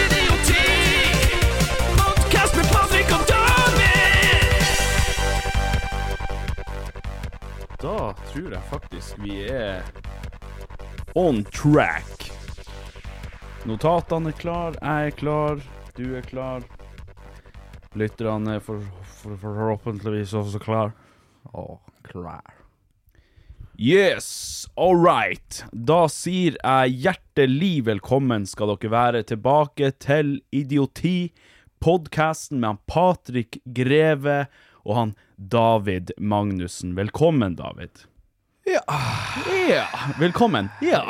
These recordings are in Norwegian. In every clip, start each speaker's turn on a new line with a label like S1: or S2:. S1: Idioti! Podcast med Patrick og David!
S2: Da tror jeg faktisk vi er on track. Notatene er klar, jeg er klar, du er klar. Lytterne er for, for, forhåpentligvis også klar. Å, klar. Yes, all right. Da sier jeg hjertelig velkommen skal dere være tilbake til Idioti, podkasten med han Patrik Greve og han David Magnussen. Velkommen, David. Ja. Velkommen. Ja.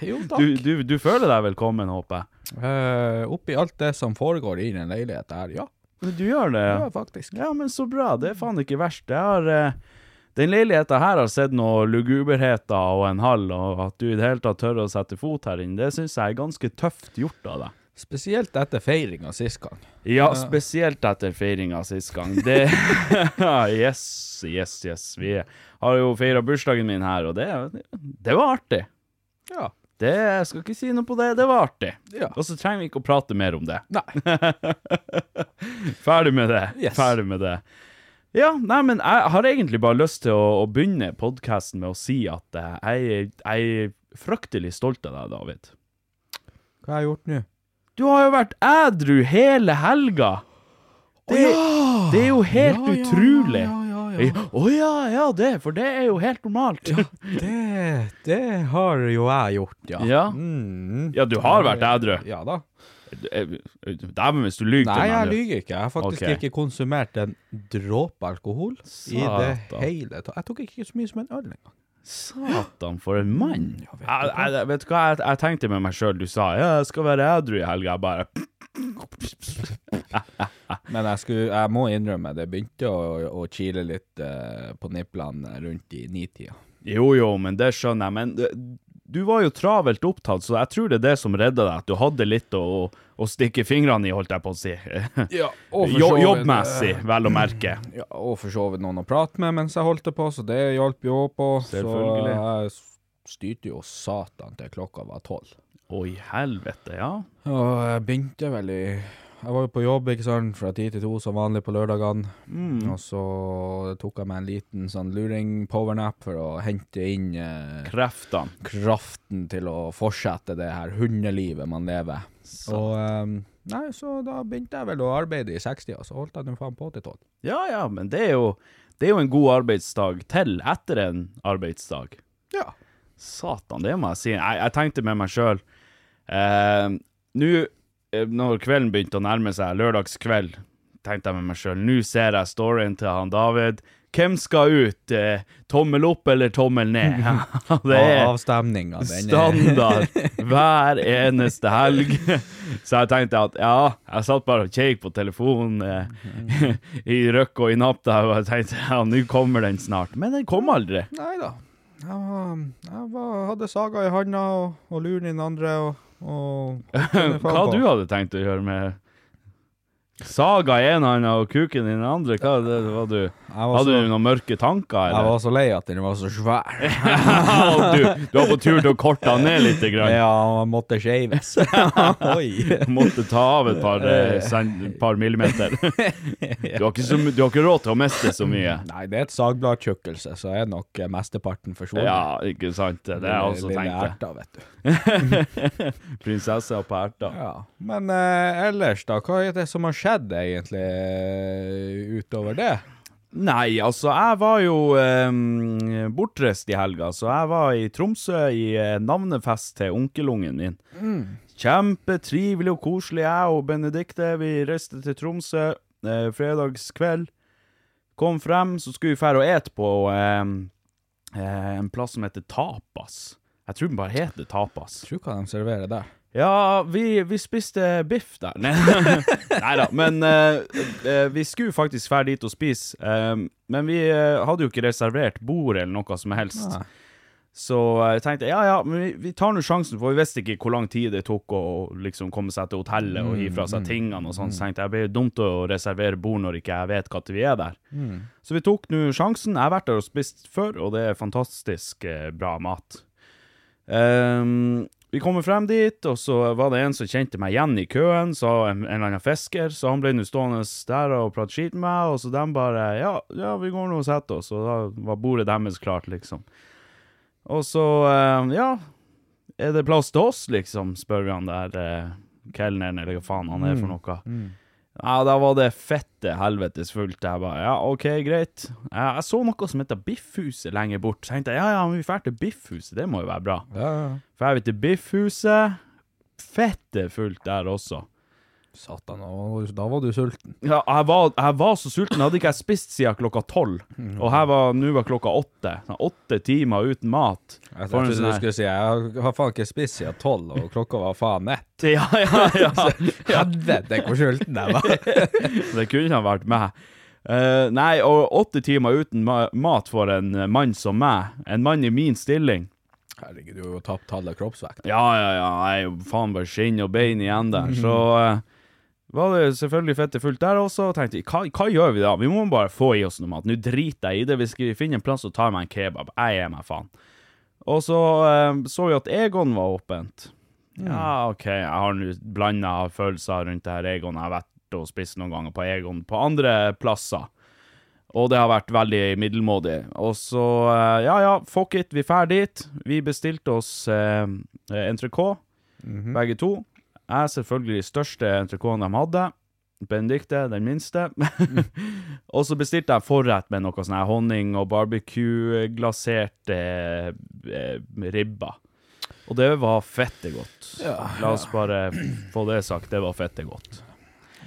S3: Jo,
S2: Du,
S3: takk.
S2: du, du føler deg velkommen, håper jeg.
S3: Eh, oppi alt det som foregår i den leiligheten her, ja.
S2: Men Du gjør det.
S3: Ja, faktisk.
S2: Ja, men så bra. Det er faen ikke verst. Jeg har eh, Den leiligheta her har sett noen luguberheter og en hall, og at du i det hele tatt tør å sette fot her inne, det syns jeg er ganske tøft gjort av deg.
S3: Spesielt etter feiringa sist gang.
S2: Ja, spesielt etter feiringa sist gang. Det Yes, yes, yes. Vi har jo feira bursdagen min her, og det, det var artig.
S3: Ja.
S2: Det, jeg skal ikke si noe på det. Det var artig.
S3: Ja.
S2: Og så trenger vi ikke å prate mer om det.
S3: Nei.
S2: Ferdig med det.
S3: Yes.
S2: Ferdig med det. Ja, nei, men jeg har egentlig bare lyst til å, å begynne podkasten med å si at eh, jeg, jeg er fryktelig stolt av deg, David.
S3: Hva har jeg gjort nå?
S2: Du har jo vært ædru hele helga! Det, det er jo helt
S3: Ja, ja,
S2: utrolig.
S3: ja, ja, ja.
S2: Jeg- Å ja, ja, det, for det er jo helt normalt. Ja,
S3: Det, det har jo jeg gjort, ja.
S2: ja.
S3: Mm.
S2: du har vært ædru. Eh,
S3: Ja da.
S2: Dæven, hvis du lyver til
S3: Nei,
S2: meg
S3: jeg
S2: nå.
S3: lyver ikke. Jeg har faktisk
S2: Ok.
S3: ikke konsumert en dråpe alkohol i det
S2: Satan.
S3: hele tatt. Jeg tok ikke så mye som en øl engang.
S2: Satan, for en mann. Jeg, jeg, jeg- vet du hva, jeg, jeg tenkte med meg sjøl, du sa ja, jeg skal være ædru i helga. Jeg bare
S3: Men jeg, skulle, jeg må innrømme, det begynte å, å kile litt eh, på nipplene rundt i nitida.
S2: Jo, jo, men det skjønner jeg. Men eh, du var jo travelt opptatt, så jeg tror det er det som redda deg. At du hadde litt å, å stikke fingrene i, holdt jeg på å si.
S3: Ja,
S2: Jo, jobbmessig, vel å merke.
S3: eh, Ja, og for så vidt noen å prate med mens jeg holdt det på, så det hjalp jo på.
S2: Selvfølgelig.
S3: Så jeg s- styrte jo satan til klokka var tolv.
S2: Oi, helvete, ja.
S3: Og jeg begynte vel i Jeg var jo på jobb, ikke sant, fra ti til to som vanlig på lørdagene. Og så tok jeg meg en liten sånn luring powernap for å hente inn eh,
S2: Kreftene.
S3: kraften til å fortsette det her hundelivet man lever. Og eh, Nei, så da begynte jeg vel å arbeide i 60, og så holdt jeg den faen på til tolv.
S2: Ja, ja, men det er jo det er jo en god arbeidsdag til etter en arbeidsdag.
S3: Ja.
S2: Satan, det må jeg si. Jeg, jeg tenkte med meg sjøl eh, Nå, eh, når kvelden begynte å nærme seg, lørdagskveld, tenkte jeg med meg sjøl Nå ser jeg storyen til han David. Hvem skal ut? Eh, tommel opp eller tommel ned? det
S3: Og
S2: er
S3: avstemninga, den er
S2: standard hver eneste helg. Så jeg tenkte at ja, jeg satt bare og kjekk på telefonen eh, i røkk og i napp der, og jeg tenkte ja, nå kommer den snart. Men den kom aldri.
S3: Nei da. Jeg, var, jeg var, hadde saga i handa og, og luren i den andre. Og, og
S2: Hva du hadde tenkt å gjøre med Saga i en hånd og kuken i den andre? Hva det, var du?
S3: Jeg var,
S2: Hadde du
S3: så,
S2: noen mørke tanker,
S3: jeg
S2: eller?
S3: var så lei at den var så svær.
S2: du, du var på tur til å korte den ned litt. Grann.
S3: Ja, han måtte shaves. Oi.
S2: Måtte ta av et par, eh, sen- par millimeter. Du har, ikke så, my- du har ikke råd til å miste så mye.
S3: Nei, det er et sagbladtjukkelse, så er nok eh, mesteparten forsvunnet.
S2: Ja, ikke sant? Det er jeg også
S3: Lille- lille
S2: tenkte.
S3: erta, vet du.
S2: Prinsessa på erta.
S3: Ja. Men eh, ellers, da? Hva er det som har skjedd, egentlig, eh, utover det?
S2: Nei, altså, jeg var jo eh, bortreist i helga, så jeg var i Tromsø i eh, navnefest til onkelungen min. Kjempetrivelig og koselig. Jeg og Benedikte vi reiste til Tromsø eh, fredagskveld. Kom frem, så skulle vi fære og ete på eh, eh, en plass som heter Tapas. Jeg tror den bare heter Tapas.
S3: Tror hva de serverer der.
S2: Ja, vi, vi spiste biff der. Nei da, men eh, eh, vi skulle faktisk dra dit og spise. eh, men vi eh, hadde jo ikke reservert bord eller noe som helst.
S3: Nei.
S2: Så jeg tenkte ja, ja, men vi, vi tar nå sjansen, for vi visste ikke hvor lang tid det tok å liksom komme seg til hotellet og gi fra seg tingene og sånn. Så tenkte jeg det blir jo dumt å reservere bord når ikke jeg vet når vi er der. Så vi tok nå sjansen. Jeg har vært der og spist før, og det er fantastisk eh, bra mat. Ehm, vi kommer frem dit, og så var det en som kjente meg igjen i køen, sa en, en eller annen fisker, så han ble nå stående der og prate skit med meg, og så de bare ja, ja, vi går nå og setter oss, og da var bordet deres klart, liksom. Og så, eh, ja, er det plass til oss, liksom, spør vi han der uh, kelneren, eller hva faen han er for noe. Ja, da var det fette helvetes fullt. Jeg bare, ja, ok, greit. Jeg, jeg så noe som heter Biffhuset lenger bort. Så tenkte jeg, ja, ja, men vi drar til Biffhuset, det må jo være bra.
S3: Ja, ja, ja.
S2: Drar vi til Biffhuset, fette fullt der også.
S3: Satan, da var du- da var du sulten.
S2: Ja, jeg var, jeg var så sulten, hadde ikke jeg spist siden klokka tolv. Og her var, nå var klokka åtte. Sånn, åtte timer uten mat.
S3: Jeg
S2: For en
S3: trodde
S2: sånn
S3: du
S2: her-
S3: skulle si jeg har- har faen ikke spist siden tolv, og klokka var faen ett.
S2: Ja, ja, ja.
S3: Helvete, hvor sulten jeg var.
S2: Det kunne ha vært meg. Eh, nei, og åtte timer uten ma mat for en eh, mann som meg. En mann i min stilling.
S3: Herregud, du har jo tapt halve kroppsvekta.
S2: Ja, ja, ja, jeg er jo faen bare skinn og bein igjen der. Så eh, var det selvfølgelig fette fullt der også, og tenkte hva, hva gjør vi da? Vi må bare få i oss noe mat. Nå driter jeg i det. Hvis vi finner en plass og tar meg en kebab, jeg gir meg faen. Og så eh, så vi at Egon var åpent. Ja, OK, jeg har nå blanda følelser rundt det her Egon. Jeg har vært og spist noen ganger på Egon på andre plasser. Og det har vært veldig middelmådig. Og så, eh, ja ja, fuck it, vi drar dit. Vi bestilte oss eh, entrecôte, begge to. Jeg er selvfølgelig største entrecôten de hadde. Benedicte, den minste. og så bestilte jeg forrett med noe sånn her honning og barbecue-glasert eh, eh, ribba. Og det var fette godt. La oss bare få det sagt, det var fette godt.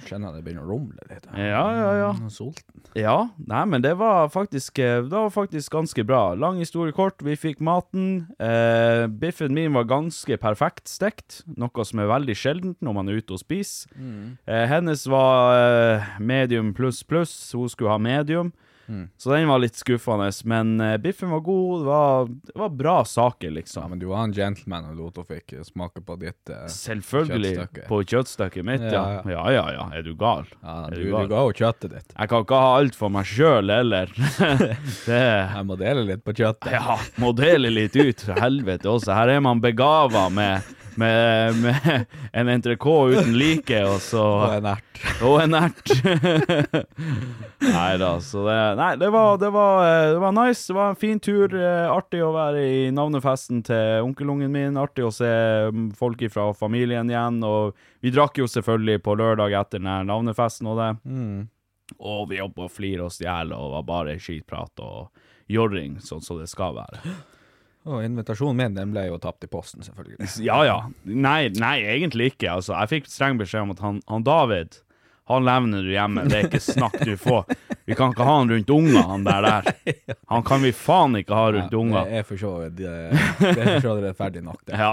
S3: Kjenner det begynner å rumle litt.
S2: Ja, ja, ja.
S3: Jeg er Sulten.
S2: Ja, nei, men det var faktisk eh, Det var faktisk ganske bra. Lang historie kort, vi fikk maten. Eh, biffen min var ganske perfekt stekt, noe som er veldig sjeldent når man er ute og spiser.
S3: Mm.
S2: Eh, hennes var eh, medium pluss pluss, hun skulle ha medium.
S3: Mm.
S2: Så den var litt skuffende, men eh, biffen var god. Det var, det var bra saker,
S3: Ja,
S2: liksom.
S3: men du var en gentleman og lot henne fikk smake på ditt eh,
S2: Selvfølgelig.
S3: Kjøttstykket.
S2: På kjøttstykket mitt, ja.
S3: Ja,
S2: Ja. ja ja ja, er du gal?
S3: Ja,
S2: Er
S3: du, du ga jo kjøttet ditt.
S2: Jeg kan ikke ha alt for meg sjøl heller. det
S3: Jeg må dele litt på kjøttet.
S2: Ja, må dele litt ut. Helvete også. Her er man begava med, med, med en entrecôte uten like, og
S3: Og
S2: så
S3: en ert.
S2: Og en ert. Nei da, så det Nei, det var, det, var, eh, det var nice. Det var en fin tur. eh, Artig å være i navnefesten til onkelungen min. Artig å se mm, folk fra familien igjen. Og vi drakk jo selvfølgelig på lørdag etter den her navnefesten og det. Og vi jobba og flirte oss i hjel og var bare skitprat og jorring, sånn som det skal være.
S3: Og invitasjonen min, den ble jo tapt i posten, selvfølgelig.
S2: Ja, ja. Nei, nei egentlig ikke. Altså, jeg fikk streng beskjed om at han, han David han levner du hjemme, det er ikke snakk du får. Vi kan ikke ha han rundt unga, han der der. Han kan vi faen ikke ha rundt unga.
S3: Det er for så vidt det- det er for så vidt rettferdig nok, det.
S2: Ja.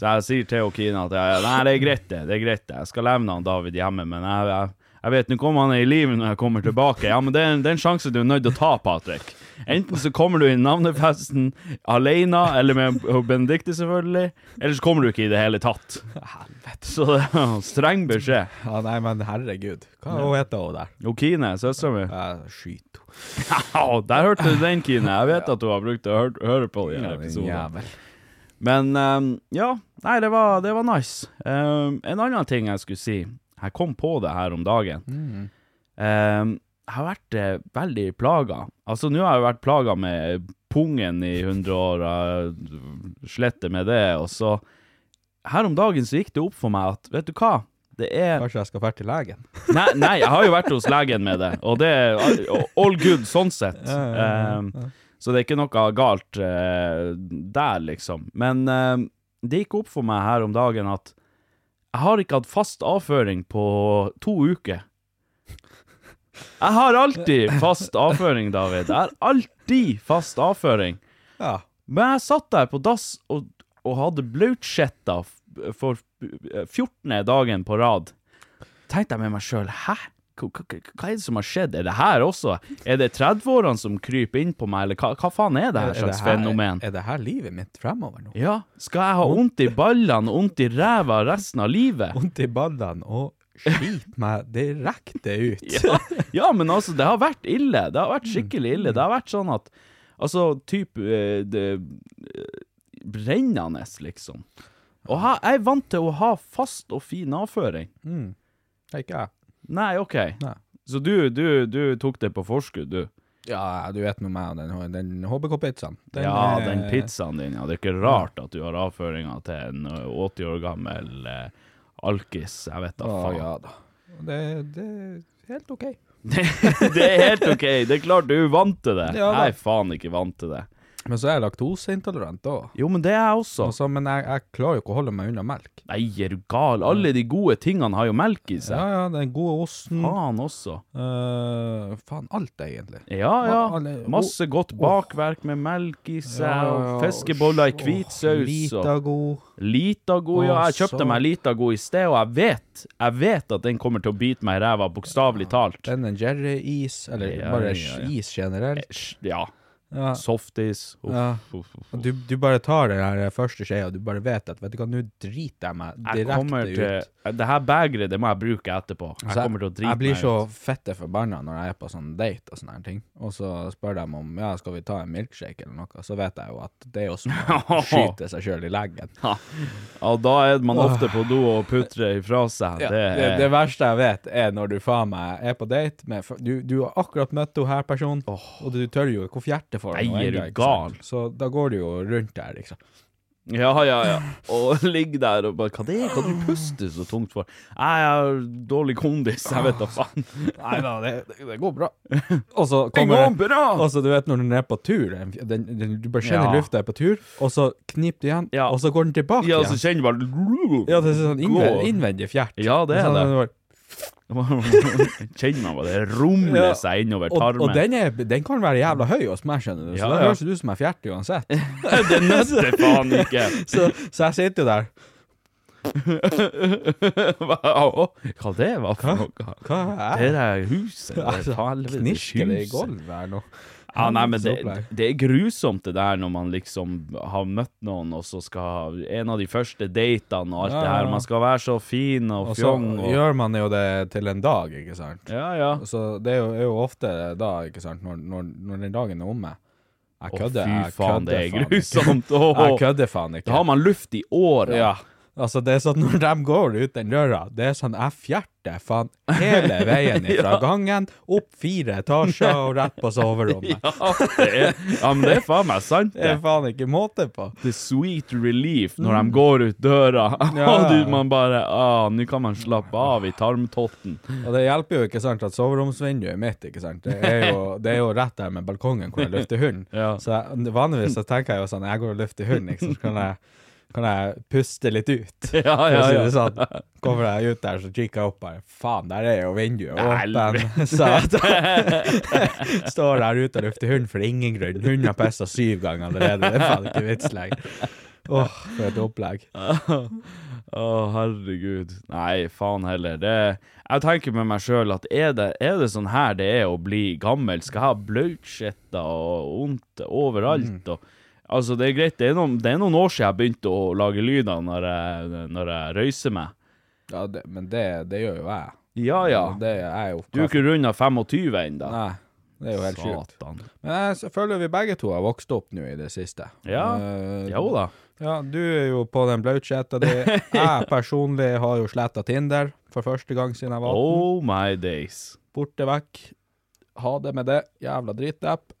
S2: Så jeg sier til og Kina at jeg, nei, det er greit, det. det er greit det. Jeg skal levne han David hjemme, men jeg, jeg, jeg vet nå kommer han er i live når jeg kommer tilbake. Ja, men det er, en- det er en sjanse du er nødt til å ta, Patrick. Enten så kommer du i navnefesten alene, eller med Benedicte, selvfølgelig, eller så kommer du ikke i det hele tatt. Helvete. Så det er streng beskjed.
S3: Ja, nei, men herregud. Hva heter hun der?
S2: Jo, Kine, søstera mi.
S3: Jeg skyter henne.
S2: Au, der hørte du den, Kine. Jeg vet at du har brukt å høre, høre på de her episodene. Men ehm, ja, nei, det var, det var nice. Ehm, en annen ting jeg skulle si. Jeg kom på det her om dagen. Ehm, jeg har vært eh, veldig plaga. Altså, nå har jeg vært plaga med pungen i 100 år, jeg sletter med det, og så Her om dagen så gikk det opp for meg at, vet du hva? Det er
S3: Kanskje jeg skal dra til legen?
S2: nei, nei, jeg har jo vært hos legen med det, og det er all good sånn sett. Ehm, så det er ikke noe galt eh, der, liksom. Men eh, det gikk opp for meg her om dagen at jeg har ikke hatt fast avføring på to uker. Jeg har alltid fast avføring, David. Jeg har alltid fast avføring.
S3: Ja.
S2: Men jeg satt der på dass og, og hadde blautskjetta f- for f- 14. dagen på rad. Tenkte jeg med meg sjøl, hæ? Hva, hva- hva hva er det som har skjedd? Er det her også? Er det 30-årene som kryper inn på meg, eller hva, hva faen er det her slags fenomen?
S3: Er det her livet mitt fremover nå?
S2: Ja, skal jeg ha vondt i ballene og vondt i ræva resten av livet?
S3: Vondt i ballene og skit meg direkte ut.
S2: Ja, ja, men altså, det har vært ille. Det har vært skikkelig ille. Det har vært sånn at Altså, type eh, det, eh, Brennende, liksom. Og ha, jeg er vant til å ha fast og fin avføring.
S3: Det er Ikke jeg.
S2: Nei, OK.
S3: Nei.
S2: Så du, du, du tok det på forskudd, du.
S3: Ja, du vet nå meg og den, den eh, HBK-pizzaen.
S2: ja,
S3: er-
S2: den pizzaen din, ja. Det er ikke rart at du har avføringa til en eh, 80 år gammel eh, alkis. Jeg vet da
S3: Å,
S2: faen.
S3: ja da. Det, det er helt OK.
S2: det er helt OK. Det er klart du er vant til det.
S3: Ja da.
S2: jeg er faen ikke vant til det.
S3: Men så er jeg laktoseintolerant òg.
S2: Jo, men det er jeg også.
S3: Altså, men jeg, jeg klarer jo ikke å holde meg unna melk.
S2: Nei, er du gal? Alle de gode tingene har jo melk i
S3: Ja,
S2: seg.
S3: ja, den gode osten.
S2: Faen også.
S3: Eh, faen, alt egentlig.
S2: Ja, ja.
S3: Alle- oh.
S2: Masse godt bakverk med melk i seg, og fiskeboller i hvit saus. og
S3: Litago.
S2: Litago, ja.
S3: Å,
S2: Jeg kjøpte
S3: så-
S2: meg Litago i sted, og jeg vet jeg vet at den kommer til å bite meg i ræva, bokstavelig talt.
S3: Den er Jerry-is, eller
S2: Ja,
S3: bare
S2: ja, ja.
S3: is generelt.
S2: Ja.
S3: Ja.
S2: Softis.
S3: Ja.
S2: Uff, uff, uff.
S3: Du, du bare tar den her første skjea, og du bare vet at Vet du hva, nå driter jeg meg
S2: Jeg
S3: direkte
S2: kommer
S3: ut.
S2: til Det her begeret, det må jeg bruke etterpå. Jeg
S3: Altså,
S2: kommer til å drite
S3: jeg blir
S2: meg
S3: så
S2: ut.
S3: fette forbanna når jeg er på sånn date og sånne her ting, og så spør de om ja, skal vi ta en milkshake eller noe, så vet jeg jo at det er jo som å skyte seg sjøl i leggen.
S2: Ja, da er man ofte på do og putrer ifra seg.
S3: Ja,
S2: Det
S3: det,
S2: er
S3: det verste jeg vet, er når du faen meg er på date med f- Du, du har akkurat møtt henne her, personen, og du tør jo ikke å fjerte for
S2: Nei,
S3: henne.
S2: er du
S3: ennå, ikke sant?
S2: gal?
S3: Så da går du jo rundt der, liksom.
S2: Ja, ja, ja. Og ligge der og bare Hva det er? Hva du puster så tungt for? Nei, Jeg har dårlig kondis, jeg vet da faen.
S3: Nei da, det, går bra. Og så
S2: Det
S3: kommer
S2: går bra!
S3: Og så du vet når den er på tur, den, den, den, du bare kjenner
S2: Ja.
S3: lufta er på tur, og så kniper du igjen,
S2: Ja.
S3: og så går den tilbake
S2: Ja, så
S3: igjen.
S2: kjenner du bare
S3: Ja, det er sånn innvendig,
S2: Gå.
S3: innvendig fjert.
S2: Ja, det er
S3: sånn,
S2: det.
S3: den bare-
S2: Kjenner man bare det rumler
S3: Ja.
S2: seg innover
S3: Og, og
S2: tarmen.
S3: den, er, den kan være jævla høy hos meg, skjønner du, så
S2: Ja,
S3: da
S2: ja.
S3: høres det ut som jeg fjerter uansett.
S2: Det nøtter faen ikke!
S3: Så, så jeg sitter jo der.
S2: Hva hva det var for noe?
S3: Hva er
S2: Det der huset det er
S3: det?
S2: helvetes
S3: Knirker det i
S2: huset.
S3: gulvet her nå?
S2: Ja, nei, men det,
S3: Så opplegg.
S2: det er grusomt det der når man liksom har møtt noen, og så skal En av de første datene og alt
S3: Ja,
S2: det
S3: ja.
S2: her. Man skal være så fin og
S3: Og så
S2: fjong og
S3: gjør man jo det til en dag, ikke sant?
S2: Ja, ja.
S3: Så det er jo, er jo ofte da, ikke sant, når, når, når den dagen er omme. Jeg
S2: Å,
S3: kødder.
S2: fy
S3: jeg
S2: faen,
S3: kødder
S2: det er
S3: faen ikke.
S2: grusomt. Åh.
S3: Jeg kødder faen ikke.
S2: Da har man luft i året.
S3: Ja. Altså, det er sånn når de går ut den døra, det er sånn jeg fjerter faen hele veien fra gangen, opp fire etasjer og rett på soverommet.
S2: Ja, det er, ja, men det er faen meg sant,
S3: Det
S2: det.
S3: er faen ikke måte på.
S2: The sweet relief når de går ut døra,
S3: Mm. Ja.
S2: og du, man bare ah, Nå kan man slappe av i tarmtotten.
S3: Og det hjelper jo ikke sant at soveromsvinduet mitt, ikke sant, det er jo, det er jo rett der med balkongen hvor jeg lufter hunden.
S2: Ja.
S3: Så jeg, vanligvis så tenker jeg jo sånn, jeg går og lufter hunden, ikke sant, så kan jeg, kan jeg puste litt ut.
S2: Ja, ja,
S3: For å si
S2: ja.
S3: det sånn. Kommer jeg ut der, så kikker jeg opp her. Faen, der er jo vinduet
S2: Helvete.
S3: åpen. Så jeg da- står der ute og lufter hund for ingen grunn. Hunden har pissa syv ganger allerede. Det er faen ikke vits lenger. Åh, for et opplegg.
S2: Å, herregud. Nei, faen heller. Det, jeg tenker med meg sjøl at er det, er det sånn her det er å bli gammel? Skal jeg ha blautskjetter og vondt
S3: Mm.
S2: overalt? Og, altså, det er greit, det er, noen, det er noen år siden jeg begynte å lage lyder når jeg, når jeg røyser meg.
S3: Ja, det, men det, det gjør jo jeg.
S2: Ja ja.
S3: Det er jo
S2: Du er jo ikke runda 25 ennå.
S3: Nei, det er jo helt sjukt.
S2: Satan.
S3: Men jeg s- føler vi begge to har vokst opp nå i det siste.
S2: Ja.
S3: Eh,
S2: Jo da.
S3: Ja, du er jo på den blautskjetta di. Jeg personlig har jo sletta Tinder for første gang siden jeg var 18.
S2: Oh my days.
S3: borte vekk. Ha det med det. Jævla dritapp.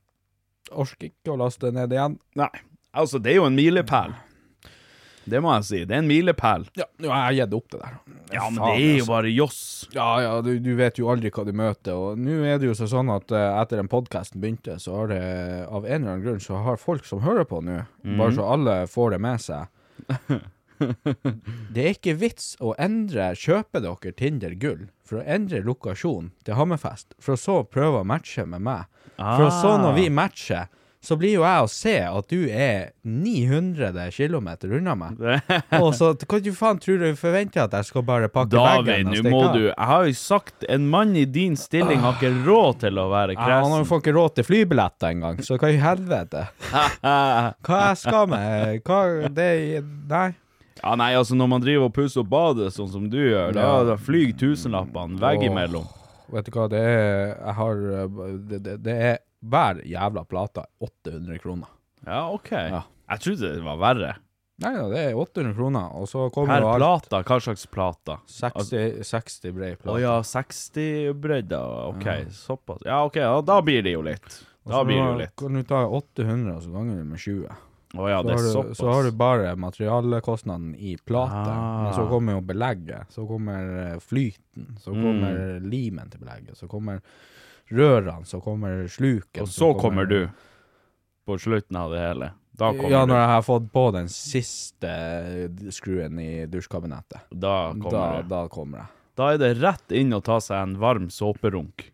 S3: Orker ikke å laste det ned igjen.
S2: Nei. Altså, det er jo en milepæl. Det må jeg si. Det er en milepæl.
S3: Ja, nå har jeg gitt opp det der.
S2: Ja, men
S3: Faen,
S2: det er jo
S3: altså.
S2: bare joss.
S3: Ja, ja, du, du vet jo aldri hva du møter, og nå er det jo så sånn at eh, etter den podkasten begynte, så har det av en eller annen grunn så har folk som hører på nå,
S2: Mhm.
S3: bare så alle får det med seg Det er ikke vits å endre kjøpe dere Tinder gull for å endre lokasjon til Hammerfest, for å så prøve å matche med meg. For
S2: Ah.
S3: så når vi matcher, så blir jo jeg å se at du er 900 km unna meg. Og så hva du faen tror du forventer at jeg skal bare pakke
S2: David,
S3: bagen og
S2: nå
S3: stikke
S2: må
S3: av?
S2: du Jeg har jo sagt, en mann i din stilling har ikke råd til å være
S3: Ja, han har jo
S2: kresen.
S3: faen ikke råd til flybilletter engang, så hva i helvete? Hva jeg skal med? Hva Det Nei.
S2: Ja, nei, altså, når man driver og pusser opp badet sånn som du gjør, da,
S3: Ja.
S2: da flyr tusenlappene veggimellom.
S3: Vet du hva, det er Jeg har Det, det, det er hver jævla plate 800 kroner.
S2: Ja, OK.
S3: Ja.
S2: Jeg trodde det var verre.
S3: Nei da, det er 800 kroner, og så kommer
S2: Per
S3: jo alt-
S2: plata? Hva slags plata? Altså,
S3: 60, 60 brei
S2: Å
S3: plate.
S2: ja, 60-bredda. OK, såpass. Ja, OK, ja, da blir det jo litt. Da blir det jo litt.
S3: Kan du ta 800, og så ganger du med 20.
S2: Å ja,
S3: Så,
S2: det er
S3: har du,
S2: såpass.
S3: så har du bare materialkostnaden i plate,
S2: Ah.
S3: men så kommer jo belegget, så kommer eh, flyten, så
S2: Mm.
S3: kommer limen til belegget, så kommer rørene, så kommer sluken.
S2: Og så kommer du. På slutten av det hele. Da kommer
S3: Ja,
S2: du.
S3: når jeg har fått på den siste eh, skruen i dusjkabinettet.
S2: Da kommer
S3: Da,
S2: du.
S3: da kommer jeg.
S2: Da er det rett inn og ta seg en varm såperunk.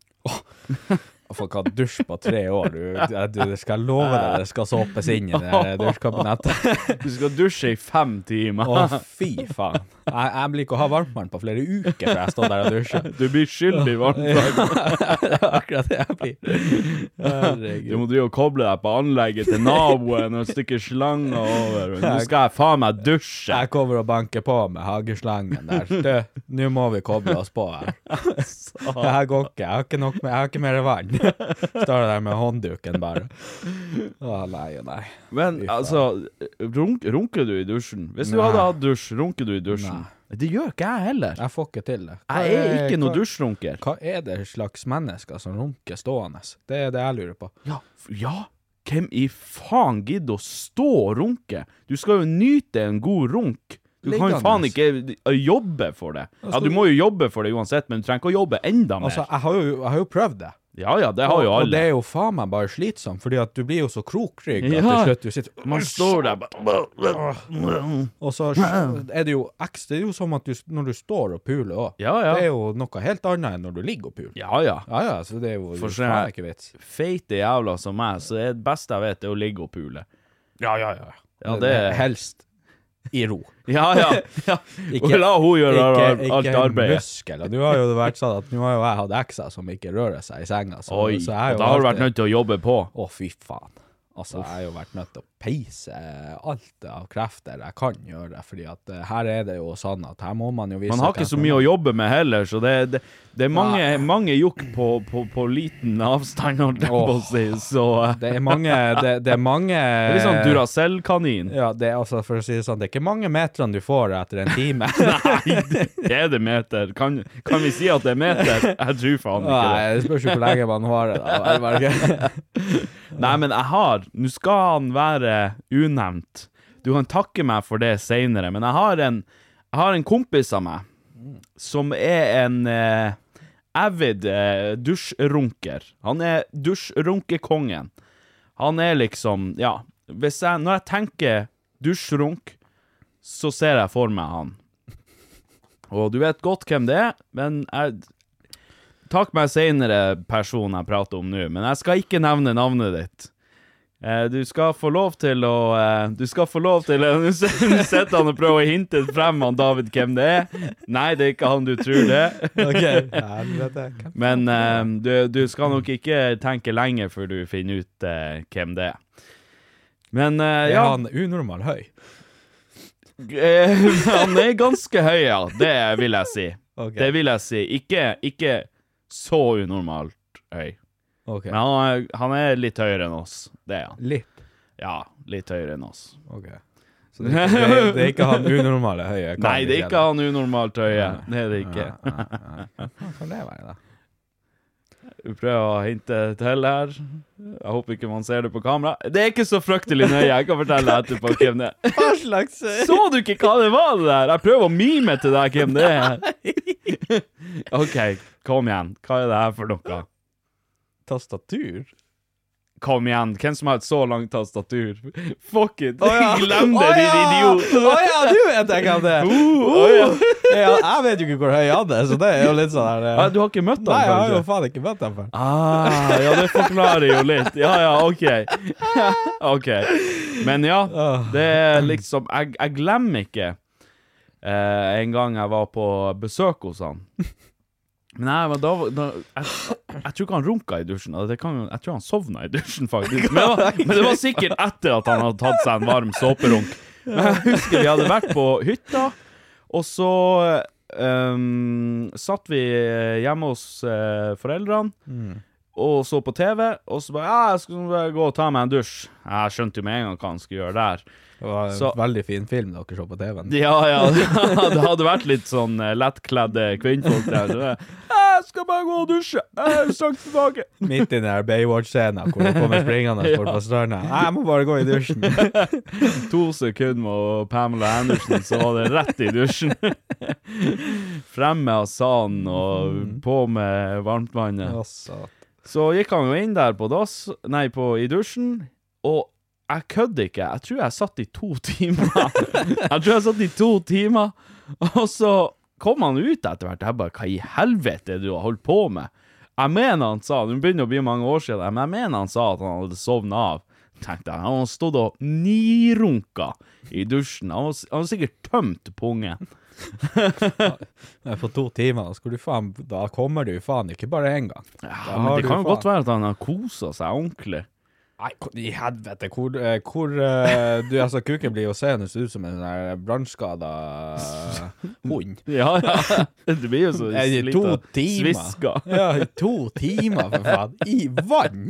S3: Og folk har dusj på tre år, du. Jeg- du det skal jeg love deg, det skal såpes inn i det her dusjkabinettet.
S2: Du skal dusje i fem timer.
S3: Å, fy faen. Jeg, jeg blir ikke å ha varmtvann på flere uker før jeg står der og dusjer.
S2: Du blir skyldig i varmtvann.
S3: Det er akkurat det jeg blir.
S2: Du
S3: Herregud.
S2: må drive og koble deg på anlegget til naboen og stikke slanger over. Nå skal jeg faen meg dusje.
S3: Jeg kommer og banker på med hageslangen der. Du, nå må vi koble oss på her. Det her går ikke. Jeg har ikke, nok med, jeg har ikke mer vann. Står der med håndduken bare. Å nei og nei.
S2: Men altså, runk, runker du i dusjen? Hvis du
S3: Nei.
S2: hadde hatt dusj, runker du i dusjen? Det gjør ikke jeg heller.
S3: Jeg får ikke til det. Hva
S2: Jeg er ikke noe
S3: hva-
S2: dusjrunker.
S3: Hva er det slags mennesker som runker stående? Det er det jeg lurer på.
S2: Ja, f- ja. Hvem i faen gidder å stå og runke? Du skal jo nyte en god runk. Du kan jo
S3: Liggende.
S2: faen ikke ø, jobbe for det. Ja, du må jo jobbe for det uansett, men du trenger ikke å jobbe enda mer.
S3: Altså, jeg har jo, jeg har jo prøvd det.
S2: Ja ja, det har jo
S3: Og- Og det
S2: alle.
S3: er jo faen meg bare slitsomt, fordi at du blir jo så krokrygg at
S2: Ja.
S3: til slutt du sitter
S2: Man står der bare
S3: Og så er det jo ekstra Det er jo som at du, når du står og puler òg.
S2: Ja, ja.
S3: Det er jo noe helt annet enn når du ligger og puler.
S2: Ja ja.
S3: Ja ja, så det er jo
S2: For
S3: faen
S2: seg-
S3: ikke vits.
S2: Feite jævla som meg, så er det beste jeg vet, er å ligge og pule.
S3: Ja ja ja.
S2: Ja, det
S3: Helst i ro.
S2: Ja ja. ja.
S3: Ikke-
S2: Og la hun gjøre ar- alt
S3: en
S2: arbeidet.
S3: muskel. Og nå har jo det vært sånn at nå har jo jeg hatt ekser som ikke rører seg i senga. Så,
S2: Oi,
S3: så
S2: og
S3: jeg jo
S2: da har du vært
S3: alltid-
S2: nødt til å jobbe på.
S3: Å, fy faen. Altså, jeg har jo vært nødt til å peise alt av krefter jeg kan gjøre, fordi at eh, her er det jo sånn at her må man jo vise
S2: Man har ikke så mye å jobbe med heller, så det, det, det er mange, mange jokk på, på, på liten avstand, holdt jeg på å si, så eh,
S3: Det er mange Det, det er mange
S2: Det er litt sånn Duracell-kanin.
S3: Ja, det er altså, for å si det sånn, det er ikke mange meterne du får etter en time.
S2: Nei, det er det meter. Kan, kan vi si at det er meter? Jeg tror faen ikke det.
S3: Nei, det spørs jo hvor lenge man har det, da. Jeg bare ikke-
S2: Nei, men jeg har Nå skal han være unevnt. Du kan takke meg for det seinere, men jeg har en Jeg har en kompis av meg som er en eh, avid eh, dusjrunker. Han er dusjrunkekongen. Han er liksom Ja, hvis jeg Når jeg tenker dusjrunk, så ser jeg for meg han. Og du vet godt hvem det er, men jeg Takk meg seinere, personen jeg prater om nå, men jeg skal ikke nevne navnet ditt. Eh, du skal få lov til å eh, Du skal få lov til eh, Nå s- nå sitter han og prøver å hinte frem han David hvem det er. Nei, det er ikke han du tror det er.
S3: Ok, helvete.
S2: Men eh, du, du skal nok ikke tenke lenge før du finner ut eh, hvem det er. Men eh,
S3: Er
S2: ja
S3: han unormal høy?
S2: Eh, Han er ganske høy, ja. Det vil jeg si.
S3: Ok.
S2: Det vil jeg si. Ikke, ikke så unormalt høy.
S3: Ok.
S2: Men han er, han er litt høyere enn oss. Det er han.
S3: Litt.
S2: Ja, litt høyere enn oss.
S3: Ok. Så det er, ikke, det, er, det er ikke han unormale høye? kan
S2: Nei,
S3: vi
S2: det
S3: si
S2: er ikke han unormalt høye. Det er det ikke.
S3: Hva kan det være, da?
S2: Vi prøver å hinte til her. Jeg håper ikke man ser det på kamera. Det er ikke så fryktelig nøye. Jeg kan fortelle deg etterpå hvem det er.
S3: Hva slags
S2: Så du ikke hva det var, det der? Jeg prøver å mime til deg hvem det er. OK, kom igjen. Hva er det her for noe?
S3: tastatur?
S2: Kom igjen, hvem som har et så langt tastatur? Fuck it!
S3: ja.
S2: Glem det,
S3: Å
S2: din
S3: ja.
S2: idiot!
S3: Å ja, du vet jeg hvem det er! Uh, ja. Jeg vet jo ikke hvor høy han er, så det er jo litt sånn her eh.
S2: Ah, Du har ikke møtt ham,
S3: Nei, jeg har jo
S2: kanskje?
S3: faen ikke møtt ham før.
S2: Ah, ja, det forklarer jo litt. Ja, ja, OK. OK. Men ja, det er liksom Jeg, jeg glemmer ikke eh, en gang jeg var på besøk hos han. Nei, men da, var- da jeg, jeg tror ikke han runka i dusjen. Altså, Det kan, jeg tror han sovna i dusjen, faktisk. Men det, var, men det var sikkert etter at han hadde tatt seg en varm såperunk. Men jeg husker vi hadde vært på hytta, og så ehm, satt vi hjemme hos eh, foreldrene og så på TV, og så bare Ja, jeg skal sånn, bare gå og ta meg en dusj. Jeg skjønte jo med en gang hva han skulle gjøre der.
S3: Det var en
S2: Så-
S3: veldig fin film dere så på TV-en.
S2: Ja, ja, det hadde vært litt sånn eh, lettkledde kvinnfolk der. Så det, jeg skal bare gå og dusje. Jeg er straks tilbake.
S3: Midt i den der Baywatch-scenen hvor hun kommer springende bort på stranda. Nei, jeg må bare gå i dusjen.
S2: To sekunder med Pamela Andersen, så var det rett i dusjen. Frem med asanen og på med varmtvannet.
S3: Altså.
S2: Så gikk han jo inn der på dass, nei, på, i dusjen, og jeg kødder ikke. Jeg tror jeg satt i to timer. Jeg tror jeg satt i to timer, og så kom han ut etter hvert. Jeg bare, hva i helvete er det du har holdt på med? Jeg mener han sa, det begynner å bli mange år siden, men jeg mener han sa at han hadde sovnet av. Tenkte jeg, han hadde stått og nirunka i dusjen. Han var, han var sikkert tømt pungen.
S3: Men På to timer, da, skal du faen, da kommer du faen ikke bare én gang.
S2: Ja, men det kan jo godt være at han har koset seg ordentlig.
S3: Nei, hvor- i helvete, hvor, eh, hvor eh, Du, altså, kuken blir jo seende ut som en sånn her brannskada hund.
S2: Ja, ja. Det blir jo så
S3: Eh, I to timer.
S2: sviska.
S3: Ja, i to timer, for faen. I vann!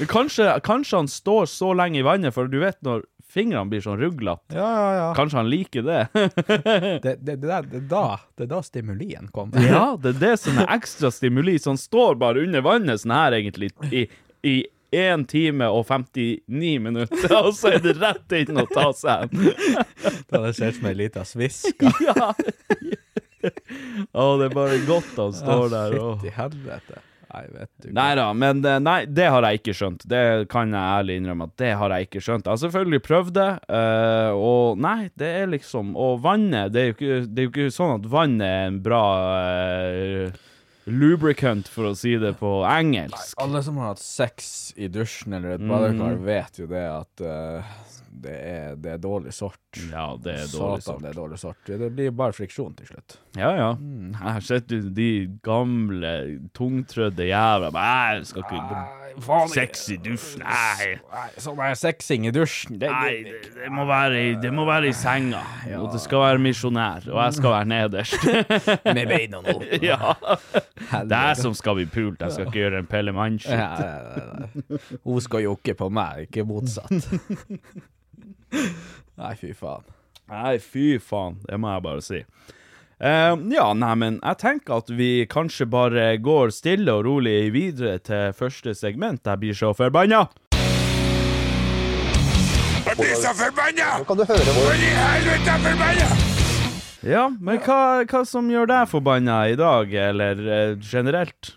S2: Men Kanskje, kanskje han står så lenge i vannet, for du vet når fingrene blir sånn ruglete.
S3: Ja, ja, ja.
S2: Kanskje han liker det?
S3: Det, det, det, der, det, er da, det er da stimulien kommer.
S2: Ja, det er det som er ekstra stimuli. Så han står bare under vannet sånn her, egentlig, i, i 1 time og 59 minutter, og så er det rett inn å ta seg en.
S3: Det hadde sett ut som ei lita sviska.
S2: Ja. Å, det er bare godt han står der og
S3: Fytti helvete. Nei, vet du
S2: Nei da, men eh, nei, det har jeg ikke skjønt. Det kan jeg ærlig innrømme at det har jeg ikke skjønt. Jeg har selvfølgelig prøvd det, eh, og nei, det er liksom Og vannet, det er jo ikke, det er jo ikke sånn at vannet er en bra eh, lubricant, for å si det på engelsk.
S3: Alle som har hatt sex i dusjen eller et badekar,
S2: Mm.
S3: vet jo det at eh, det, er, det er dårlig sort.
S2: Ja, det er
S3: Satan,
S2: dårlig sånn.
S3: det er dårlig sort. Det blir bare friksjon til slutt.
S2: Ja, ja.
S3: Mm.
S2: Her sitter du, de gamle, tungtrødde jævla Nei, jeg skal ikke Sex i dusj, nei.
S3: Nei, Sånn er sexing i dusjen. Det,
S2: Nei,
S3: Ah, det,
S2: det, det, må være, i- det må være i senga. Og det skal være misjonær. Og jeg skal være nederst.
S3: med beina nå.
S2: ja. Det er jeg som skal bli pult, jeg skal ikke gjøre en Pelle Mannsju.
S3: Ja, ja, ja, ja. Hun skal jokke på meg, ikke motsatt. Nei, fy faen.
S2: Nei, fy faen, det må jeg bare si. Eh, ja, nei, men jeg tenker at vi kanskje bare går stille og rolig videre til første segment. Jeg blir så forbanna! Ja, men hva, hva som gjør deg forbanna i dag, eller eh, generelt?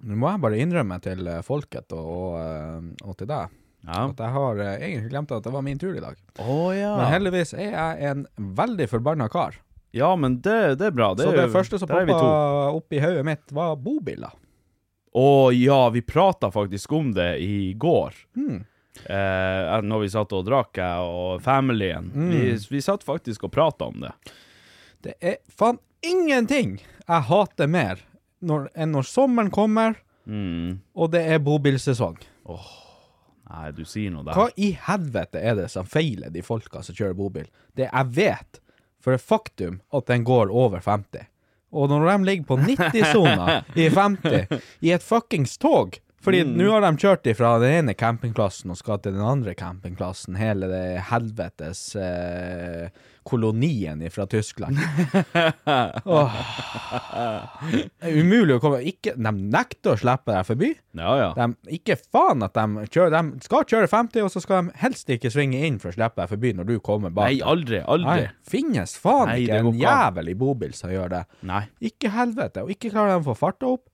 S3: Nå må jeg bare innrømme til eh, folket og, og, eh, og til deg
S2: Ja.
S3: at jeg har eh, egentlig glemt at det var min tur i dag.
S2: Å ja.
S3: Men heldigvis er jeg en veldig forbanna kar.
S2: Ja, men det, det er bra. Det
S3: Så
S2: er
S3: det
S2: jo-
S3: første som
S2: der er vi
S3: poppa
S2: to.
S3: opp i hodet mitt, var bobiler.
S2: Å ja, vi prata faktisk om det i går.
S3: Hmm.
S2: Eh, når vi satt og drakk, jeg og familien.
S3: Hmm.
S2: Vi, vi satt faktisk og prata om det.
S3: Det er faen ingenting jeg hater mer når, enn når sommeren kommer
S2: Mm.
S3: og det er bobilsesong.
S2: Nei, du sier noe der.
S3: Hva i helvete er det som feiler de folka som kjører bobil? Det jeg vet, for det faktum at den går over 50. Og når de ligger på 90-sona i 50, i et fuckings tog fordi nå har de kjørt ifra den ene campingplassen og skal til den andre campingplassen, hele det helvetes eh, kolonien fra Tyskland. Åh. Det er umulig å komme ikke, De nekter å slippe deg forbi.
S2: Ja, ja.
S3: De, ikke faen at de kjører De skal kjøre 50, og så skal de helst ikke svinge inn for å slippe deg forbi når du kommer bak.
S2: Nei,
S3: dem.
S2: aldri. Aldri.
S3: Nei, finnes faen
S2: Nei,
S3: ikke
S2: det går
S3: en
S2: ikke an.
S3: jævel i bobil som gjør det.
S2: Nei.
S3: Ikke helvete, og ikke klarer de å få farta opp.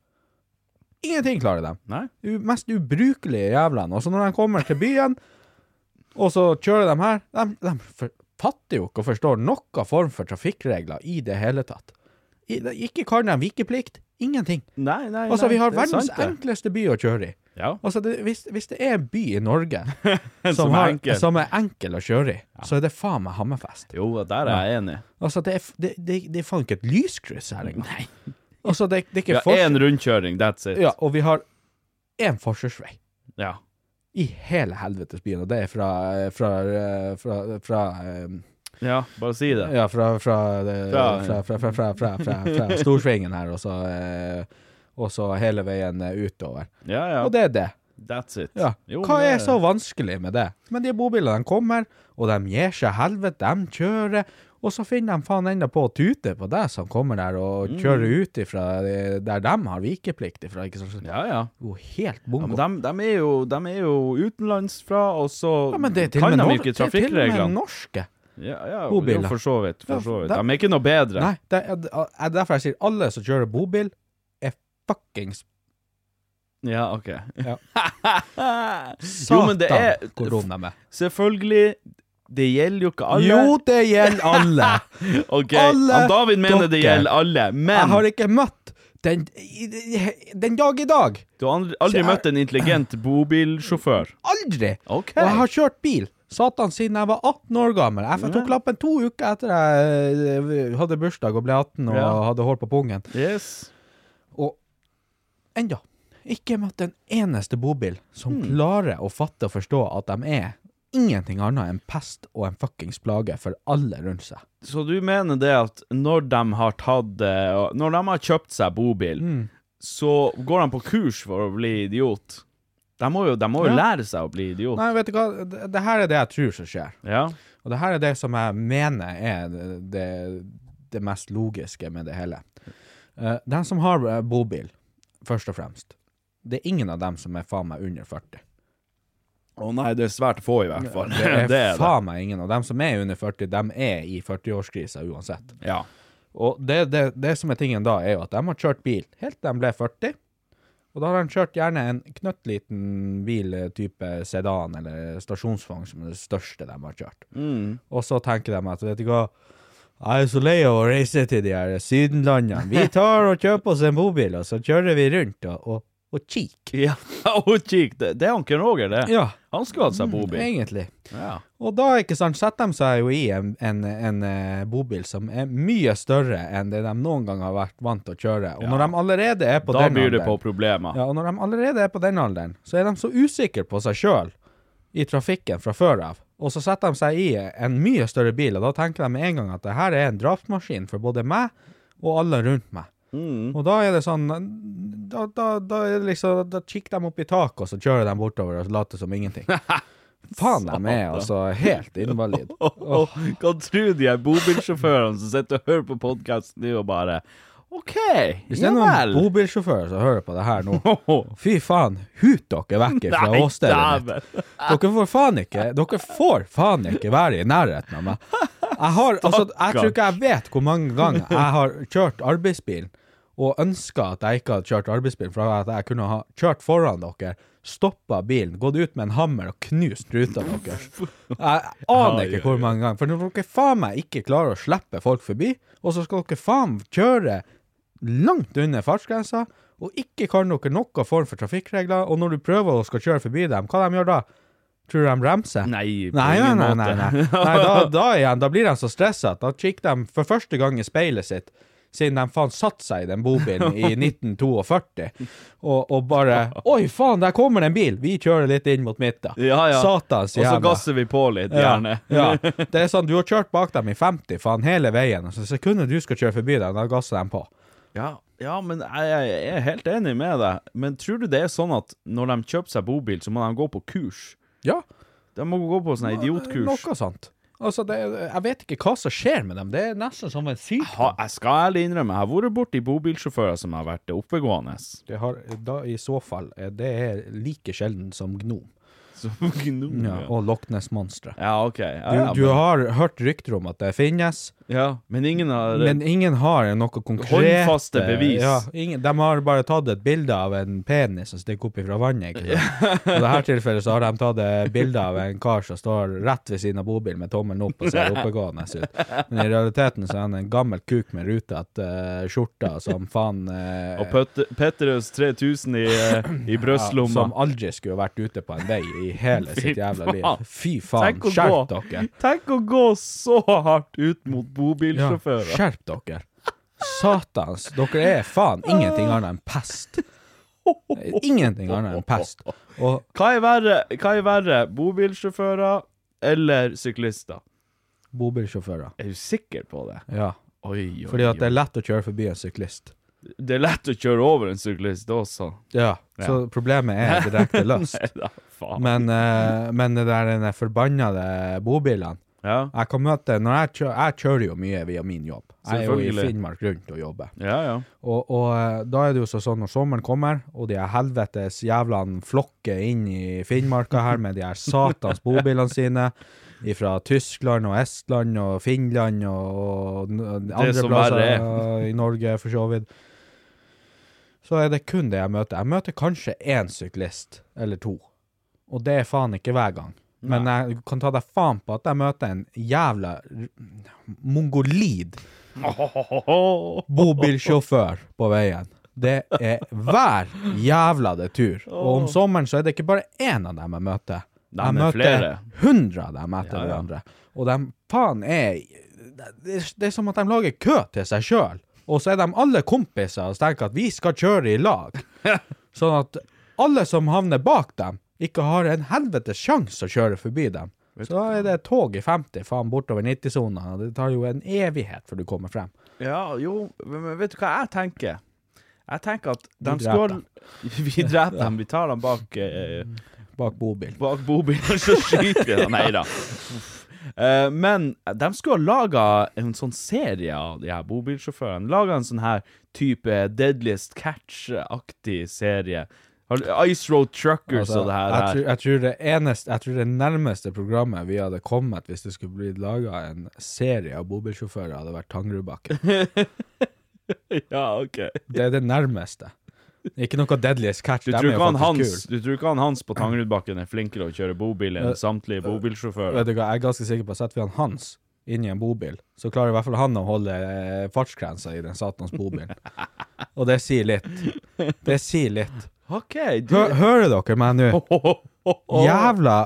S3: Ingenting klarer de.
S2: Nei?
S3: U mest ubrukelige jævlene. Og så når de kommer til byen, og så kjører de her De, de for, fatter jo ikke og forstår noen form for trafikkregler i det hele tatt. I, de, ikke kan de vikeplikt. Ingenting.
S2: Nei, nei, nei.
S3: Altså, vi har
S2: det er
S3: verdens
S2: sant, det.
S3: enkleste by å kjøre i.
S2: Ja.
S3: Altså, det, hvis, hvis det er en by i Norge som,
S2: Som er
S3: har,
S2: enkel.
S3: som er enkel å kjøre i, så er det faen meg Hammerfest.
S2: Jo, der er jeg enig.
S3: Altså, det er, f- det, det, det er faen ikke et lyskryss her engang. Altså, det, det er
S2: Vi
S3: ikke
S2: har én rundkjøring, that's it.
S3: Ja, og vi har én forsvarsvei.
S2: Ja.
S3: I hele helvetes byen, og det er fra fra, eh, fra, fra, eh,
S2: Ja, bare si det.
S3: ja, fra, fra, det-
S2: Fra-
S3: fra, fra, fra, fra, fra, fra, fra Storsvingen her, og så, eh, og så hele veien eh, utover.
S2: Ja, ja.
S3: Og det er det.
S2: That's it.
S3: Ja.
S2: Jo,
S3: Hva
S2: det-
S3: er så vanskelig med det? Men de bobilene de kommer, og de gir seg helvete, de kjører, og så finner de faen enda på å tute på deg som kommer der og
S2: Mm.
S3: kjører ut ifra eh, der de har vikeplikt ifra, ikke sant?
S2: Ja, ja.
S3: Jo, helt
S2: Ja,
S3: bongo.
S2: men dem, dem, er jo, dem er jo utenlandsfra, og så
S3: Ja, men det er til og
S2: kan
S3: med
S2: de
S3: nor-
S2: ikke
S3: det er til og med
S2: trafikkreglene.
S3: norske.
S2: Ja, ja, jo,
S3: bobiler.
S2: for så vidt. For
S3: Ja,
S2: så vidt.
S3: dem-
S2: De er ikke noe bedre.
S3: Nei, det er, det er derfor jeg sier alle som kjører bobil, er fuckings
S2: Ja, OK.
S3: Ja.
S2: jo, men det er
S3: satan hvor dum de er.
S2: Selvfølgelig, det gjelder jo ikke alle.
S3: Jo, det gjelder alle!
S2: OK,
S3: alle
S2: han David mener det
S3: dere.
S2: gjelder alle,
S3: Jeg
S2: men
S3: har ikke møtt den, i- i- den dag i dag.
S2: du har aldri, aldri
S3: Så jeg-
S2: møtt en intelligent bobilsjåfør.
S3: Aldri!
S2: OK.
S3: Og jeg har kjørt bil. Satan, siden jeg var 18 år gammel. Jeg tok lappen to uker etter jeg eh, hadde bursdag og ble 18 og
S2: Ja.
S3: hadde hår på pungen.
S2: Yes.
S3: Og enda ikke møtt en eneste bobil som klarer å fatte og forstå at de er ingenting annet enn pest og en fuckings plage for alle rundt seg.
S2: Så du mener det at når de har tatt eh, og- Når de har kjøpt seg bobil,
S3: Mm.
S2: så går de på kurs for å bli idiot? De må jo, de må jo
S3: Ja.
S2: lære seg å bli idiot.
S3: Nei, vet du hva, det, det her er det jeg tror som skjer.
S2: Ja.
S3: Og det her er det som jeg mener er det, det mest logiske med det hele. Eh, de som har eh, bobil, først og fremst, det er ingen av dem som er faen meg under 40.
S2: Å nei, det er svært få, i hvert fall.
S3: Det er, faen meg ingen av dem som er under 40, de er i 40-årskrisa uansett.
S2: Ja.
S3: Og det, det, det som er tingen da, er jo at de har kjørt bil helt til de ble 40. Og da har de kjørt gjerne en knøttliten bil eh, type sedan eller stasjonsvogn som er det største de har kjørt. Og så tenker de at vet du hva, jeg er så lei av å reise til de her sydenlandene. Vi tar og kjøper oss en bobil, og så kjører vi rundt og, og, og kikker.
S2: ja. Og kikk, det, det er Anken Roger, det.
S3: Ja, Mm,
S2: Han skulle hatt seg bobil.
S3: egentlig.
S2: Ja.
S3: Og da ikke sant, setter de seg jo i en, en, en eh, bobil som er mye større enn det de noen gang har vært vant til å kjøre. Og
S2: Ja.
S3: når de allerede er på
S2: Da
S3: den
S2: byr det
S3: alderen,
S2: på problemer.
S3: ja, og når de allerede er på den alderen, så er de så usikre på seg sjøl i trafikken fra før av. Og så setter de seg i en mye større bil, og da tenker de med en gang at det her er en drapsmaskin for både meg og alle rundt meg.
S2: Mm.
S3: Og da er det sånn Da, da, da, er det liksom, da kikker de opp i taket, og så kjører de bortover og later som ingenting. Faen, de er altså helt invalid.
S2: Åh, åh, Hva tror de er bobilsjåførene som sitter og hører på podkasten nå og bare OK,
S3: Hvis det
S2: ja
S3: er noen
S2: vel.
S3: bobilsjåfører som hører på det her nå, fy faen, hut dere vekk fra
S2: Nei,
S3: åstedet mitt.
S2: dæven.
S3: Dere får faen ikke Dere får faen ikke være i nærheten av meg. Jeg har Altså, jeg tror ikke jeg vet hvor mange ganger jeg har kjørt arbeidsbilen og ønska at jeg ikke hadde kjørt arbeidsbilen, for at jeg kunne ha kjørt foran dere, stoppa bilen, gått ut med en hammer og knust ruta deres. Jeg aner ikke hvor mange ganger. For når dere faen meg ikke klarer å slippe folk forbi, og så skal dere faen kjøre langt under fartsgrensa, og ikke kan dere noe form for trafikkregler, og når du prøver å skal kjøre forbi dem, hva de gjør da? Tror du de bremser?
S2: Nei, på
S3: Nei, nei,
S2: ingen
S3: nei, nei,
S2: måte.
S3: nei. nei da, da igjen, da blir de så stressa at da kikker de for første gang i speilet sitt, siden de faen satte seg i den bobilen i 1942, og, og bare Oi, faen, der kommer det en bil! Vi kjører litt inn mot midten.
S2: Ja, ja.
S3: Satans
S2: Og så
S3: jævla.
S2: gasser vi på litt, gjerne.
S3: Ja, ja. Det er sånn, du har kjørt bak dem i 50, faen, hele veien, og så sekundet du skal kjøre forbi dem, da gasser de på.
S2: Ja, ja men jeg, jeg er helt enig med deg. Men tror du det er sånn at når de kjøper seg bobil, så må de gå på kurs?
S3: Ja,
S2: De må gå på sånn idiotkurs.
S3: noe sånt. Altså, det, jeg vet ikke hva som skjer med dem. Det er nesten som en sykdom.
S2: Ha, jeg skal ærlig innrømme, jeg har vært borti bobilsjåfører som har vært oppegående.
S3: Det har, da, I så fall, eh, det er like sjelden som gnom.
S2: Som gnom.
S3: Ja, og Loch Ness-monsteret.
S2: ja, ok. Ja,
S3: Du,
S2: ja,
S3: du
S2: men-
S3: har hørt rykter om at det finnes,
S2: ja, men ingen har
S3: men ingen har noe konkret eh,
S2: Håndfaste bevis.
S3: Ja, ingen, de har bare tatt et bilde av en penis som stikker opp ifra vannet. Ikke sant? I dette tilfellet så har de tatt et bilde av en kar som står rett ved siden av bobilen med tommelen opp og ser oppegående ut. Men i realiteten så er han en gammel kuk med rutete uh, skjorta som faen eh,
S2: Og Pet- Petterøes 3000 i, eh, i
S3: ja,
S2: brystlomma.
S3: som aldri skulle vært ute på en vei i hele
S2: Fy
S3: sitt jævla
S2: faen.
S3: liv. Fy faen,
S2: Tenk å
S3: skjerp
S2: gå.
S3: dere.
S2: Tenk å gå så hardt ut mot
S3: Ja,
S2: bobilsjåfører.
S3: skjerp dere. Satans, dere er faen ingenting annet enn pest. Ingenting annet enn pest. Og
S2: Hva er verre, hva er verre bobilsjåfører eller syklister?
S3: bobilsjåfører.
S2: Er du sikker på det?
S3: Ja,
S2: Oi, oi,
S3: fordi at det
S2: oi.
S3: er lett å kjøre forbi en syklist.
S2: Det er lett å kjøre over en syklist også.
S3: Ja, så problemet er direkte løst.
S2: Da, faen.
S3: Men, eh, men det der den forbannede bobilene
S2: Ja,
S3: Jeg kan møte når jeg, kjø, jeg kjører jo mye via min jobb. Jeg er jo i
S2: Selvfølgelig.
S3: Finnmark rundt og jobber.
S2: ja. ja.
S3: Og, og eh, da er det jo så sånn når sommeren kommer, og de her helvetes jævlene flokker inn i Finnmarka her med de her satans bobilene sine fra Tyskland og Estland og Finland og, og n- andre
S2: som
S3: plasser
S2: verre er.
S3: eh, i Norge, for så vidt. Så er det kun det jeg møter. Jeg møter kanskje én syklist, eller to. Og det er faen ikke hver gang. Men jeg kan ta deg faen på at jeg møter en jævla r- mongolid bobilsjåfør på veien. Det er hver jævla det tur. Og om sommeren så er det ikke bare én av dem jeg møter.
S2: Nei,
S3: jeg
S2: men
S3: møter
S2: flere.
S3: hundre av dem etter
S2: Ja, ja.
S3: hverandre. Og de faen er det, er- det er som at de lager kø til seg sjøl. Og så er de alle kompiser og tenker at vi skal kjøre i lag. Sånn at alle som havner bak dem, ikke har en helvetes sjanse å kjøre forbi dem. Så da er det et tog i 50 faen bortover 90-sona, og det tar jo en evighet før du kommer frem.
S2: Ja, jo, men vet du hva jeg tenker? Jeg tenker at de
S3: dreper
S2: skal Vi dreper dem, vi tar dem bak eh,
S3: Bak bobil.
S2: Bak bobilen, så skyter vi dem. Nei da. Uff. Eh, men de skulle ha laga en sånn serie av de her bobilsjåførene. Laga en sånn her type Deadliest Catch-aktig serie. Har- Ice Road Truckers
S3: Altså,
S2: og det her.
S3: jeg,
S2: her.
S3: tror, jeg, tror det eneste, jeg tror det nærmeste programmet vi hadde kommet hvis det skulle blitt laga en serie av bobilsjåfører, hadde vært Tangerudbakken.
S2: Ja, ok.
S3: Det er det nærmeste. Ikke noe Deadliest Catch.
S2: Du
S3: dem
S2: tror,
S3: er jo
S2: ikke han
S3: faktisk
S2: Hans,
S3: kul.
S2: du tror ikke han Hans på Tangerudbakken er flinkere å kjøre bobil
S3: Eh,
S2: enn samtlige bobilsjåfører?
S3: Vet du hva, Jeg er ganske sikker på at setter vi han Hans inn i en bobil, så klarer i hvert fall han å holde eh, fartsgrensa i den satans bobilen. Og det sier litt. Det sier litt.
S2: OK, du
S3: Hø hører dere meg nå? Jævla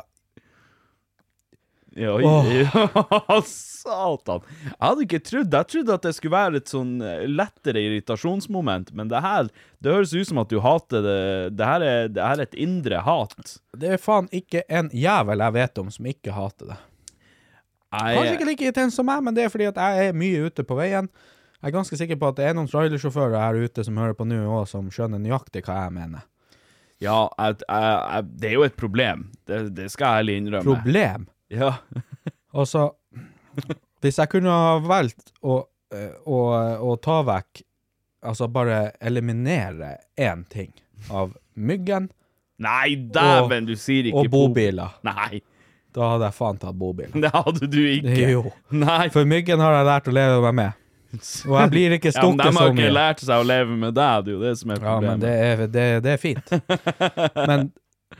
S2: Ja, oi,
S3: Åh.
S2: ja, satan. Jeg hadde ikke trodd Jeg trodde at det skulle være et sånn eh, lettere irritasjonsmoment, men det her Det høres ut som at du hater det. Det her er, det her er et indre hat.
S3: Det er faen ikke en jævel jeg vet om som ikke hater det. Kanskje
S2: Jeg,
S3: ikke like intens som meg, men det er fordi at jeg er mye ute på veien. Jeg er ganske sikker på at det er noen trailersjåfører her ute som hører på nå òg, som skjønner nøyaktig hva jeg mener.
S2: ja, jeg, jeg, jeg, det er jo et problem. Det, det skal jeg ærlig innrømme.
S3: Problem.
S2: Ja.
S3: Altså, hvis jeg kunne ha valgt å, eh, å, å ta vekk Altså bare eliminere én ting av myggen
S2: Nei, dæven, du sier ikke
S3: og bobiler,
S2: bo- Nei,
S3: da hadde jeg faen tatt bobiler.
S2: det hadde du ikke.
S3: Jo.
S2: Nei,
S3: For myggen har jeg lært å leve meg med. Og jeg blir ikke
S2: ja, men
S3: stukket
S2: de
S3: så
S2: har
S3: mye.
S2: ikke lært seg å leve med deg, det er jo det som er
S3: Ja,
S2: problemet.
S3: men det er, det, det er fint. Men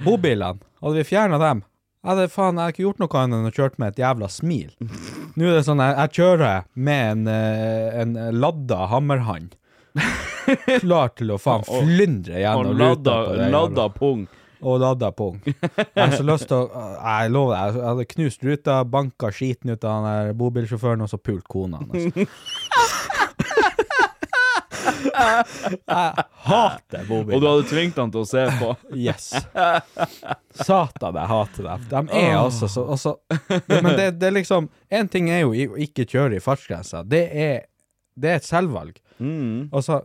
S3: bobilene, hadde vi fjerna dem jeg hadde faen, jeg hadde ikke gjort noe annet enn å kjøre med et jævla smil. Nå er det sånn jeg, jeg kjører med en, eh, en ladda hammerhand. Klar til å faen
S2: Og-
S3: flyndre gjennom
S2: Og
S3: ruta.
S2: ladda,
S3: på det
S2: ladda
S3: jævla-
S2: pung.
S3: Og ladda pung. Jeg har så lyst til å Jeg lover deg, jeg hadde knust ruta, banka skiten ut av han der bobilsjåføren, og så pult kona hans. Jeg hater bobiler.
S2: Og du hadde tvingt han til å se på.
S3: Yes. Satan, jeg hater dem. De er altså så altså, Men det, det er liksom Én ting er jo i- å ikke kjøre i fartsgrensa. Det er, det er et selvvalg. Altså,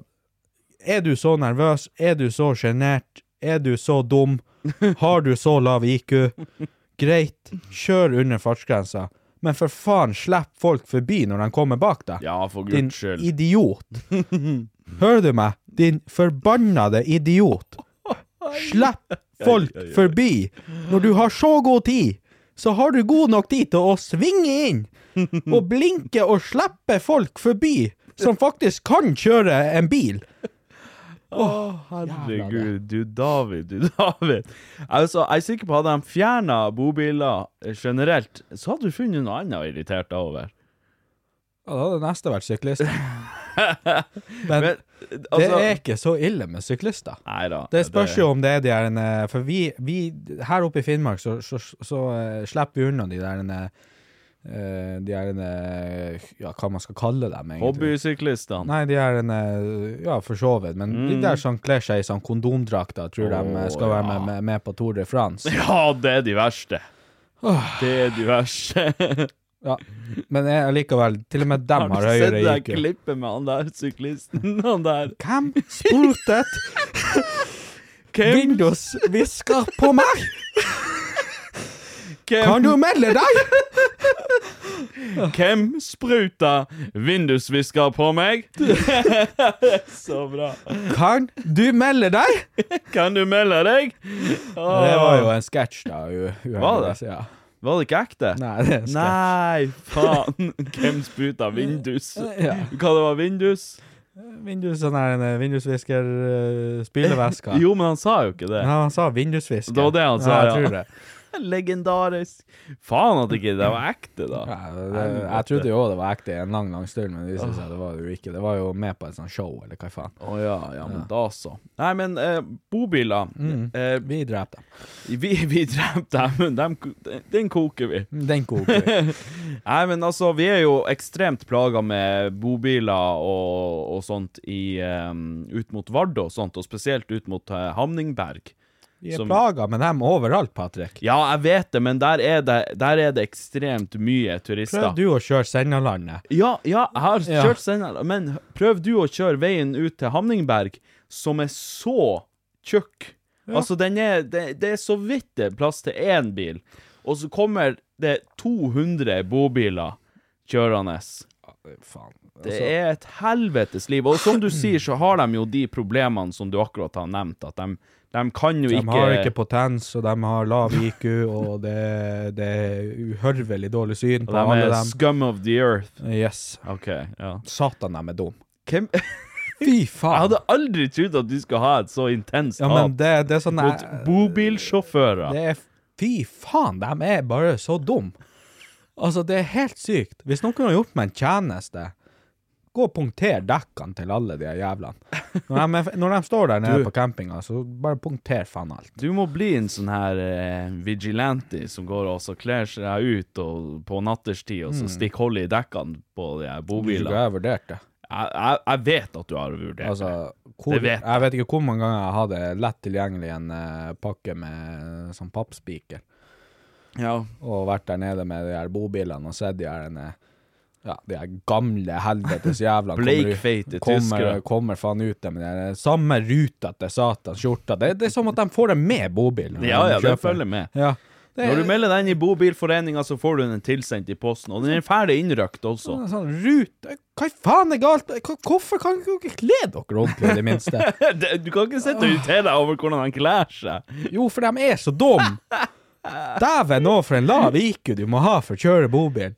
S3: er du så nervøs? Er du så sjenert? Er du så dum? Har du så lav IQ? Greit, kjør under fartsgrensa, men for faen, slipp folk forbi når de kommer bak deg.
S2: Ja, for
S3: Din
S2: guds skyld.
S3: idiot. Hører du meg? Din forbannede idiot. Slipp folk forbi! Når du har så god tid, så har du god nok tid til å svinge inn og blinke og slippe folk forbi som faktisk kan kjøre en bil.
S2: Herregud, du David, du David. Altså, jeg er sikker på at hadde de fjerna bobiler eh, generelt, så hadde du funnet noe annet å irritere deg over.
S3: Ja, da hadde neste vært syklist. Men
S2: Men,
S3: det
S2: altså,
S3: er ikke så ille med syklister.
S2: Nei da.
S3: Det spørs jo om det er de der eh, For vi, vi her oppe i Finnmark, så, så, så eh, slipper vi unna de der eh, De der eh, Ja, hva man skal kalle dem, egentlig.
S2: Hobbysyklistene.
S3: Nei, de er en eh, Ja, for så vidt. Men de der som kler seg i sånn kondomdrakter, tror de eh, skal
S2: Å,
S3: være
S2: Mm. ja.
S3: med, med, med på Tour de France.
S2: Ja, det er de verste. Det er de verste.
S3: Ja. Men jeg, allikevel, til og med dem
S2: Har
S3: har
S2: du sett
S3: høyere
S2: det
S3: IQ.
S2: klippet med han der syklisten? Han der
S3: Hvem sprutet
S2: Hvem,
S3: vindusvisker på meg? Kan
S2: hvem,
S3: du melde deg?
S2: hvem spruta vindusvisker på meg? Så bra.
S3: Kan du melde deg?
S2: Kan du melde deg?
S3: Det var jo en sketsj, da. U uheldigvis, Ja.
S2: Var det ikke ekte?
S3: Nei, det er en sketsj.
S2: Nei, faen. Hvem spruta vindus?
S3: Ja.
S2: Hva det var vindus?
S3: Vindus, sånn her, en vindusvisker, uh, spylevæska.
S2: Jo, men han sa jo ikke det.
S3: Ja, han sa vindusvisker.
S2: Det var det han sa,
S3: ja.
S2: ja.
S3: Jeg tror det.
S2: Legendarisk. Faen at ikke det var ekte, da.
S3: Ja, det, jeg trodde jo det var ekte i en lang, lang stund, men det viste seg at det var det jo ikke. Det var jo med på et sånt show, eller hva faen.
S2: Å ja, ja, men da så. Nei, men eh, bobiler eh,
S3: Vi drepte dem.
S2: Vi, vi drepte dem, men dem, ko- den koker vi.
S3: Den koker vi.
S2: Nei, men altså, vi er jo ekstremt plaga med bobiler og, og sånt i, eh, ut mot Vardø og sånt, og spesielt ut mot eh, Hamningberg.
S3: Vi er
S2: Som-
S3: plaga med dem overalt, Patrick.
S2: Ja, jeg vet det, men der er det, der er det ekstremt mye turister.
S3: Prøv du å kjøre Sennalandet.
S2: Ja, ja, jeg har
S3: Ja.
S2: kjørt Steinar, men prøv du å kjøre veien ut til Hamningberg, som er så tjukk. Altså, den er, det, det er så vidt det er plass til én bil, og så kommer det 200 bobiler kjørende.
S3: Faen.
S2: Det er et helvetes liv. Og som du sier, så har de jo de problemene som du akkurat har nevnt, at de, de kan jo
S3: De
S2: ikke
S3: har ikke potens, og de har lav IQ, og det, det er uhørvelig dårlig syn på
S2: De
S3: alle
S2: er
S3: dem.
S2: scum of the earth.
S3: Yes.
S2: OK, ja.
S3: Satan, de er dum.
S2: Hvem Jeg
S3: Fy faen.
S2: hadde aldri trodd at du skulle ha et så intenst
S3: Ja,
S2: hat.
S3: men det, det er sånn
S2: mot bobilsjåfører.
S3: Det er Fy faen, de er bare så dum. Altså, det er helt sykt. Hvis noen kunne gjort meg en tjeneste Gå og punkter dekkene til alle de her jævlene. Når de, er- når de står der nede på campinga, så bare punkter faen alt.
S2: Du må bli en sånn her eh, vigilante som går og så kler seg ut og, på natterstid og så
S3: Mm.
S2: stikker hold i dekkene på de her bobilene.
S3: jeg vurdert det.
S2: Jeg, jeg, jeg vet at du har vurdert
S3: Altså,
S2: det.
S3: hvor,
S2: Det vet jeg.
S3: jeg vet ikke hvor mange ganger jeg hadde lett tilgjengelig en eh, pakke med sånn pappspiker,
S2: Ja.
S3: og vært der nede med de her bobilene og sett de her en, eh, ja, de her gamle helvetes jævla
S2: Bleikfeite
S3: kommer,
S2: tyskere.
S3: kommer faen ut der med de her samme ruta til satans skjorta. Det, det er som at de får det med bobilen.
S2: Ja, ja,
S3: de
S2: det
S3: kjøper.
S2: følger med.
S3: Ja. Det
S2: Når
S3: er
S2: du melder deg inn i bobilforeninga, så får du den tilsendt i posten. Og den er ferdig innrøkt også.
S3: en sånn rute Hva i faen er galt? Hva- Hvorfor kan dere ikke kle dere ordentlig, i det minste?
S2: Det- Du kan ikke sitte og irritere deg over hvordan han kler seg.
S3: Jo, for de er så dum. Dæven òg, for en lav IQ du må ha for å kjøre bobil.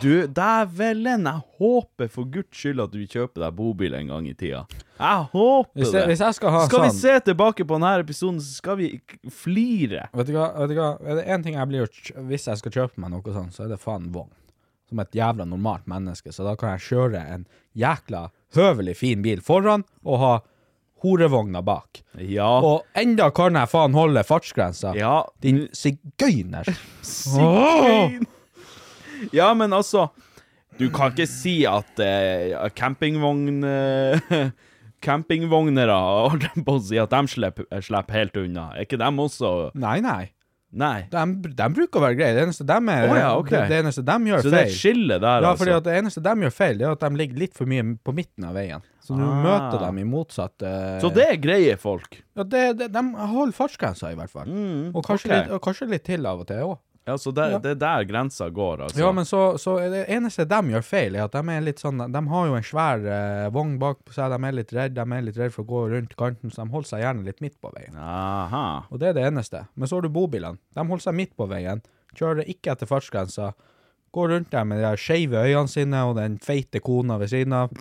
S2: Du, dævelen, jeg håper for guds skyld at du kjøper deg bobil en gang i tida. Jeg håper
S3: Hvis jeg,
S2: det.
S3: hvis jeg skal ha
S2: skal vi
S3: sånn
S2: se tilbake på denne episoden, så skal vi k- flire.
S3: Vet du hva, vet du hva? Er det én ting jeg blir å kj- Hvis jeg skal kjøpe meg noe sånt, så er det faen vogn. Som et jævla normalt menneske, så da kan jeg kjøre en jækla høvelig fin bil foran og ha horevogna bak.
S2: Ja.
S3: Og enda kan jeg faen holde fartsgrensa.
S2: ja.
S3: Din sigøyner.
S2: Sigøyn. Ja, men altså Du kan ikke si at eh, campingvogn... Eh, campingvognere holdt jeg på å si at de slipper, eh, slipper helt unna. Er ikke dem også
S3: Nei, nei.
S2: Nei.
S3: De, de bruker å være greie. Det eneste de, er,
S2: Å ja, ok.
S3: det, det eneste de gjør
S2: Så det er et
S3: feil
S2: skille der,
S3: Ja, fordi
S2: altså.
S3: at det eneste de gjør feil, det er at de ligger litt for mye på midten av veien. Så når du
S2: Ah.
S3: møter dem i motsatt eh,
S2: Så det er greie folk.
S3: Ja, det, det, de holder fartsgrensa, i hvert fall. og, kanskje
S2: ok.
S3: litt, og kanskje litt til av og til òg.
S2: Ja, så det, det er der grensa går, altså.
S3: Ja, men så, så er det eneste de gjør feil, er at de er litt sånn De har jo en svær eh, vogn bak på seg, de er litt redd, de er litt redd for å gå rundt kanten, så de holder seg gjerne litt midt på veien.
S2: Aha.
S3: Og det er det eneste. Men så har du bobilene. De holder seg midt på veien, kjører ikke etter fartsgrensa, går rundt der med de der skeive øynene sine og den feite kona ved siden av,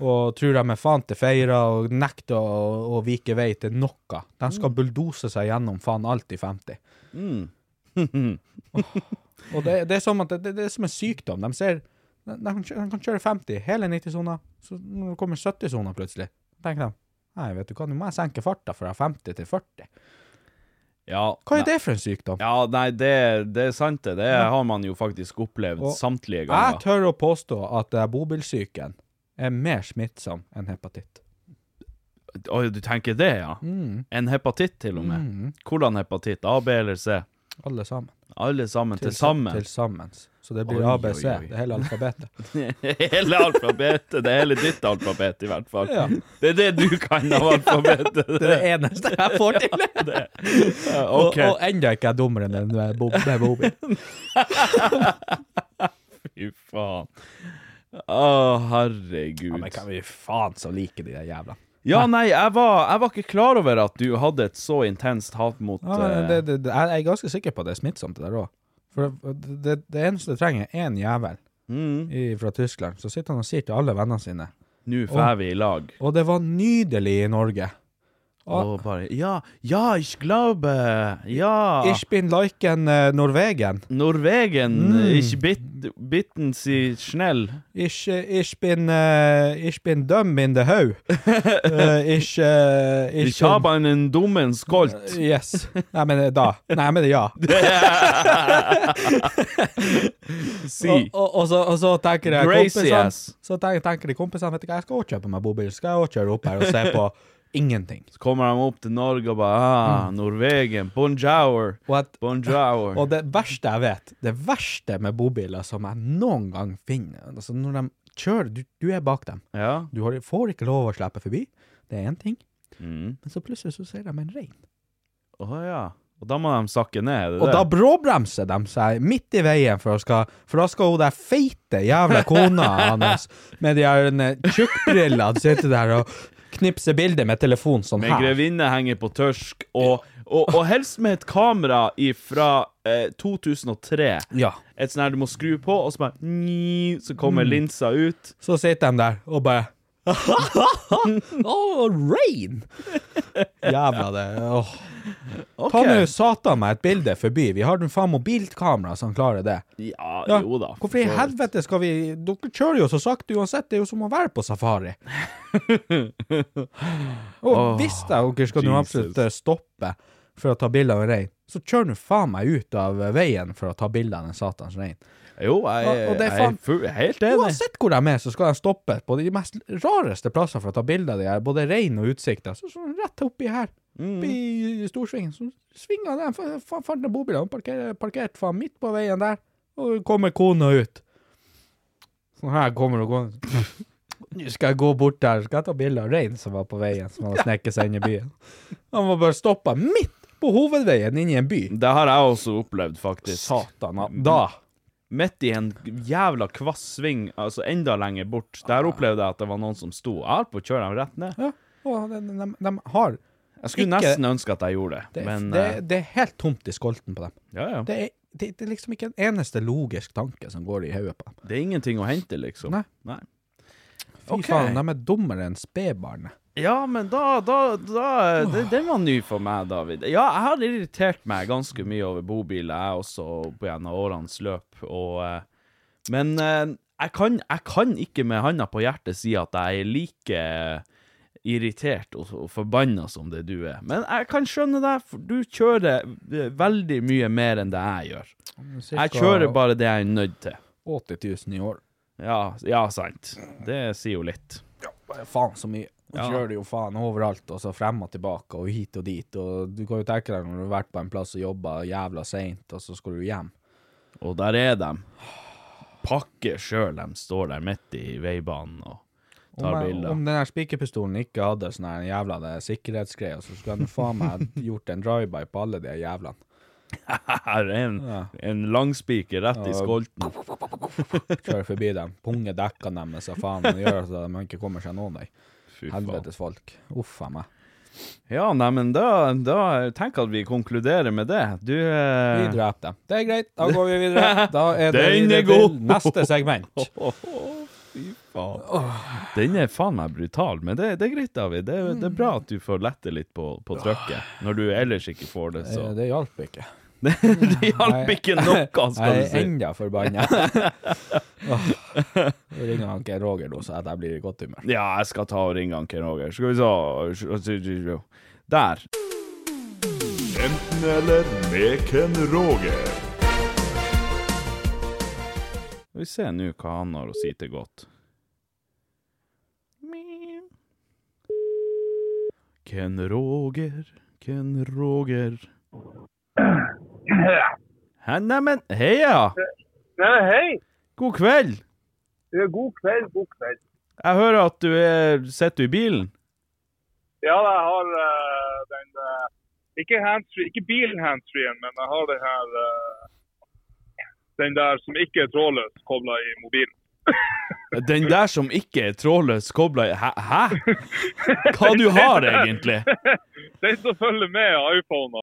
S3: og tror de er faen til feira og nekter å, å vike vei til noe. De skal bulldose seg gjennom faen alt i 50. Og det, det er som at det, det, det er som en sykdom. De ser de, de, kan kjø- de kan kjøre 50, hele 90-sona, så når det kommer 70-sona plutselig, tenker de Nei, vet du hva, nå må jeg senke farta fra 50 til 40.
S2: Ja,
S3: Hva er det for en sykdom?
S2: Ja, nei, det, det er sant det. Det har man jo faktisk opplevd
S3: Og
S2: samtlige
S3: Jeg
S2: ganger.
S3: tør å påstå at eh, bobilsyken er mer smittsom enn hepatitt.
S2: Oi, du tenker det, ja?
S3: Mm.
S2: En hepatitt til og med. Hvordan hepatitt? A, B eller C?
S3: Alle sammen.
S2: Alle sammen til sammen.
S3: Til sammens. Så det blir
S2: Oi,
S3: ABC,
S2: oi, oi.
S3: det hele alfabetet.
S2: hele alfabetet. Det er hele ditt alfabet, i hvert fall.
S3: Ja.
S2: Det er det du kan av alfabetet.
S3: Det er det eneste jeg får til!
S2: OK.
S3: Og, og enda ikke jeg dummere enn den med bo- med bobil.
S2: Fy faen. Å, herregud.
S3: vi faen så like de der jævla
S2: Ja, nei, jeg var, jeg var ikke klar over at du hadde et så intenst hat mot
S3: Ja, men
S2: eh,
S3: det, det, det, jeg er ganske sikker på at det er smittsomt, det der òg. For det, det, det eneste du trenger, er en jævel i, fra Tyskland. Så sitter han og sier til alle vennene sine
S2: Nå får vi i lag.
S3: Og det var nydelig i Norge.
S2: Og bare Ja, ja, ich glaube Ja.
S3: Ich bin like en eh, Norwegen.
S2: Norwegen,
S3: Mm.
S2: ich bit, bitten sie schnell.
S3: Ich, eh, ich bin eh, Ich bin dum in the how. Eh, ich eh, ich,
S2: Ich habe einen dummen
S3: bin-
S2: Skolt.
S3: Yes. Nei, men eh, da. Nei, men ja.
S2: Si.
S3: Og, og, og, så, og så tenker jeg
S2: Gracie
S3: kompisene
S2: ass.
S3: Så tenker, tenker de kompisene Vet du hva, jeg skal også kjøpe meg bobil. Skal jeg også kjøre opp her og se på ingenting.
S2: Så kommer de opp til Norge og bare ah, Norwegen, bonjour,
S3: Og at
S2: bonjour.
S3: Mm. Og det verste jeg vet, det verste med bobiler som jeg noen gang finner altså Når de kjører Du, du er bak dem.
S2: Ja.
S3: Du har, får ikke lov å slippe forbi. Det er én ting.
S2: Mm.
S3: Men så plutselig så ser de en rein.
S2: Å ja. Og da må de sakke ned, er det
S3: Og da
S2: det?
S3: bråbremser de seg midt i veien, for, å skal, for da skal hun der feite jævla kona hans med de her eh, tjukkbrillene sitte der og knipse bilder med telefonen sånn
S2: Med
S3: her.
S2: grevinne henger på tørsk, og, og, og helst med et kamera fra eh, 2003.
S3: Ja.
S2: Et sånn her du må skru på, og så bare nyi, Så
S3: Mm.
S2: kommer linsa ut.
S3: Så sitter de der og bare Åh, rain! Jævla det. Åh. Ta
S2: Ok.
S3: nå satan meg et bilde forbi. Vi har nå faen mobilkamera som klarer det.
S2: Ja,
S3: Ja,
S2: jo da. for
S3: Hvorfor i
S2: så vidt.
S3: helvete skal vi Dere kjører jo så sakte uansett. Det er jo som å være på safari. Og hvis da dere skal nå
S2: Jesus.
S3: absolutt eh, stoppe for å ta bilde av en rein, så kjør nå faen meg ut av eh, veien for å ta bilde av en satans rein.
S2: Jo, jeg,
S3: Og- og det er
S2: jeg
S3: faen-
S2: fu- helt enig.
S3: Uansett hvor de er, så skal de stoppe på de mest rareste plasser for å ta bilder av de her, både rein og utsikter. Så sånn rett oppi her, Mm. oppi Storsvingen, så svinger de, fa- fa- fant de bobilen, parkert, parkert faen midt på veien der, og kommer kona ut. Sånn her kommer hun gående. Nå skal jeg gå bort der, skal jeg ta bilde av reinen som var på veien, som hadde snekket seg inn i byen. Han var bare stoppa midt på hovedveien inn i en by.
S2: Det har jeg også opplevd, faktisk.
S3: Satan, da
S2: Midt i en jævla kvass sving, altså enda lenger bort. Der opplevde jeg at det var noen som sto. Jeg holdt på å kjøre dem rett ned.
S3: ja, og de, de, de har
S2: Jeg skulle
S3: Ikke-
S2: nesten ønske at jeg gjorde det,
S3: Det, er-
S2: men
S3: det,
S2: eh,
S3: det er helt tomt i skolten på dem.
S2: ja, ja.
S3: Det er, det, det er liksom ikke en eneste logisk tanke som går i hodet på dem.
S2: det er ingenting å hente, liksom.
S3: Nei. Fy
S2: Ok.
S3: faen, de er dummere enn spedbarnet.
S2: Ja, men da, da, da det, Den var ny for meg, David. Ja, jeg har irritert meg ganske mye over bobiler, jeg også, på gjennom årenes løp. Og, eh, men eh, jeg, kan, jeg kan ikke med handa på hjertet si at jeg er like irritert og, og forbanna som det du er. Men jeg kan skjønne deg, for du kjører eh, veldig mye mer enn det jeg gjør. Jeg kjører bare det jeg er nødt til.
S3: 80 000 i år.
S2: Ja, ja sant. Det sier jo litt.
S3: Bare faen så mye. Du
S2: Ja.
S3: kjører jo faen overalt, og så frem og tilbake, og hit og dit. Og du kan jo tenke deg når du har vært på en plass og jobba jævla seint, og så skal du hjem.
S2: Og der er de. Pakke sjøl, de står der midt i veibanen og tar
S3: Om, jeg-
S2: bilder.
S3: om den her spikerpistolen ikke hadde sånn her jævla det sikkerhetsgreier, så skulle den faen meg gjort en drive-by på alle de jævlene.
S2: en,
S3: Ja.
S2: en langspiker rett i
S3: Ja.
S2: skolten.
S3: Kjører forbi dem. Punge dekkene deres og faen og gjør så de ikke kommer seg noen vei.
S2: Fy faen.
S3: Helvetes folk. Uff a meg.
S2: Ja, nei, men da, da tenk at vi konkluderer med det. Du
S3: Vi
S2: eh,
S3: dreper dem. Det er greit, da går vi videre. Da er det
S2: Den er
S3: videre til
S2: god.
S3: neste segment.
S2: faen. Den er faen meg brutal, men det, det er greit, David. Det, er- det er bra at du får lette litt på, på trykket når du ellers ikke får det, så
S3: Eh, Det hjalp ikke.
S2: Det hjalp ikke noe, skal
S3: Jeg
S2: du
S3: er
S2: si.
S3: enda forbanna. Nå ringer han ikke Roger nå, så at jeg blir i godt humør.
S2: Ja, jeg skal ta og ringe han Ken Roger. Skal vi se Der.
S4: Enten eller med Ken Roger.
S2: Skal vi se nå hva han har å si til godt. Ming. Ken Roger, Ken Roger Hæ, Neimen, heia!
S5: Ja, hei.
S2: God kveld!
S5: Eh, God kveld, god kveld.
S2: Jeg hører at du er Sitter du i bilen?
S5: Ja, jeg har eh, den eh, Ikke handsfree, ikke bilen handsfree-en, men jeg har den her eh, Den der som ikke er trådløs, kobla i mobilen.
S2: Den der som ikke er trådløs kobla Hæ? Hæ? Hva du har, egentlig?
S5: Den som følger med iPhoner.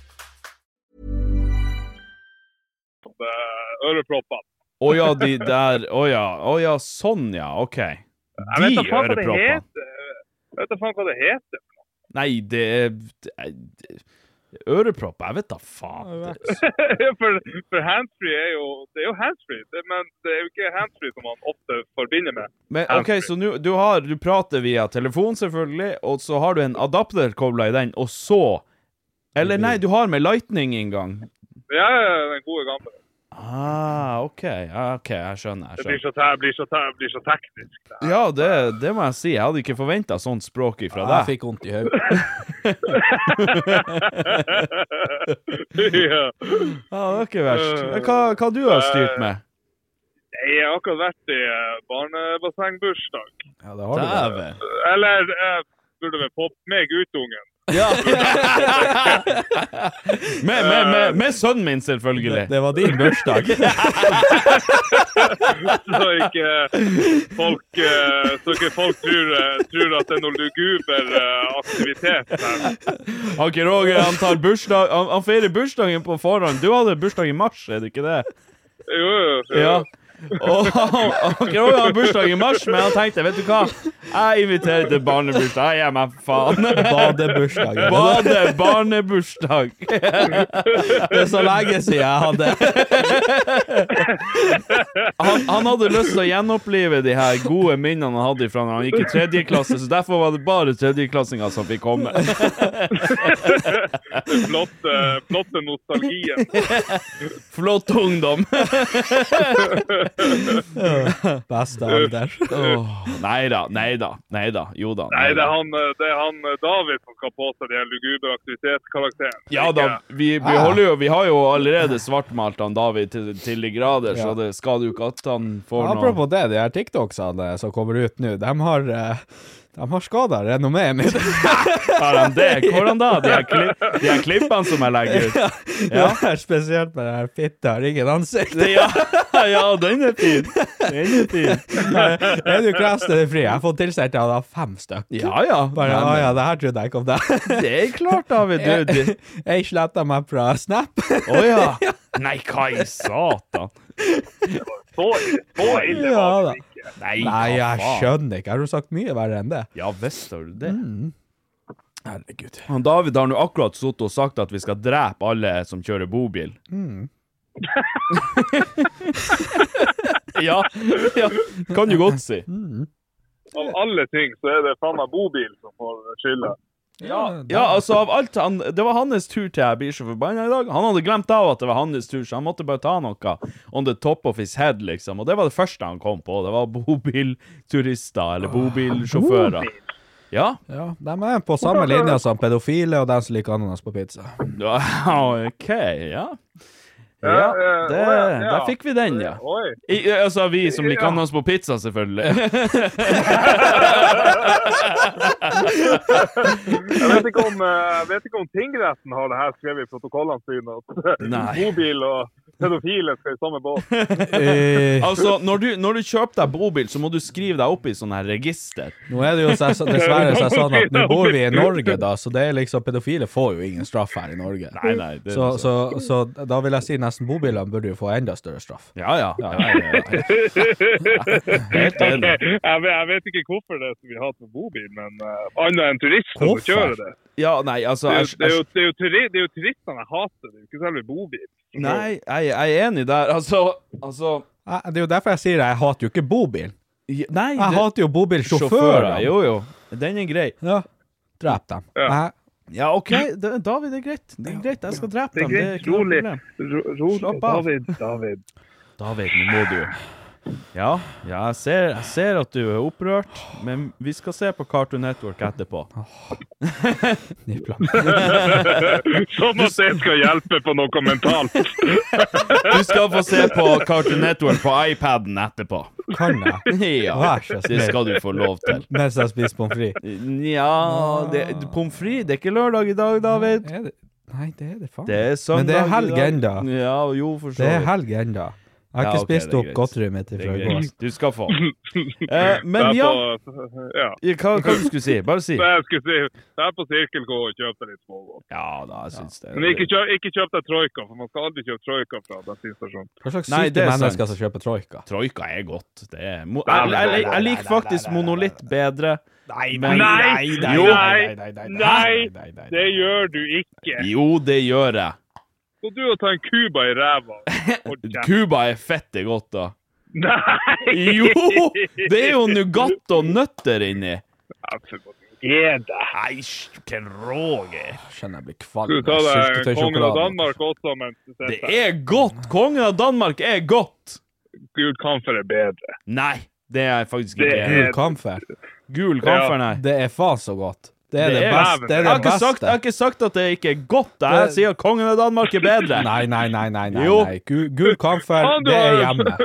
S5: eh, Ørepropper.
S2: Å ja, de der Å ja, å ja, sånn ja, OK.
S5: Jeg
S2: De
S5: vet da faen hva det
S2: øreproppene.
S5: heter. Jeg vet da faen hva det heter.
S2: Nei, det er det- det- Ørepropp? Jeg vet da faen. Det-
S5: for for handsfree er jo Det er jo handsfree, det- men det er jo ikke handsfree som man ofte forbinder med.
S2: Men OK, så nå du har Du prater via telefon, selvfølgelig, og så har du en adapter kobla i den, og så Eller nei, du har med lightning-inngang.
S5: Ja, ja, ja, den gode gamle.
S2: Ah, OK. ja, OK, jeg skjønner.
S5: Det
S2: Jeg
S5: blir
S2: skjønner.
S5: så, te- blir så, te- blir så teknisk. det her.
S2: Ja, det, det må jeg si. Jeg hadde ikke forventa sånt språk ifra
S3: Jeg
S2: deg.
S3: fikk vondt i hodet.
S5: ja.
S2: Ja, det var ikke verst. Men Hva, hva du har styrt med?
S5: Jeg har akkurat vært i eh, barnebassengbursdag.
S3: Ja, det har du. da.
S2: Dæven.
S5: Eller jeg burde vel få med guttungen.
S2: Med, med, med, med sønnen min, selvfølgelig.
S3: Det var din bursdag.
S5: Så ikke folk, eh, så ikke folk tror, eh, tror at det er noe luguber eh, aktivitet her.
S2: Han Ken Roger han tar bursdag han, han feirer bursdagen på forhånd. Du hadde bursdag i mars, er det ikke det?
S5: Jo, jo. jo.
S2: Ja. Og han, han Ken Roger har bursdag i mars, men han tenkte vet du hva? Jeg inviterer til barnebursdag. Jeg gir meg faen.
S3: Badebursdag.
S2: Bade barnebursdag.
S3: Det er så lenge siden jeg hadde
S2: Han, han hadde lyst til å gjenopplive de her gode minnene han hadde fra når han gikk i tredje klasse, så derfor var det bare tredjeklassinger som fikk komme.
S5: Den flotte, flotte eh, nostalgien.
S2: Flott ungdom.
S3: beste alder.
S2: Åh, nei da, nei da, nei da. Jo da.
S5: Nei, det
S2: da.
S5: er han, eh, det er han eh, David som skal på seg den luguber aktivitet-karakteren.
S2: Ja da, vi, vi,
S3: Ah.
S2: holder jo, vi har jo allerede svartmalt han David til, til de grader, så
S3: Ja.
S2: det skal jo ikke at han får noe
S3: Apropos det, de her TikToksene som kommer ut nå, de har, eh, de har skada renommeet mitt.
S2: Har han det? Hvordan da? De her, klipp, de her klippene som jeg legger ut?
S3: Ja. Spesielt med den her fitta har ingen ansikt.
S2: Ja, ja den er fin. Den er fin.
S3: Er du kreves det fri? Jeg har fått tilsendt av da fem stykk.
S2: Ja ja.
S3: Bare,
S2: men
S3: å ja, det her trodde jeg ikke om deg.
S2: Det er klart, David. Du,
S3: Jeg,
S2: det-
S3: jeg sletta meg fra Snap.
S2: Å ja. Nei, hva i satan?
S5: Så, så ille
S3: Ja
S5: var
S3: da.
S5: det ikke.
S2: Nei,
S3: Nei,
S2: hva
S3: jeg
S2: faen?
S3: skjønner ikke. Har du sagt mye verre enn det?
S2: Ja visst har du det.
S3: Herregud.
S2: Han David har nå akkurat sittet og sagt at vi skal drepe alle som kjører bobil.
S3: Mm.
S2: ja, ja, kan du godt si.
S5: Av alle ting så er det faen meg bobil som får skylda.
S2: Ja,
S3: det-
S2: ja, altså av alt han, Det var hans tur til jeg blir så forbanna i dag. Han hadde glemt av at det var hans tur, så han måtte bare ta noe on the top of his head, liksom. Og det var det første han kom på. Det var bobilturister,
S3: Ah,
S2: eller bobilsjåfører. Ja.
S3: Ja, de er på samme linje som pedofile og de som liker ananas på pizza.
S2: Wow, OK, ja. Ja,
S5: eh,
S2: det,
S5: å, ja, ja.
S2: der fikk vi den, ja.
S5: Oi.
S2: I, altså vi som liker
S5: Ja.
S2: ananas på pizza, selvfølgelig.
S5: Jeg vet ikke om, eh, jeg vet ikke om tingretten har det her skrevet i protokollene sine. At
S2: Nei.
S5: bobil og pedofile skal i samme båt.
S3: Eh,
S2: Altså, når du, når du kjøper deg bobil, så må du skrive deg opp i sånne her register.
S3: nå er det jo så, dessverre så er det sånn at nå bor vi i Norge, da, så det er liksom pedofile får jo ingen straff her i Norge.
S2: Nei, nei. Det,
S3: Så, så, så da vil jeg si nesten bobilene burde jo få enda større straff.
S2: Ja, ja. ja, ja, ja, ja. Helt enig.
S5: Jeg vet, jeg vet ikke hvorfor det er så mye hat med bobil, men eh, annet enn turister som
S3: Hvorfor?
S5: kjører det.
S2: Ja, nei, altså
S5: Det er
S2: jeg,
S5: jo- det er
S2: jeg,
S5: jo- det er jo turi- det er jo turistene jeg hater, det er jo ikke selve bobil.
S2: Nei, jeg, jeg er enig der. Altså, altså
S3: Eh, Det er jo derfor jeg sier jeg hater jo ikke bobil.
S2: Nei,
S3: Jeg
S2: det,
S3: hater jo bobilsjåfører.
S2: sjåfører. Jo, jo. Den er grei.
S3: Ja. Drep dem.
S5: Ja.
S3: Jeg-
S2: Ja, OK, det, David, det er greit. Det er greit, Jeg skal drepe
S5: Det er
S2: dem. Det er
S5: greit,
S2: ikke noe
S5: rolig.
S2: problem.
S5: Ro, rolig,
S2: Slapp av.
S5: David, David.
S2: David, nå må du Ja, ja jeg, ser, jeg ser at du er opprørt, men vi skal se på Cartoon Network etterpå.
S5: Sånn at det skal hjelpe på noe mentalt.
S2: Du skal få se på Cartoon Network på iPaden etterpå.
S3: Kan jeg?
S2: Ja,
S3: Vær så
S2: det
S3: snill.
S2: skal du få lov til.
S3: Mens jeg spiser pommes frites.
S2: Nja det- Pommes frites, det er ikke lørdag i dag, David.
S3: Er det- Nei, det er det faen.
S2: Det er søndag.
S3: Men det er helg
S2: i dag.
S3: enda.
S2: Ja, jo, for så
S3: Det er
S2: vidt.
S3: helg ennå. Jeg har
S2: Ja,
S3: ikke
S2: ok, det
S3: spist
S2: er
S3: opp
S2: greit.
S3: godteriet mitt
S2: Det
S3: fra
S2: er
S3: i går.
S2: greit. Du skal få. Eh, men
S5: Det er
S2: ja,
S5: på- ja.
S2: hva, hva du skulle si? Bare si.
S5: Det jeg skulle si, det er på Cirkel K og kjøpe litt smågodt.
S2: Ja da, jeg syns det.
S5: Men ikke kjøp, ikke kjøp deg Troika, for man skal aldri kjøpe Troika fra bensinstasjonen.
S3: Hva slags
S2: Nei, det
S3: syke
S2: er
S3: mennesker
S2: sant.
S3: som kjøper troika?
S2: Troika er godt. Det er mo
S5: Nei,
S2: jeg,
S5: nei,
S2: jeg,
S5: nei,
S2: jeg,
S5: nei,
S2: jeg liker faktisk monolitt bedre. Nei,
S5: Nei! Nei! Nei!
S2: Jo.
S5: Det gjør du ikke!
S2: Jo, det gjør jeg.
S5: Gå du og ta en Cuba i ræva. Hold kjeft.
S2: Cuba er fette godt, da.
S5: Nei!
S2: Jo! Det er jo nougat og nøtter inni.
S5: Gi deg!
S2: Nei, hvilken Roger.
S3: Skjønner jeg blir kvalm.
S5: Skal du ta
S3: Jeg sulter
S5: deg
S3: til
S5: Kongen av
S3: sjokolade.
S5: Danmark også mens du
S2: Det
S5: sitter her?
S2: er godt! Kongen av Danmark er godt!
S5: Gud kan for det bedre.
S2: Nei, det er jeg faktisk
S5: Det
S2: ikke.
S5: er-
S2: enig i.
S3: Gul kamfer.
S2: Gul kamfer, nei.
S3: Det er faen så godt. Det er det,
S2: Det er-
S3: beste. Det
S2: Jeg
S3: er
S2: har
S3: det
S2: ikke sagt, jeg
S3: beste.
S2: har ikke sagt at det ikke er godt. Jeg
S3: Det-
S2: sier at kongen av Danmark er bedre.
S3: Nei, nei, nei, nei. nei,
S2: Jo.
S3: nei. Gul, gul kamfer,
S5: Faen, du
S3: det er
S5: har-
S3: hjemme.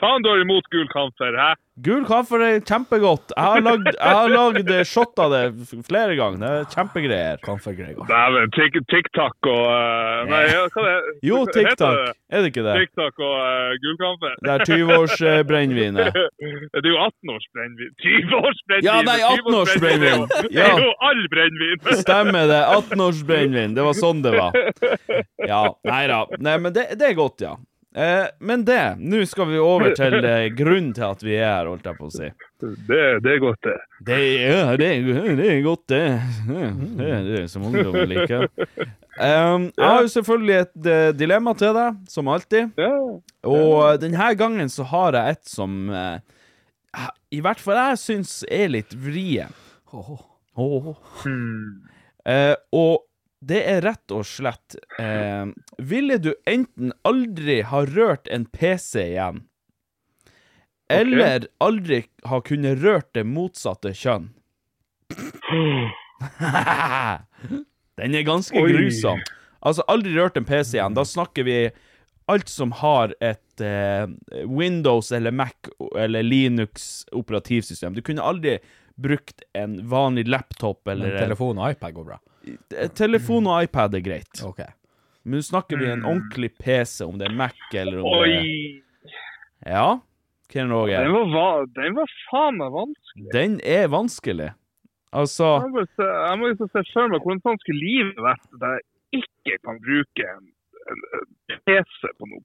S5: Faen, du er imot gul kamfer, hæ?
S2: Gul kaffe er kjempegodt. Jeg har lagd, jeg har lagd eh, shot av det f- flere ganger. Det er kjempegreier.
S3: Kamfer Gregor.
S5: Dæven, tik- TikTok og eh, Nei, ja, hva det er
S2: Jo, TikTok. Er det ikke det?
S5: TikTok og uh, gul kamfer.
S2: Det er 20-års-brennevinet.
S5: Det er jo 18-års brennevin. 20-års brennevin!
S2: Ja, nei,
S5: 20-års
S2: 18-års brennevin.
S5: Det er
S2: Ja.
S5: jo all brennevin!
S2: Stemmer det. 18-års-brennevin. Det var sånn det var. Ja. Nei da. Nei, men det, det er godt, ja. Eh, men det Nå skal vi over til eh, grunnen til at vi er her, holdt jeg på å si.
S5: Det, det er godt, det.
S2: Det er, det er, det er godt, det. Det er det som ungdommen liker. Um, jeg har jo selvfølgelig et eh, dilemma til deg, som alltid.
S5: Ja.
S2: Og denne gangen så har jeg et som eh, I hvert fall jeg syns er litt vrien. Åh. Eh, og det er rett og slett eh, Ville du enten aldri ha rørt en PC igjen, eller aldri ha kunnet rørt det motsatte kjønn? Den er ganske
S5: Oi.
S2: grusom. Altså, aldri rørt en PC igjen. Da snakker vi alt som har et eh, Windows eller Mac eller Linux operativsystem. Du kunne aldri brukt en vanlig laptop eller
S3: Men telefon og iPad går bra.
S2: Eh, Telefon og iPad er greit.
S3: OK.
S2: Men nå snakker vi en ordentlig PC, om det er Mac eller om
S5: Mm. Oi!
S2: det er Ja, Ken
S5: Den
S2: Roger.
S5: var, va- den var faen meg vanskelig.
S2: Den er vanskelig. Altså
S5: Jeg må jo se- jeg må jo se for meg hvordan sånn skulle livet vært der jeg ikke kan bruke en, en, en PC på noe.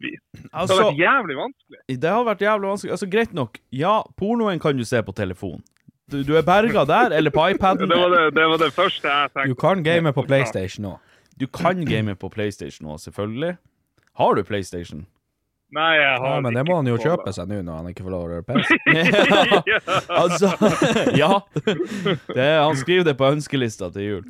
S5: Det hadde
S2: Altså,
S5: vært jævlig vanskelig.
S2: det har vært jævlig vanskelig. Altså, Greit nok, ja, pornoen kan du se på telefon. Du, du er berga der, eller på iPaden.
S5: Det var det, det var det første jeg
S3: Du
S5: tenkte.
S3: kan game på PlayStation òg.
S2: Du kan game på PlayStation òg, selvfølgelig. Har du PlayStation?
S5: Nei, jeg har
S3: Ja, men det
S5: ikke
S3: må han jo
S5: kolla.
S3: kjøpe seg nå når han ikke får lov å røre pels.
S2: Ja,
S5: Ja.
S2: altså Ja. Det, er- han skriver det på ønskelista til jul.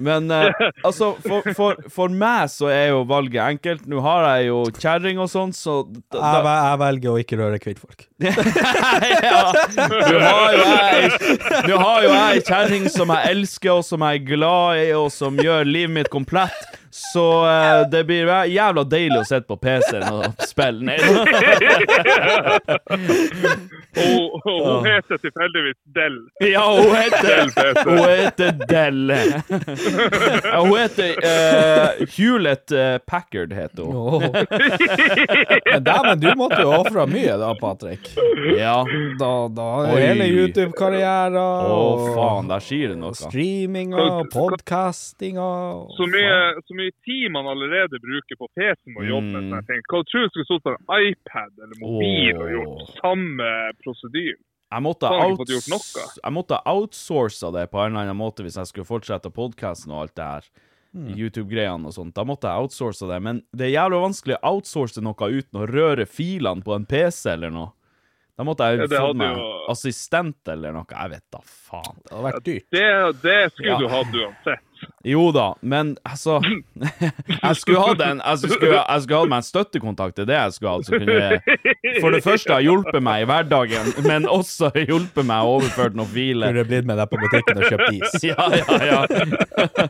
S2: Men eh, altså, for, for, for meg så er jo valget enkelt. Nå har jeg jo kjerring og sånn, så da,
S3: Jeg, vel- jeg velger å ikke røre kvittfolk.
S2: ja. Nå har jo jeg Nå har jo jeg ei kjerring som jeg elsker, og som jeg er glad i, og som gjør livet mitt komplett. Så eh, det blir jæ- jævla deilig å sitte på PC-en og spille. Nei,
S5: Og, og hun heter tilfeldigvis Del.
S2: ja, hun heter
S5: Del heter
S3: Oh,
S2: Hun heter Dell. Ja, hun heter eh, Hewlett eh, Packard, heter hun.
S3: Åh. Men dæven, du måtte jo ofra mye da, Patrick.
S2: Ja.
S3: Da, da
S2: Oi.
S3: Hele YouTube-karriera
S2: Å,
S3: og
S2: faen, der sier det noe.
S3: streaminga og podcastinga og
S5: så mye, så mye tid man allerede bruker på PC-en og jobben.
S2: Mm.
S5: Mm. Jeg tenker, hva tror du skulle stått på en iPad eller mobil og gjort samme prosedyr?
S2: Jeg måtte,
S5: Faen, jeg har ikke
S2: outs-
S5: fått gjort noe.
S2: jeg måtte outsource det på en eller annen måte hvis jeg skulle fortsette podkasten og alt det her.
S3: Hmm.
S2: YouTube-greiene og sånt. Da måtte jeg outsource det. Men det er jævlig vanskelig å outsource noe uten å røre filene på en PC eller noe. Da måtte jeg
S5: Ja, det
S2: fått
S5: hadde
S2: meg
S5: jo-
S2: assistent eller noe. Jeg vet da faen.
S3: Det hadde vært dyrt.
S5: Det, det skulle
S2: Ja.
S5: du hatt uansett.
S2: Jo da, men altså Jeg skulle hatt en Jeg skulle, jeg skulle hatt meg en støttekontakt til det jeg skulle hatt, som kunne for det første ha hjulpet meg i hverdagen, men også hjulpet meg å overføre noen filer.
S3: Burde blitt med deg på butikken og kjøpt is.
S2: Ja, ja, ja.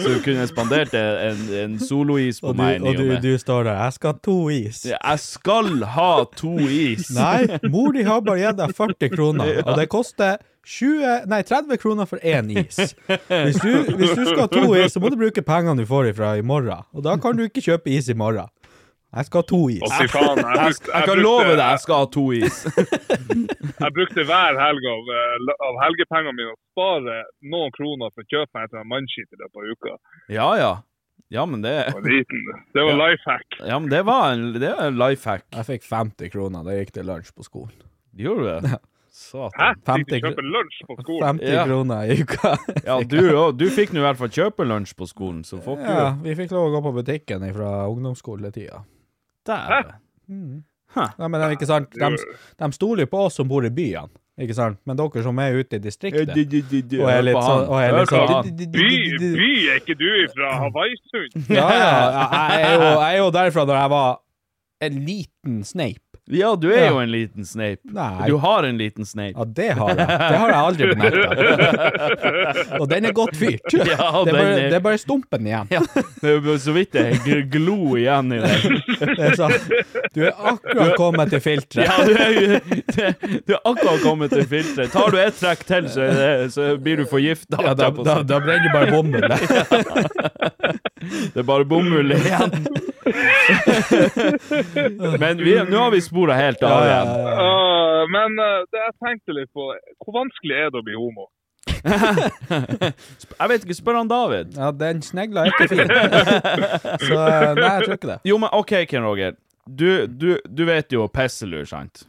S2: Så du kunne spandert en, en solois på
S3: Og du,
S2: meg. i ny
S3: og du,
S2: og ne.
S3: du står der 'Jeg skal ha to is'.
S2: Jeg skal ha to is.
S3: Nei, mor di har bare gitt deg 40 kroner, og det koster 20, nei, 30 kroner for én is. Hvis du, hvis du skal ha to is, så må du bruke pengene du får ifra i morgen, og da kan du ikke kjøpe is i morgen. Jeg skal ha to is.
S5: Å, fy faen. Jeg,
S2: Jeg,
S5: brukte-
S2: jeg kan love deg, jeg skal ha to is.
S5: Jeg brukte hver helg av, eh, la- av helgepengene mine å spare noen kroner for å kjøpe meg et mannskitt i løpet av uka.
S2: Ja, ja. Ja, men det,
S5: Jeg var liten. Det var life hack.
S2: ja, men det var en, det er en life hack.
S3: Jeg fikk 50 kroner, det gikk til lunsj på skolen.
S2: Gjorde du det?
S5: Hæ?
S2: Satan.
S5: Fikk du
S3: 50
S5: kjøpe lunsj på skolen?
S3: 50
S2: Ja.
S3: kroner i uka.
S2: Ja, du, og- du fikk nå i hvert fall kjøpe lunsj på skolen, så fuck
S3: Ja,
S2: you.
S3: vi fikk lov å gå på butikken fra ungdomsskoletida.
S2: Dæven.
S3: Nei, men det er ikke sant, de, de stoler jo på oss som bor i byene, ikke sant? Men dere som er ute i distriktet Og er litt sånn og er litt
S2: Hør på
S3: sånn-
S2: han.
S5: By, by er ikke du fra Havaisund?
S3: Ja, ja. Jeg er jo, jeg er jo derfra da jeg var en liten sneip.
S2: Ja, du er jo en liten snape.
S3: Nei.
S2: Du har en liten snape.
S3: Ja, det har jeg. Det har jeg aldri bemerka. Og den er godt fyrt.
S2: Ja,
S3: det, er bare,
S2: den er-
S3: det er bare stumpen igjen.
S2: Ja, det er jo så vidt det er gl- glo igjen i det.
S3: Det er sånn, du er akkurat kommet til filteret.
S2: Ja, du er jo Du er akkurat kommet til filteret. Tar du ett trekk til, så, er det, så blir du forgifta.
S3: Ja, da, da, da brenner bare bomben. der.
S2: det er bare bomull igjen. Men vi, nå har vi spora helt av igjen.
S5: Ah, men eh, det jeg tenkte litt på, hvor vanskelig er det å bli homo?
S2: Jeg vet ikke, spør han David.
S3: Ja, den snegla er ikke fin. Så eh, nei, jeg tror ikke det.
S2: Jo, men OK, Ken Roger. Du, du, du vet jo pisselur, sant?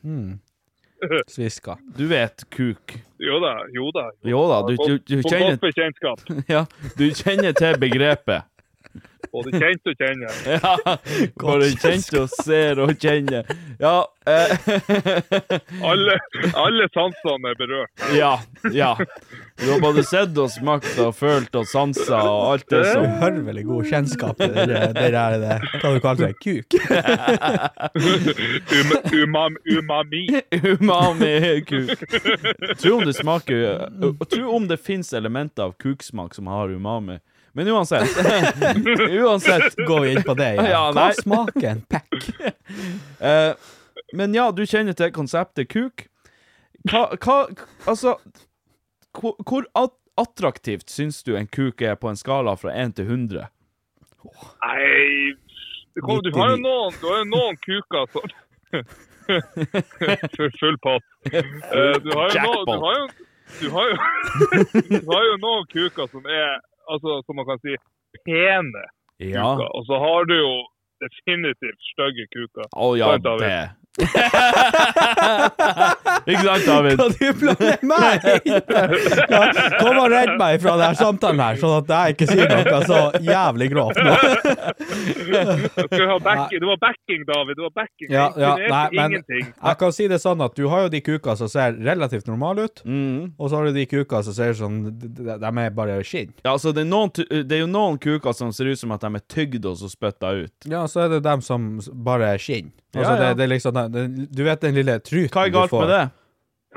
S3: Sviska.
S2: Du vet kuk.
S5: Jo da, jo da.
S2: Jo da, du, du, du,
S5: På
S2: kjenner,
S5: godt bekjentskap.
S2: ja, du kjenner til begrepet.
S5: Både kjent og kjenner.
S2: Ja, både kjent og ser og kjenner. Ja, eh,
S5: Alle, alle sansene er berørt.
S2: ja, ja. Du har både sett og smakt og følt og sansa og alt det
S3: Så
S2: som
S3: hørvelig god kjennskap til det der, det der det, hva du kaller det, kuk.
S5: Um, umam, umami.
S2: umami-kuk. Tro om det smaker og Tro om det fins elementer av kuksmak som har umami. Men uansett Uansett.
S3: Går vi inn på det igjen?
S2: Ja,
S3: Hva
S2: nei.
S3: smaker en pekk?
S2: Eh, men ja, du kjenner til konseptet kuk. Hva, hva Altså Hvor, hvor at- attraktivt syns du en kuk er på en skala fra 1 til 100?
S5: Nei det kommer- Du har jo noen, du har jo noen kuker som Full- Full pott. Eh, Du har jo noen, du har jo, du har jo, du har jo noen kuker som er altså, som man kan si pene kuker.
S2: Ja.
S5: Og så har du jo definitivt stygge kuker.
S2: Å ja,
S5: Sant, David?
S2: det. Ikke sant, David?
S3: Hva du blander meg inn ja, Kom og redd meg fra denne samtalen her, sånn at jeg ikke sier noe så jævlig grovt nå.
S5: Jeg Skal ha backing. Det var backing, David. Det var backing.
S3: Ja, ja,
S5: Imponerte
S3: nei, men
S5: ingenting.
S3: jeg kan si det sånn at du har jo de kuka som ser relativt normale ut,
S2: Mm.
S3: og så har du de kuka som ser sånn De, de- de er bare skinn.
S2: Ja, altså, det er, noen, tu- det er jo noen kuker som ser ut som at de er tygd og så spytta ut.
S3: Ja, så er det dem som s- bare er skinn. Altså,
S2: Ja, ja.
S3: Det, det er liksom den- den- Du vet den lille truten
S2: Hva er
S3: du
S2: galt
S3: får?
S2: med det?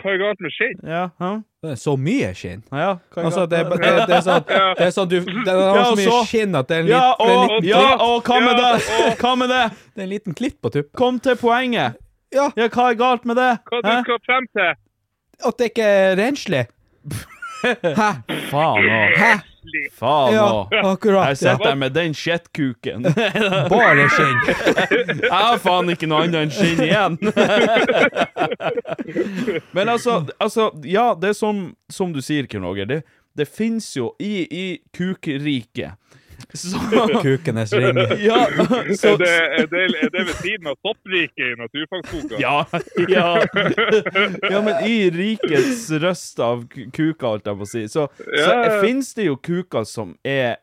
S5: Hva er galt med skinn?
S2: Ja, hæ?
S3: Det er Så mye skinn.
S2: ja hva er
S3: Altså,
S2: galt
S3: det,
S2: med
S3: er- det, er- det er sånn Det er sånn du Den har
S2: Ja,
S3: så
S2: og
S3: mye
S2: så-
S3: skinn at det er en
S2: Ja,
S3: liten, det er en
S2: og,
S3: liten,
S2: ja,
S3: klipp,
S2: og hva med
S5: Ja,
S2: det? Hva med det?
S3: det er en liten klipp på tuppen.
S2: Kom til poenget.
S3: Ja.
S2: ja hva er galt med det?
S5: Hva du
S2: Hæ?
S5: skal frem til?
S3: At det ikke er renslig. Hæ?
S2: Faen òg.
S3: Hæ?
S2: Faen
S3: Ja,
S2: òg.
S3: akkurat.
S2: Jeg sitter
S3: Ja.
S2: her med den shitkuken. Jeg
S3: Bare skinn.
S2: har faen ikke noe annet enn skinn igjen. Men altså, altså Ja, det er som, som du sier, Kim Roger. Det, det fins jo i, i kukriket så,
S3: Kukenes ringer.
S2: ja, så,
S5: Er det, er, det, er det ved siden av toppriket i naturfagboka?
S2: Ja, ja. ja, men i rikets røst av ku- kuka, holdt jeg på å si, så, så
S5: Ja.
S2: fins det jo kuker som er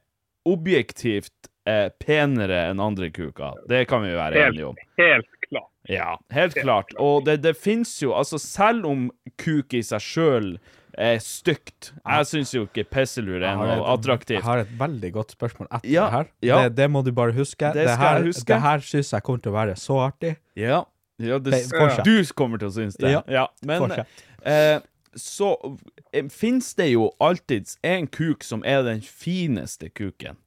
S2: objektivt eh, penere enn andre kuker. Det kan vi jo være
S5: Helt,
S2: enige om.
S5: helt klart.
S2: Ja, helt klart. Og det, det fins jo Altså, selv om kuk i seg sjøl er stygt Jeg syns jo ikke pisselur er noe
S3: Jeg
S2: attraktivt.
S3: har et veldig godt spørsmål etter
S2: Ja,
S3: det her.
S2: ja.
S3: Det, det må du bare huske.
S2: Det skal
S3: her,
S2: jeg huske.
S3: Det her syns jeg kommer til å være så artig.
S2: Ja, ja det,
S3: Det- fortsett.
S2: du kommer til å synes det.
S3: Ja,
S2: men
S3: fortsett.
S2: eh, så eh, finnes det jo alltids en kuk som er den fineste kuken.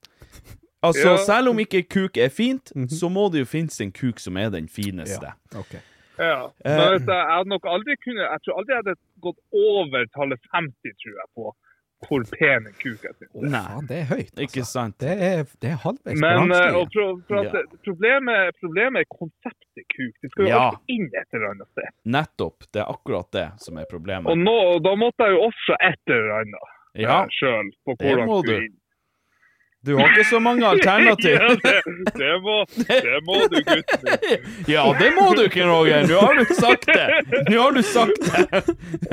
S2: Altså,
S5: Ja.
S2: selv om ikke kuk er fint, så må det jo finnes en kuk som er den fineste.
S5: Ja. Men
S2: Eh,
S5: vet du, jeg hadde nok aldri kunne, jeg tror aldri jeg hadde gått over tallet 50, tror jeg, på hvor pen en kuk jeg synes.
S2: Nei,
S3: Faen, det er høyt.
S2: ikke sant?
S3: Det er, det er halvveis på
S5: Men eh,
S3: rangstigen.
S5: og pro, for at,
S2: Ja.
S5: problemet, problemet er konseptet kuk. Det skal jo
S2: Ja.
S5: alltid inn et eller annet sted.
S2: Nettopp. Det er akkurat det som er problemet.
S5: Og nå, og da måtte jeg jo ofre et eller annet
S2: ja,
S5: sjøl på
S2: Det
S5: hvordan
S2: må
S5: det skulle
S2: du.
S5: inn.
S2: du har ikke så mange alternativ.
S5: Ja, det, det, må, det må du, gutten min.
S2: Ja, det må du ikke, Roger. Nå har du sagt det. Nå har du sagt det.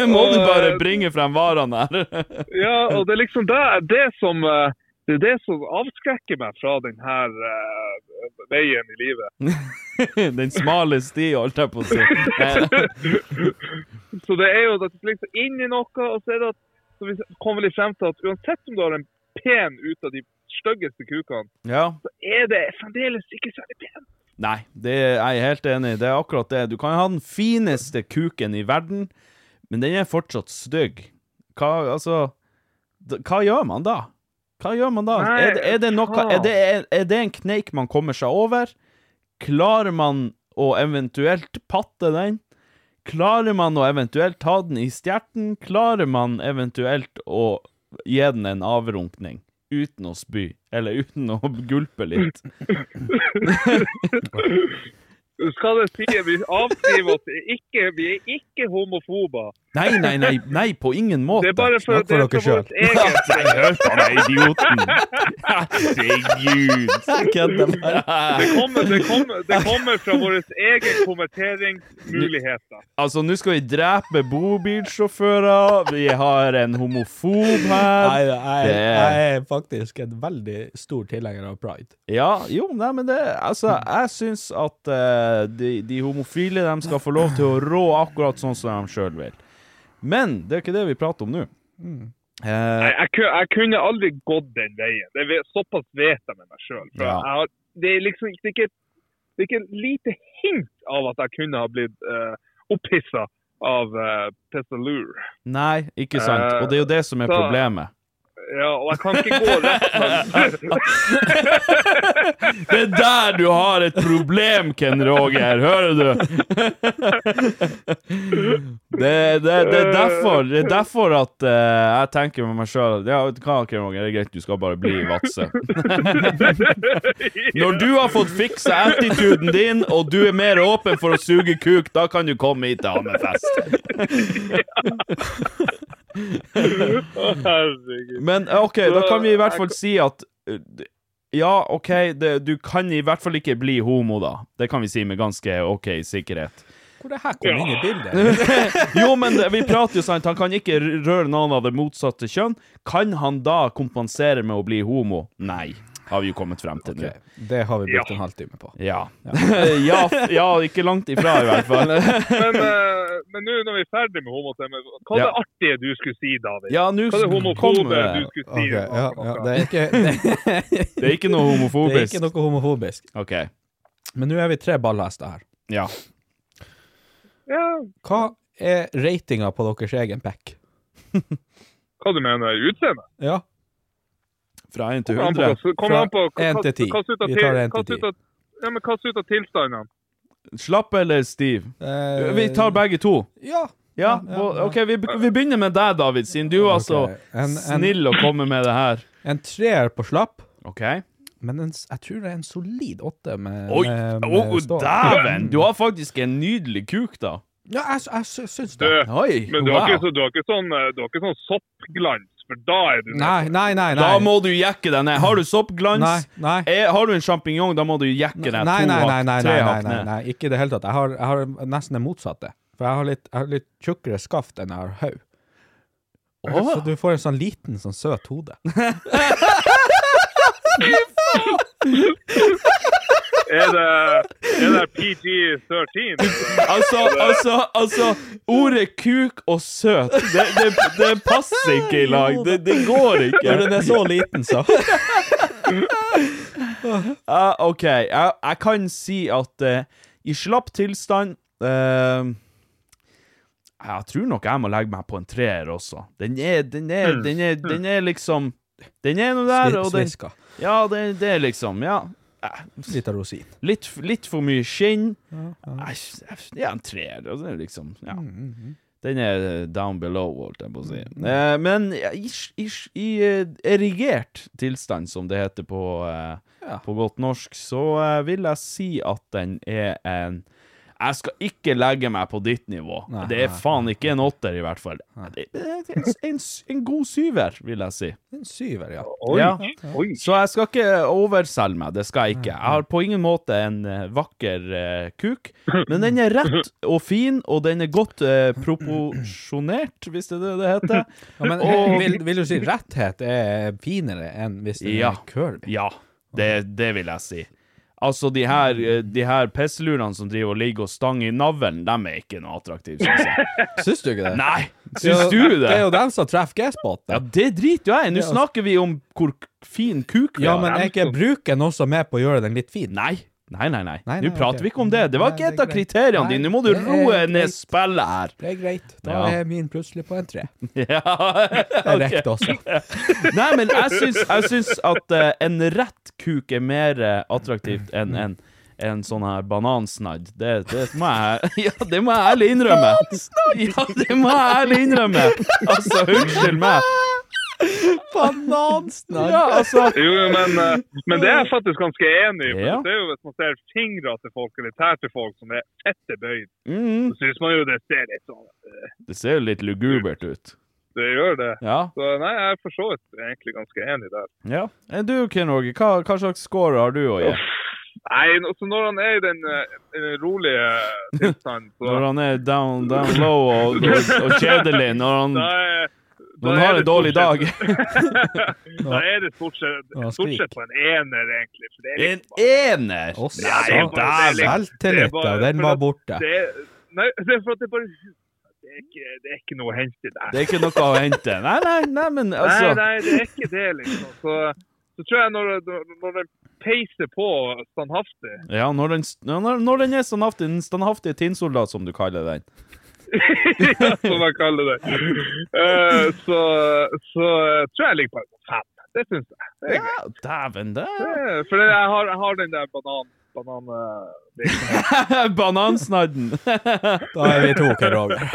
S2: Nå må du bare bringe frem varene her.
S5: Ja, og det er liksom det, det som eh, det er det som avskrekker meg fra denne veien i livet.
S2: Den smale sti, holdt jeg på å si. Eh,
S5: Så det er jo at du skal liksom inn i noe, og så er det at så vi kommer litt frem til at uansett om du har en pen ut av de styggeste kukene,
S2: Ja.
S5: så er det fremdeles ikke særlig pen.
S2: Nei, det er jeg er helt enig i. Det er akkurat det. Du kan ha den fineste kuken i verden, men den er fortsatt stygg. Hva, altså d- Hva gjør man da? Hva gjør man da?
S5: Nei,
S2: er, det, er, det noe,
S5: hva?
S2: er, det, er, er det en kneik man kommer seg over? Klarer man å eventuelt patte den? Klarer man å eventuelt ta den i stjerten? Klarer man eventuelt å gi den en avrunkning? Uten å spy, eller uten å gulpe litt.
S5: Skal det si vi avskriver oss ikke, vi er ikke homofober.
S2: Nei, nei, nei, nei, på ingen måte.
S5: Det er bare for,
S3: Snakk
S5: det
S3: for dere
S5: er for vårt eget
S6: Han er idioten. Herregud.
S2: Jeg kødder bare.
S5: Det kommer, det kommer, det kommer fra våre egne konverteringsmuligheter.
S2: Altså, nå skal vi drepe bobilsjåfører, vi har en homofob
S3: Nei,
S2: her.
S3: jeg,
S2: Det-
S3: jeg er faktisk en veldig stor tilhenger av pride.
S2: Ja, jo, nei, men det Altså, jeg syns at eh, de, de homofile, de skal få lov til å rå akkurat sånn som de sjøl vil. Men det er ikke det vi prater om nå. Eh,
S5: Jeg, jeg, ku- jeg kunne aldri gått den veien. Det vet, såpass vet jeg med meg sjøl.
S2: Ja.
S5: Det er liksom ikke- det er ikke det er ikke et lite hint av at jeg kunne ha blitt uh, opphissa av uh, Pessalur.
S2: nei, ikke sant.
S5: Eh,
S2: Og det er jo det som er
S5: Så-
S2: problemet.
S5: Ja, og jeg kan ikke gå rett til
S2: Det er der du har et problem, Ken Roger, hører du? Det, det, det, er, derfor, det er derfor at eh, jeg tenker med meg sjøl Ja, vet du hva, Ken Roger, det er greit, du skal bare bli i Vadsø. Når du har fått fiksa attituden din, og du er mer åpen for å suge kuk, da kan du komme hit til Hammerfest.
S5: Herregud.
S2: Men eh, OK, da kan vi i hvert fall si at eh, Ja, OK, det, du kan i hvert fall ikke bli homo, da. Det kan vi si med ganske OK sikkerhet.
S3: Hvor det her kom
S5: Ja.
S3: inn i bildet?
S2: Jo, men det- vi prater jo sant, han kan ikke r- røre noen av det motsatte kjønn. Kan han da kompensere med å bli homo? Nei, har vi jo kommet frem til nå.
S3: Ok, Det har vi brukt en halvtime på.
S2: Ja. ja. f- Ja, ikke langt ifra i hvert fall.
S5: Men, eh, men nå når vi er ferdig med homotemaet, hva er det
S2: Ja.
S5: artige du skulle si, David?
S2: Ja, nå
S5: Hva er det
S2: kom
S5: homofobe
S3: eh,
S5: du
S2: det.
S5: skulle si?
S3: Ok, ja,
S5: Akkurat?
S3: ja. Det er ikke, det,
S2: Det er ikke noe
S3: det er
S2: homofobisk.
S3: ikke noe homofobisk.
S2: OK.
S3: Men nå er vi tre ballhester her.
S2: Ja.
S5: Ja,
S3: Hva er ratinga på deres egen pack?
S5: Hva du mener? Utseende?
S3: Ja,
S2: Fra 1 til
S5: Kommer an på
S2: 100.
S5: hva- kommer altså, an på hva-
S3: Fra en til ti.
S5: hva- hva slutter
S3: Vi tar
S5: til-
S3: en til
S5: hva slutter- Ja, men hva slutter tilstandene?
S2: Slapp eller stiv?
S3: eh,
S2: Vi tar begge to.
S3: Ja.
S2: Ja,
S3: Ja, ja,
S2: og-
S3: ja.
S2: OK, vi, vi begynner med deg, David, siden du er så
S3: Ok, en- en-
S2: snill å komme med det her.
S3: En treer på slapp,
S2: OK?
S3: men en, s- jeg tror det er en solid åtte med,
S2: Oi!
S3: med, eh, med
S2: Å,
S3: stål.
S2: dæven! Du har faktisk en nydelig kuk, da.
S3: Ja, jeg, s- jeg sy- syns
S5: Du,
S3: det.
S2: Oi!
S5: men du har, ikke, så- du, har ikke sånn, eh, du har ikke sånn soppglans, for da er du
S3: Nei, nei, nei. nei.
S2: Da må du jekke deg ned. Har du soppglans?
S3: Nei, nei.
S2: Er, har du en sjampinjong, da må du jekke
S3: Nei,
S2: deg
S3: nei,
S2: to
S3: nei, nei,
S2: hakk,
S3: nei,
S2: tre
S3: nei,
S2: hakk
S3: nei,
S2: ned.
S3: nei, ikke i det hele tatt. Jeg har, jeg har nesten det motsatte. For jeg har litt, jeg har litt tjukkere skaft enn jeg har hode. Så du får en sånn liten, sånn søt hode.
S5: Er det, er det PG-13?
S2: Altså, altså, altså Ordet kuk og søt, det, det, det passer ikke i lag. Det, det går ikke.
S3: Når den er så liten, så.
S2: Ja, OK, jeg, jeg kan si at eh, i slapp tilstand eh, Jeg tror nok jeg må legge meg på en treer også. Den er, den er, den er, den er liksom Den er nå der, og den
S3: Sviska.
S2: Ja, det, det er liksom Ja.
S3: Litt av rosin.
S2: Litt, litt for mye skinn. Æsj, æsj, Det er en treer, altså, det er liksom. Ja.
S3: Mm,
S2: Den er eh, down below, holdt jeg på å si. Eh, men ja, i, s- i, s- i eh, erigert tilstand, som det heter på, eh,
S3: Ja.
S2: på godt norsk, så eh, vil jeg si at den er en jeg skal ikke legge meg på ditt nivå.
S3: Nei,
S2: det er
S3: nei,
S2: faen ikke en åtter, i hvert fall. Det det er en, en, s- en god syver, vil jeg si.
S3: En syver, ja.
S5: Oi,
S2: Ja.
S5: oi.
S2: Så jeg skal ikke overselge meg, det skal jeg ikke. Jeg har på ingen måte en eh, vakker eh, kuk, men den er rett og fin, og den er godt eh, proporsjonert, hvis det er det det heter.
S3: ja men
S2: Og-
S3: vil, vil du si retthet er finere enn hvis den
S2: Ja.
S3: er curvy?
S2: Ja, det, det vil jeg si. Altså, de her, eh, de her pisslurene som driver og ligger og stanger i navlen, dem er ikke noe attraktive, syns jeg.
S3: Syns du ikke det?
S2: Nei, syns du
S3: Det
S2: det?
S3: er jo dem som treffer G-spoten.
S2: Ja, det driter jo jeg i. Nå snakker vi om hvor fin kuk vi
S3: Ja,
S2: har.
S3: men er ikke bruken også med på å gjøre den litt fin?
S2: Nei. Nei, nei, nei.
S3: Nei,
S2: Nå
S3: nei, ok.
S2: prater vi ikke om det. Det var
S3: Nei,
S2: ikke
S3: det
S2: et
S3: er
S2: av
S3: greit.
S2: kriteriene dine. Nå må du
S3: Nei, det er
S2: roe ned
S3: greit.
S2: spillet her.
S3: Det er greit. Da
S2: Ja.
S3: er min plutselig på en tre.
S2: Ja.
S3: Det rekte også.
S2: Nei, men jeg syns, jeg syns at eh, en rett kuk er mer eh, attraktivt enn en, en sånn her banansnadd. Det, det, må jeg, ja, det må jeg ærlig innrømme. Ja, det må jeg ærlig innrømme. Altså, unnskyld meg.
S3: Banansnarr!
S2: Ja, altså
S5: Jo, jo, men, eh, men det er jeg faktisk ganske enig i. for
S2: Ja.
S5: Det er jo Hvis man ser fingra til folk eller tær til folk som er fette bøyd,
S2: mm,
S5: så syns man jo det ser litt sånn eh,
S2: Det ser jo litt lugubert ut.
S5: Det gjør det.
S2: Ja.
S5: Så nei, jeg er for så vidt egentlig ganske enig der.
S2: ja. Eh, Du, Ken Åge, hva, hva slags score har du å gi
S5: Nei, altså når han er i den, eh, i den rolige tilstanden,
S2: når
S5: så
S2: han er down, down low og, og, og kjedelig? Når han,
S5: da er da
S2: når han
S5: er
S2: Mm. har
S5: det
S2: en dårlig
S5: stort
S2: dag?
S5: sett- da er det stort sett,
S3: Ja,
S5: stort
S3: skrik.
S5: sett på en ener, egentlig. For det er
S2: En ener!
S3: Også,
S5: Nei,
S2: altså,
S3: så-
S5: det er litt- det er
S3: Selvtillit, ja.
S5: bare-
S3: Den
S5: for
S3: var
S5: at
S3: borte.
S5: Det, nei, det er for at det bare Det er ikke, det er ikke noe å hente der.
S2: Det er ikke noe å hente. Nei, nei, nei, men
S5: Nei,
S2: altså
S5: nei, det er ikke det, liksom. Så, så tror jeg når, når- når den peiser på standhaftig
S2: Ja, når den, når, når den er standhaftig, den standhaftige tinnsoldat, som du kaller den.
S5: som jeg kaller det, eh, så, så tror jeg jeg ligger på en fem. Det syns jeg. Det er
S2: Ja, dæven, det er-
S5: greit. For jeg har, jeg har den der banan... banan eh, liksom.
S2: Banansnadden!
S3: Da er vi to, Ken Roger.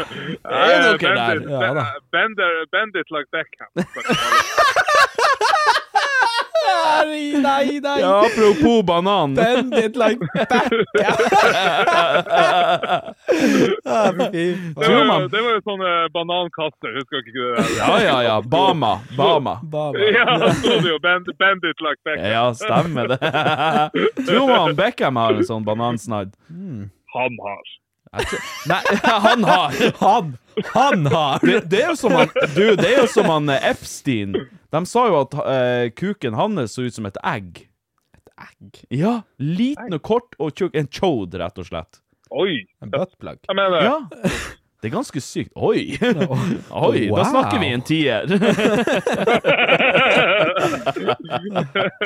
S2: Er dere
S5: Eh, bend
S2: der?
S5: it-
S3: Ja da.
S5: Bend, it- bend it like Beckham.
S3: Nei, nei!
S2: Ja, apropos banan.
S3: Bend it like back! Ja, fy
S5: Det
S3: faen.
S5: var,
S2: man-
S5: jo- det var jo sånn eh, banankasse, husker dere ikke det? der?
S2: Ja, ja, ja. Bama. Bama.
S3: Baba.
S5: Ja, da sto det jo bend, bend it like Beckham.
S2: Ja, stemmer det. Tror man Beckham har en sånn banansnadd?
S5: Han har.
S2: Jeg tror, nei, han har!
S3: Han! Han har!
S2: Det, det er jo som han Du, det er jo som han eh, Epstein. De sa jo at eh, kuken hans så ut som et egg.
S3: Egg.
S2: Ja. Liten og kort og tjukk. En chode, rett og slett.
S5: Oi!
S3: En buttplug.
S5: Jeg mener
S2: Ja. Det er ganske sykt. Oi! Oi,
S3: Wow.
S2: Da snakker vi en tier.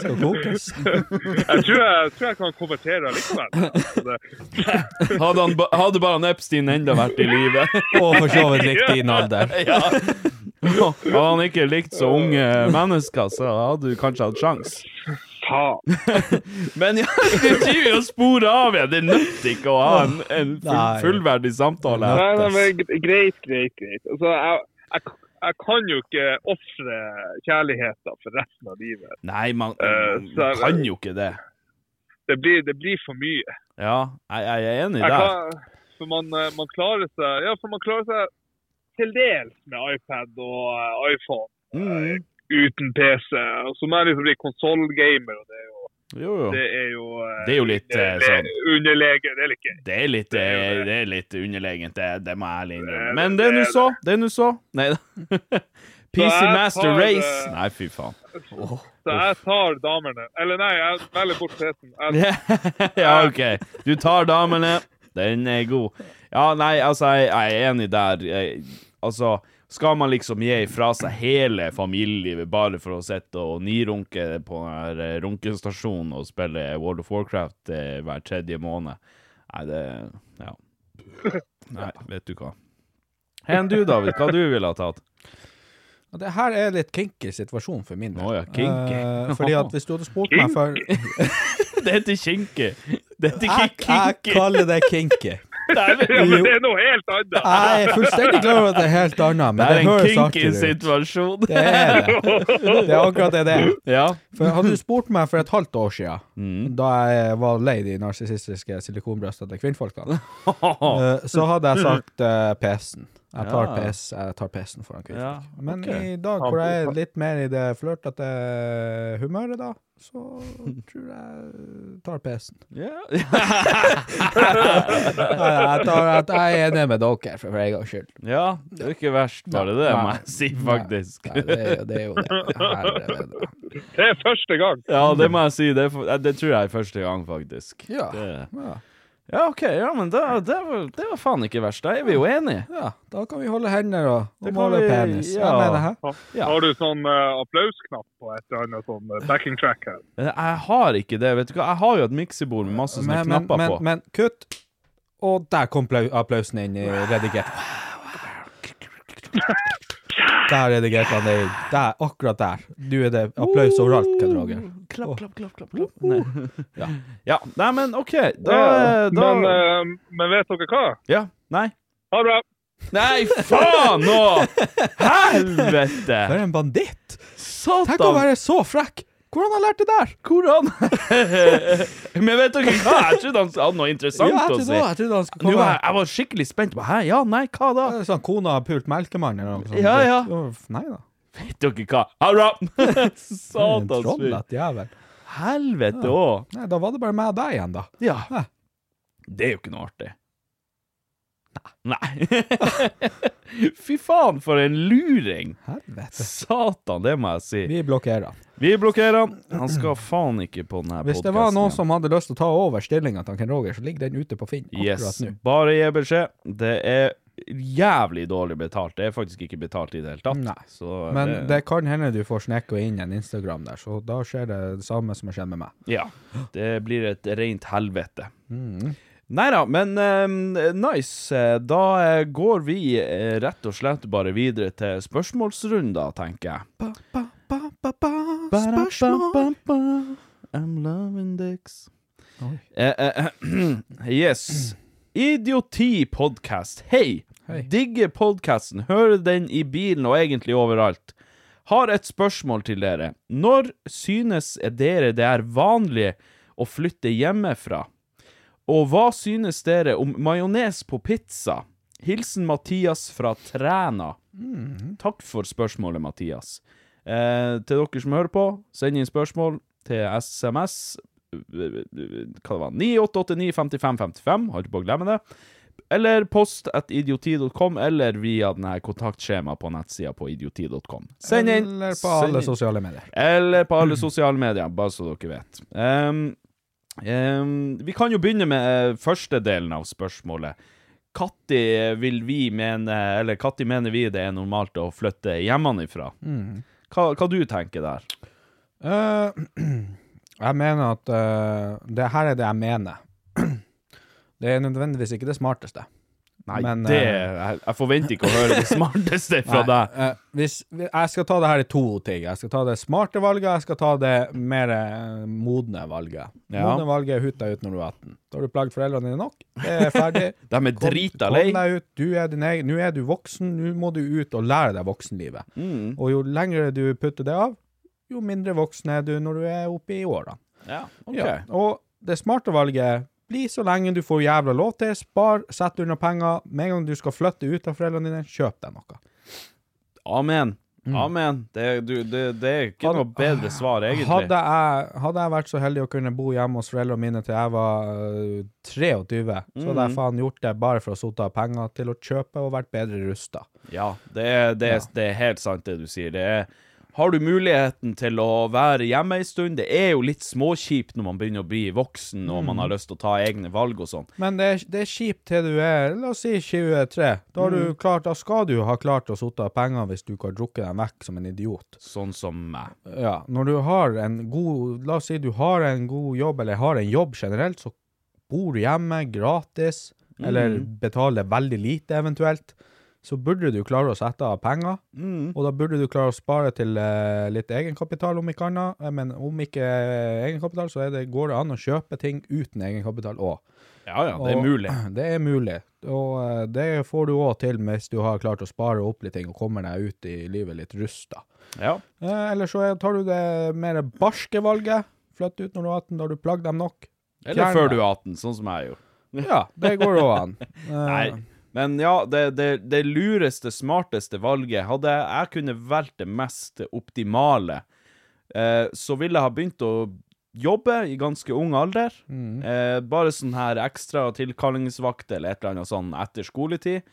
S3: Skal kokes.
S5: Jeg tror jeg, tror jeg kan konvertere likevel. Altså, det-
S2: Hadde, han, ba- hadde bare han Epstein enda vært i live.
S3: Og for så vidt likt din alder.
S2: Ja. Hadde han ikke likt så unge mennesker, så hadde du kanskje hatt sjans.
S5: Faen.
S2: Men ja, du driver jo og sporer av igjen. Det nytter ikke å ha en, en full,
S3: Nei.
S2: fullverdig samtale. her.
S5: Nei, nei, men g- greit, greit, greit. Altså, jeg, jeg, k- jeg kan jo ikke ofre kjærligheten for resten av livet.
S2: Nei, man,
S5: Eh,
S2: man
S5: så-
S2: kan jo ikke det.
S5: Det blir, det blir for mye.
S2: Ja, jeg, jeg er enig
S5: Jeg
S2: der.
S5: kan, for man, eh, man klarer seg Ja, for man klarer seg til dels med iPad og eh, iPhone
S2: Mm.
S5: uten PC. Og så må jeg liksom bli konsollgamer, og det er jo
S2: Jo, jo.
S5: Det er jo, eh,
S2: Det er jo litt, eh,
S5: underle-
S2: sånn-
S5: Underlege. Det er litt gøy.
S2: Det er litt,
S5: er jo
S2: eh,
S5: det.
S2: det er litt underlegent, det, det må jeg ærlig innrømme.
S5: Det-
S2: Men det er nå
S5: det er
S2: så. Det er nå så. Nei da. PC
S5: jeg
S2: Master
S5: tar,
S2: Race.
S5: eh,
S2: Nei, fy faen.
S5: Så jeg tar damene. Eller nei, jeg velger bort PC-en. Jeg-
S2: ja, OK. Du tar damene. Den er god. Ja, nei, altså, jeg, jeg er enig der. Jeg, altså, skal man liksom gi fra seg hele familielivet bare for å sitte og nirunke på den her eh, runkestasjonen og spille World of Warcraft eh, hver tredje måned? Nei, det Ja. Nei, vet du hva. Hen du, David, hva du ville ha tatt?
S3: Og Det her er litt kinky situasjon for min del.
S2: Å ja, kinky.
S3: Eh, fordi at hvis du hadde spurt meg for
S2: Det heter kinky. Det
S3: jeg,
S2: heter ikke
S3: jeg
S2: kinky.
S3: kaller det kinky.
S5: Ja, men
S3: Jo.
S5: det er noe helt annet.
S3: Jeg er fullstendig klar over at det er helt annet, men
S2: Det
S3: det,
S2: er en
S3: høres
S2: kinky
S3: artigere ut.
S2: situasjon.
S3: Det er det. Det er akkurat det det er.
S2: Ja.
S3: For hadde du spurt meg for et halvt år siden,
S2: Mm.
S3: da jeg var lei de narsissistiske silikonbrystene til kvinnfolkene, eh, så hadde jeg sagt eh, PC-en. Jeg tar
S2: Ja.
S3: PS, jeg tar PC-en foran
S2: Ja,
S3: kvinnfolk. Men
S2: ok.
S3: i dag, hvor jeg er litt mer i det flørtete humøret, da, så tror jeg tar PC-en. Nei, Jeg, tar, jeg, jeg er enig med dere, for, for en gangs skyld.
S2: Ja, det er ikke verst, bare det,
S3: Nei.
S2: må jeg si, faktisk.
S3: Nei, det, er jo- det er jo det. Herre,
S5: Det er første gang.
S2: Ja, det må jeg si. Det, er for, eh, det tror jeg er første gang, faktisk.
S3: Ja.
S2: Det,
S3: ja.
S2: ja OK. Ja, men det, det, var, det var faen ikke verst. Da er vi jo enige.
S3: Ja, da kan vi holde hender og, og
S2: Det kan
S3: måle
S2: vi-
S3: penis.
S2: ja.
S3: Jeg mener, hæ?
S2: Ja.
S5: Har du sånn eh, applausknapp på et eller annet sånn eh, backing track her?
S2: Men Jeg har ikke det, vet du hva. Jeg har jo et miksebord med masse sånne
S3: Men, men,
S2: knapper
S3: men,
S2: Altså, på.
S3: men kutt. Og der kom plau- applausen inn i redigert. Der redigerte han det inn. Der, akkurat der. Nå er det applaus overalt, Ken Roger.
S2: Klapp, klapp, klapp, klapp. klapp. Nei. Ja. ja. Nei, men OK. Da,
S5: Ja,
S2: da
S5: men, eh, men vet dere hva?
S2: Ja. Nei.
S5: Ha det bra.
S2: Nei, faen nå!
S3: For
S2: Helvete!
S3: en banditt! Tenk å
S2: Satan!
S3: være så frekk! Hvordan har han lært det der?
S2: Hvordan Men vet dere hva? Jeg trodde han hadde noe
S3: Ja,
S2: interessant
S3: jeg,
S2: å
S3: trodde,
S2: si.
S3: jeg trodde han skulle
S2: Nå,
S3: komme
S2: jeg, jeg var skikkelig spent. Hæ? Ja, nei, hva da?
S3: Det er Sånn kona har pult melkemann eller noe sånt.
S2: Ja, ja.
S3: Uff, Nei da.
S2: Vet dere hva? Ha det!
S3: En
S2: Satans fyr.
S3: trollete jævel.
S2: Helvete òg.
S3: Nei, da var det bare meg og deg igjen, da.
S2: Ja.
S3: Hæ.
S2: Det er jo ikke noe artig. Nei. Fy faen, for en luring!
S3: Helvete.
S2: Satan, det må jeg si.
S3: Vi blokkerer han.
S2: Vi blokkerer han. Han skal faen ikke på denne podkasten.
S3: Hvis det var noen som hadde lyst til å ta over stillinga til Ken Roger, så ligger den ute på Finn akkurat
S2: Yes.
S3: nå.
S2: Bare gi beskjed. Det er jævlig dårlig betalt. Det er faktisk ikke betalt i det hele tatt.
S3: Nei.
S2: Så eh,
S3: Men det kan hende du får snekka inn en Instagram der, så da skjer det det samme som har skjedd med meg.
S2: Ja. Det blir et rent helvete.
S3: Mm.
S2: Nei da, men eh, nice. Eh, Da eh, går vi eh, rett og slett bare videre til spørsmålsrunder, tenker jeg.
S3: Spørsmål?
S2: I'm loving dicks.
S3: Oi.
S2: Eh, eh, yes. Idioti podcast. Hei.
S3: Hei.
S2: Digger podcasten. Hører den i bilen og egentlig overalt. Har et spørsmål til dere. Når synes dere det er vanlig å flytte hjemmefra? Og hva synes dere om majones på pizza? Hilsen Mathias fra Træna.
S3: Mm-hmm.
S2: Takk for spørsmålet, Mathias. Eh, til dere som hører på, send inn spørsmål til SMS eh, Hva det var 98895555, holdt på å glemme det. eller post at idioti.com, eller via den her kontaktskjemaet på nettsida på idioti.com. Send inn!
S3: Eller på
S2: send
S3: alle
S2: inn.
S3: sosiale medier.
S2: Eller på alle sosiale medier, bare så dere vet. Ehm, ehm, vi kan jo begynne med eh, første delen av spørsmålet. Katti eh, vil vi mene, eller Katti mener vi det er normalt å flytte hjemmefra.
S3: Mm.
S2: Hva, hva du tenker der?
S3: Eh, jeg mener at eh, det her er det jeg mener. Det er nødvendigvis ikke det smarteste.
S2: Nei,
S3: Men,
S2: det,
S3: eh,
S2: jeg, jeg forventer ikke å høre det smarteste fra
S3: Nei,
S2: deg.
S3: eh, hvis, jeg skal ta det her i to ting. Jeg skal ta det smarte valget, jeg skal ta det mer eh, modne valget.
S2: Ja.
S3: Modne valget er ut deg ut når du er 18. Da har du plaget foreldrene dine nok. Det er ferdig.
S2: De er
S3: Kom-
S2: drita
S3: kom
S2: lei.
S3: deg ut. Du er din egen. Nå er du voksen, nå må du ut og lære deg voksenlivet.
S2: Mm.
S3: Og jo lengre du putter det av, jo mindre voksen er du når du er oppe i årene.
S2: Ja, ok.
S3: Ja. Og det smarte valget bli så lenge du får jævla lov til. Spar, sett unna penger. Med en gang du skal flytte ut av foreldrene dine, kjøp deg noe.
S2: Amen.
S3: Mm.
S2: Amen. Det, du, det, det er ikke
S3: Hadde-
S2: noe bedre svar, egentlig.
S3: ah, Hadde jeg, hadde jeg vært så heldig å kunne bo hjemme hos foreldrene mine til jeg var øh, 23, så hadde jeg faen gjort det bare for å sotte av penger til å kjøpe og vært bedre rusta.
S2: Ja, det er, det, er, det er helt sant det du sier. Det er, har du muligheten til å være hjemme en stund? Det er jo litt småkjipt når man begynner å bli voksen og man har lyst til å ta egne valg og sånn.
S3: Men det er, det er kjipt til du er la oss si 23. Da, har du klart, da skal du ha klart å sotte av penger hvis du ikke har drukket deg vekk som en idiot.
S2: Sånn som meg.
S3: Ja, når du har en god La oss si du har en god jobb, eller har en jobb generelt, så bor du hjemme gratis, eller betaler veldig lite eventuelt, så burde du klare å sette av penger, og da burde du klare å spare til eh, litt egenkapital, om ikke annet. Eh, Men om ikke eh, egenkapital, så er det, går det an å kjøpe ting uten egenkapital òg.
S2: Ja ja, det er
S3: Og-
S2: mulig.
S3: Det er mulig, og eh, det får du òg til hvis du har klart å spare opp litt ting og kommer deg ut i livet litt rusta.
S2: Ja.
S3: Eh, Eller så er- tar du det mer barske valget. Flytt ut når du er 18, da har du plagd dem nok.
S2: Eller
S3: Fjern
S2: før
S3: deg.
S2: du er 18, sånn som jeg gjorde.
S3: Ja, det går òg an. Eh,
S2: Nei. Men ja, det, det, det lureste, smarteste valget Hadde jeg kunne valgt det mest optimale, eh, så ville jeg ha begynt å jobbe i ganske ung alder. Eh, bare sånn her ekstra tilkallingsvakt eller et eller annet sånn etter skoletid.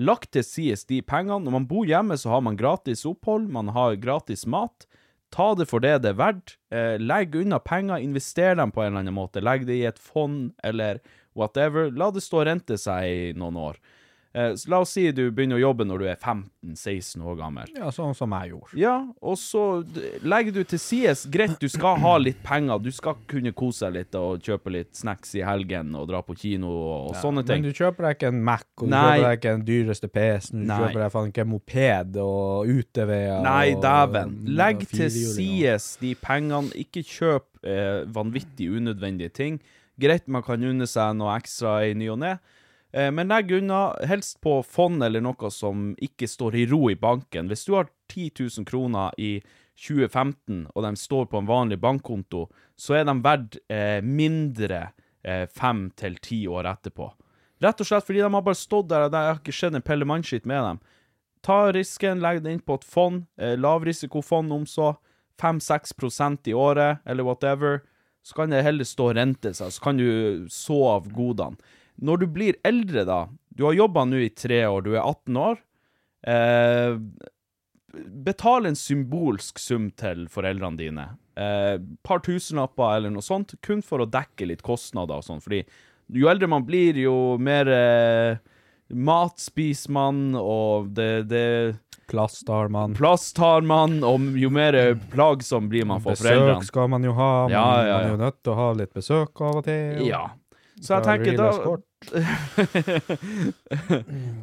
S2: Lagt til sides de pengene. Når man bor hjemme, så har man gratis opphold, man har gratis mat. Ta det for det det er verdt. Eh, legg unna penger, invester dem på en eller annen måte. Legg det i et fond eller whatever. La det stå og rente seg i noen år. Eh, så la oss si du begynner å jobbe når du er 15-16 år gammel.
S3: Ja, sånn som jeg gjorde.
S2: Ja, og så d- legger du til sides. Greit, du skal ha litt penger. Du skal kunne kose deg litt og kjøpe litt snacks i helgen og dra på kino og, og sånne
S3: Men
S2: ting.
S3: du kjøper deg ikke en Mac, og du
S2: Nei.
S3: kjøper deg ikke den dyreste PC-en, du
S2: Nei.
S3: kjøper deg faen ikke en moped og uteveier
S2: Nei,
S3: og-
S2: dæven.
S3: og
S2: Legg til
S3: mm, firehjuling og-
S2: sides de pengene. Ikke kjøp eh, vanvittig unødvendige ting. Greit, man kan unne seg noe ekstra i ny og ne. Eh, Men legg unna, helst på fond eller noe som ikke står i ro i banken. Hvis du har 10 000 kroner i 2015, og de står på en vanlig bankkonto, så er de verdt eh, mindre eh, fem til ti år etterpå. Rett og slett fordi de har bare stått der, og det har ikke skjedd en Pelle Mann-skitt med dem. Ta risken, legg det inn på et fond, eh, lavrisikofond om så, 5-6 i året, eller whatever, så kan det heller stå og rente seg, så kan du så av godene. Når du blir eldre da, du har jobbet nå i tre år, du er 18 år, eh, betal en symbolsk sum til foreldrene dine. Eh, par tusenlapper eller noe sånt, kun for å dekke litt kostnader og sånn, fordi jo eldre man blir, jo mer... Eh, Mat spiser man, og det, det
S3: Plast har man.
S2: Plass tar man, og jo mer plagsom blir man for
S3: Besøk
S2: foreldrene.
S3: skal man jo ha. Man,
S2: Ja, ja,
S3: man er jo nødt til å ha litt besøk av og til. og-
S2: Ja. Så
S3: Ja,
S2: jeg tenker
S3: real
S2: da
S3: escort.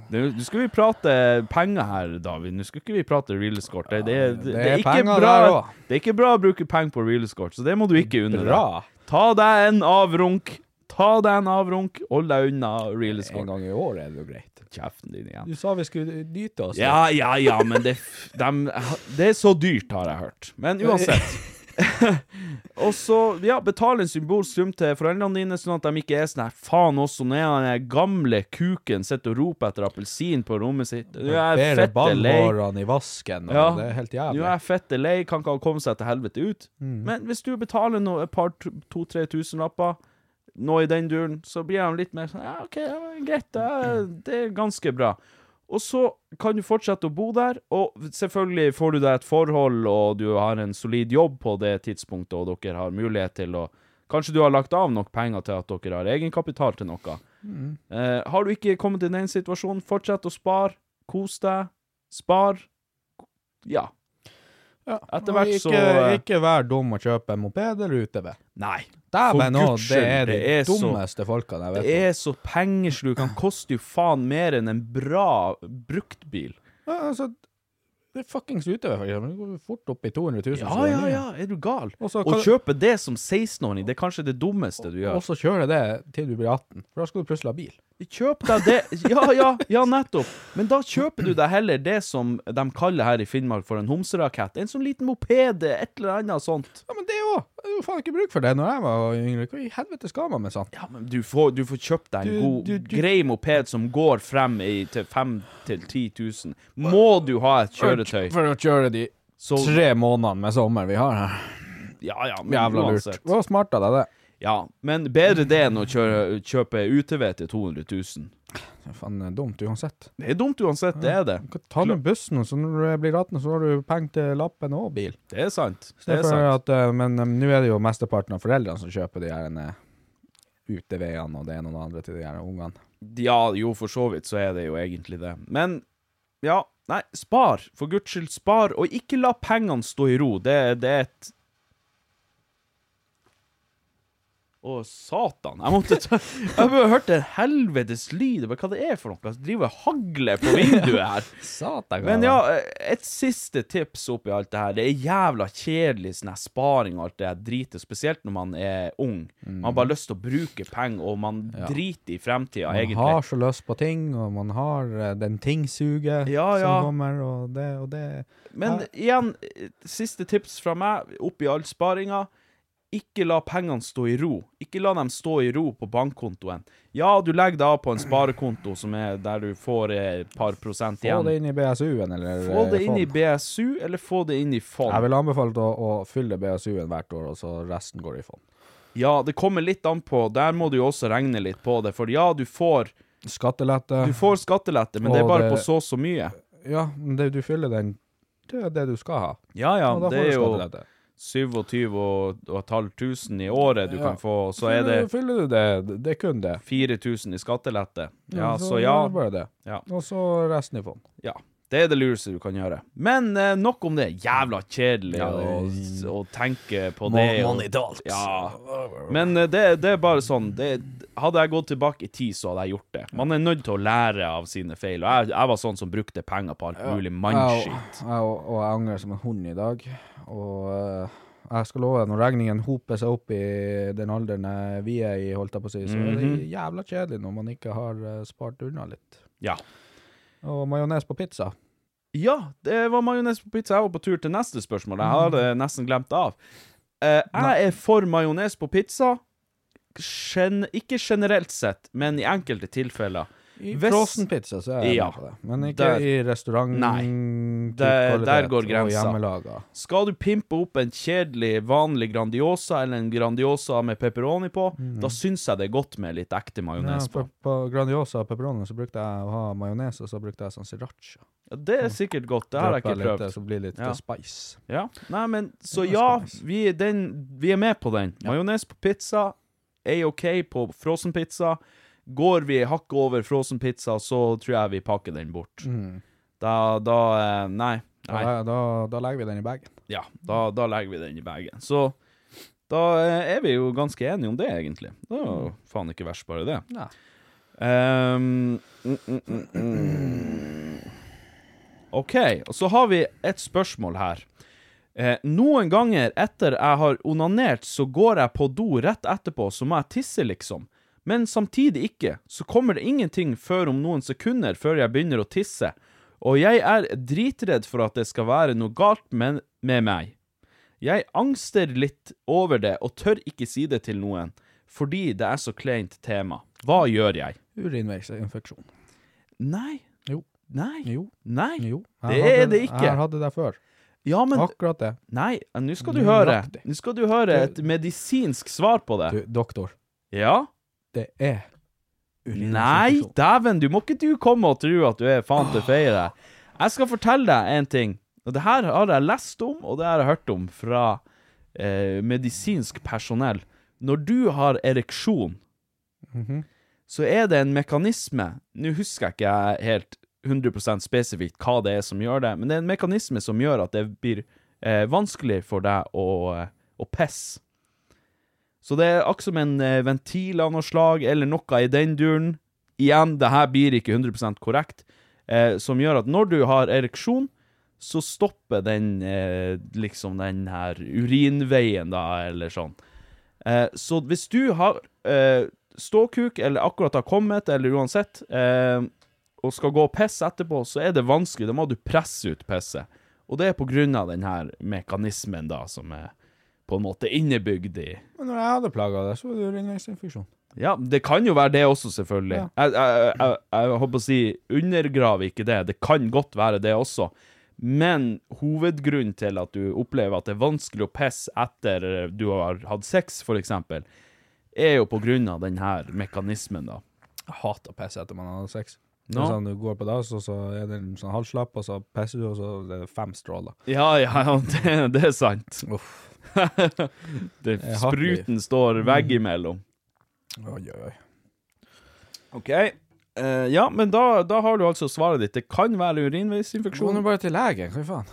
S2: Nå nå skal vi prate penger her, David. Nå skal ikke vi prate real escort. Det, det, det,
S3: det
S2: det,
S3: er
S2: er ikke
S3: penger
S2: bra,
S3: der også.
S2: det er ikke bra å bruke penger på real escort, så det må du ikke unne deg.
S3: Bra.
S2: Ta deg en avrunk. Ta deg en avrunk. Hold deg unna real
S3: En
S2: escort.
S3: gang i år er det jo greit.
S2: Kjeften din igjen.
S3: Du sa vi skulle nyte oss. litt.
S2: Ja, ja, ja, men det, dem- det er så dyrt, har jeg hørt. Men uansett. og så, ja, betal en symbolsk sum til foreldrene dine, sånn at de ikke er sånn her Faen også, når den der gamle kuken sitter og roper etter appelsin på rommet sitt. Du er
S3: Bedre
S2: fette lei.
S3: ballhårene i vasken, og
S2: Ja.
S3: det er helt
S2: Du
S3: jævlig. Mm.
S2: er fette lei, kan ikke komme seg til helvete ut. Men hvis du betaler noe, et par 2000-3000 lapper noe i den duren, så blir de litt mer sånn Ja, OK, ja, men greit, det er,
S3: Mm.
S2: det er ganske bra. Og så kan du fortsette å bo der, og selvfølgelig får du deg et forhold, og du har en solid jobb på det tidspunktet, og dere har mulighet til å Kanskje du har lagt av nok penger til at dere har egenkapital til noe.
S3: Mm.
S2: Eh, har du ikke kommet i den situasjonen, fortsett å spare. Kos deg. Spar. Ja.
S3: Ja,
S2: Etter
S3: og
S2: hvert
S3: ikke,
S2: så, eh,
S3: Ikke vær dum og kjøpe en moped eller UTV.
S2: Nei.
S3: Dæven
S2: For
S3: òg,
S2: Guds
S3: det
S2: skyld,
S3: er de
S2: det er så-
S3: dummeste folkene jeg
S2: Det
S3: vet om.
S2: er så pengeslukende. Koster jo faen mer enn en bra bruktbil.
S3: Ja, altså, det er fuckings UTV, for eksempel. Det går fort opp i 200 000.
S2: Ja,
S3: så det er
S2: ja,
S3: mye.
S2: ja. Altså, Er du gal?
S3: Og så
S2: Å
S3: kan-
S2: kjøpe det som 16-åring, det er kanskje det dummeste du
S3: Og
S2: gjør.
S3: så kjøre det til du blir 18, for da skal du plutselig ha bil.
S2: Kjøp deg det Ja, ja, ja, nettopp. Men da kjøper du deg heller det som de kaller her i Finnmark for en homserakett. En sånn liten moped, et eller annet sånt.
S3: Ja, men det òg! Jeg hadde jo faen ikke bruk for det når jeg var yngre. Hva i helvete skal man med sånt?
S2: Ja, men du får, du får kjøpt deg en
S3: Du-
S2: god,
S3: du- du-
S2: grei moped som går frem i, til 5 til 10 000. Må du ha et kjøretøy?
S3: For å kjøre de
S2: Så,
S3: tre månedene med sommer vi har her.
S2: ja, ja, men
S3: Jævla lurt.
S2: uansett.
S3: Det var smart av deg, det.
S2: Ja, men bedre det enn å kjøre, kjøpe UTV til 200 000.
S3: Faen, det er dumt uansett.
S2: Det er dumt uansett, det er det.
S3: Du kan ta med bussen, og så når du blir 18, så har du penger til lappen og bil.
S2: Det er sant. Det er
S3: Derfor
S2: sant.
S3: at, eh, men eh, nå er det jo mesteparten av foreldrene som kjøper de her eh, uteveiene, og det er noen andre til de her ungene.
S2: Ja, jo, for så vidt så er det jo egentlig det. Men ja, nei, spar. For guds skyld, spar, og ikke la pengene stå i ro. Det, det er et Å, satan. Jeg måtte ta Jeg bare hørte en helvetes lyd. Jeg bare, Hva det er for noe? Jeg driver og hagler på vinduet her.
S3: Satan,
S2: Men ja, et siste tips oppi alt det her. Det er jævla kjedelig sånn her sparing og alt det her dritet, spesielt når man er ung. Man har bare lyst til å bruke penger, og man driter i
S3: Mhm.
S2: fremtida,
S3: Man
S2: egentlig.
S3: har så lyst på ting, og man har eh, den tingsuget
S2: Ja, ja.
S3: som kommer, og det og det.
S2: Men igjen, eh, siste tips fra meg oppi all sparinga. Ikke la pengene stå i ro. Ikke la dem stå i ro på bankkontoen. Ja, du legger deg av på en sparekonto som er der du får eh, et par prosent
S3: Få
S2: igjen.
S3: det inn i BSU-en, eller
S2: Få det
S3: eh,
S2: inn i
S3: fond.
S2: BSU, eller få det inn i fond.
S3: Jeg vil anbefale å, å fylle BSU-en hvert år, og så resten går i fond.
S2: Ja, det kommer litt an på. Der må du jo også regne litt på det. For ja, du får,
S3: Skattelette.
S2: du får skattelette, men det er
S3: Og
S2: bare
S3: det-
S2: på så og så mye.
S3: Ja, men det, du fyller den til det du skal ha.
S2: Ja, ja,
S3: og da
S2: det
S3: får
S2: er
S3: du
S2: jo
S3: skattelette.
S2: 27 og, og et halvt tusen i året du
S3: Ja.
S2: kan få, og så er det
S3: Fyller- Fyller du det, det er kun det.
S2: 4000 i skattelette. Ja, så
S3: er
S2: ja.
S3: det Bare det.
S2: Ja.
S3: Og så resten i fond.
S2: ja. Det er det lureste du kan gjøre. Men eh, nok om det. Jævla kjedelig
S3: Ja, det-
S2: å, å tenke på det. og-
S3: Monetalt.
S2: Ja. Men eh, det, det er bare sånn det, Hadde jeg gått tilbake i tid, så hadde jeg gjort det. Man er nødt til å lære av sine feil. Og jeg, jeg var sånn som brukte penger på alt mulig mannskitt.
S3: Jeg, og, og jeg angrer som en hund i dag. Og eh, jeg skal love deg, når regningen hoper seg opp i den alderen eh, vi er i, holdt jeg på å si, så er det jævla kjedelig når man ikke har eh, spart unna litt.
S2: Ja.
S3: Og majones på pizza.
S2: ja, det var majones på pizza. Jeg var på tur til neste spørsmål. Jeg hadde nesten glemt det av. Eh, jeg er for majones på pizza. Gen ikke generelt sett, men i enkelte tilfeller.
S3: I
S2: Hvis-
S3: frossenpizza så er jeg
S2: Ja.
S3: med på det, men ikke
S2: Der-
S3: i restaurant
S2: Nei.
S3: typ
S2: Der- der
S3: kvalitet
S2: går
S3: Og
S2: grensa.
S3: hjemmelaga.
S2: Skal du pimpe opp en kjedelig, vanlig Grandiosa eller en Grandiosa med pepperoni på, da syns jeg det er godt med litt ekte
S3: Ja,
S2: majones
S3: på,
S2: på.
S3: på Grandiosa og pepperoni så brukte jeg å ha majones, og så brukte jeg sånn sriracha.
S2: Ja, det er sikkert godt. Det har jeg
S3: Dropper
S2: ikke
S3: litt,
S2: prøvd.
S3: Så blir det litt
S2: Ja.
S3: eh, spice.
S2: Ja. Nei, men Så
S3: Det er
S2: ja,
S3: ganske nice.
S2: vi, er den, vi er med på den. Majones på pizza er OK på frossenpizza. Går vi hakket over frossenpizza, så tror jeg vi pakker den bort. Da, da eh, Nei. nei.
S3: Mm. Da, da, da legger vi den i bagen.
S2: Ja, da, da legger vi den i bagen. Så da eh, er vi jo ganske enige om det, egentlig. Det er jo faen ikke verst, bare det.
S3: Nei.
S2: Ehm, mm, mm, mm, mm. OK, og så har vi et spørsmål her. Eh, noen ganger etter jeg har onanert, så går jeg på do rett etterpå, så må jeg tisse, liksom. Men samtidig ikke, så kommer det ingenting før om noen sekunder før jeg begynner å tisse. Og jeg er dritredd for at det skal være noe galt med, med meg. Jeg angster litt over det og tør ikke si det til noen, fordi det er så kleint tema. Hva gjør jeg?
S3: Urinveisinfeksjon.
S2: Nei.
S3: Jo.
S2: Nei.
S3: Jo.
S2: Nei.
S3: Jo.
S2: Det
S3: Jeg
S2: er
S3: hadde-
S2: det ikke.
S3: Jeg hadde det før.
S2: Ja, men
S3: Akkurat det.
S2: Nei, nå skal du høre.
S3: Nøyaktig.
S2: Nå skal du høre et medisinsk svar på det.
S3: Du, doktor.
S2: Ja?
S3: Det er
S2: Nei,
S3: urininfeksjon.
S2: dæven, du må ikke du komme og tro at du er faen
S3: Ah.
S2: til feire. Jeg skal fortelle deg en ting. Og det her har jeg lest om, og det har jeg hørt om fra eh, medisinsk personell. Når du har ereksjon,
S3: Mhm.
S2: så er det en mekanisme Nå husker jeg ikke helt 100 spesifikt hva det er som gjør det, men det er en mekanisme som gjør at det blir eh, vanskelig for deg å, eh, å pisse. Så det er akkurat som en eh, ventil av noe slag, eller noe i den duren. Igjen, det her blir ikke 100 korrekt. Eh, som gjør at når du har ereksjon, så stopper den eh, liksom den her urinveien, da, eller sånn. Eh, så hvis du har eh, ståkuk, eller akkurat har kommet, eller uansett, eh, og skal gå og pisse etterpå, så er det vanskelig. Da må du presse ut pisset. Og det er på grunn av den her mekanismen, da, som er på en måte innebygd i
S3: Men når jeg hadde plaga det, så var det urinveisinfeksjon.
S2: ja, det kan jo være det også, selvfølgelig. Jeg, jeg, jeg, jeg håper å si, undergrav ikke det. Det kan godt være det også. Men hovedgrunnen til at du opplever at det er vanskelig å pisse etter du har hatt sex, f.eks., er jo på grunn av denne mekanismen, da.
S3: Jeg hater å pisse etter man har hatt sex. Det
S2: Nå?
S3: er Sånn, du går på dass, og så er det en sånn halvslapp, og så pisser du, og så er det fem stråler.
S2: Ja, ja, ja, det, det er sant.
S3: Uff. er
S2: Det,
S3: hardt liv.
S2: spruten står veggimellom.
S3: Oi, oi, oi.
S2: OK. eh, ja, men da, da har du altså svaret ditt. Det kan være urinveisinfeksjon.
S3: bare til legen, hva faen?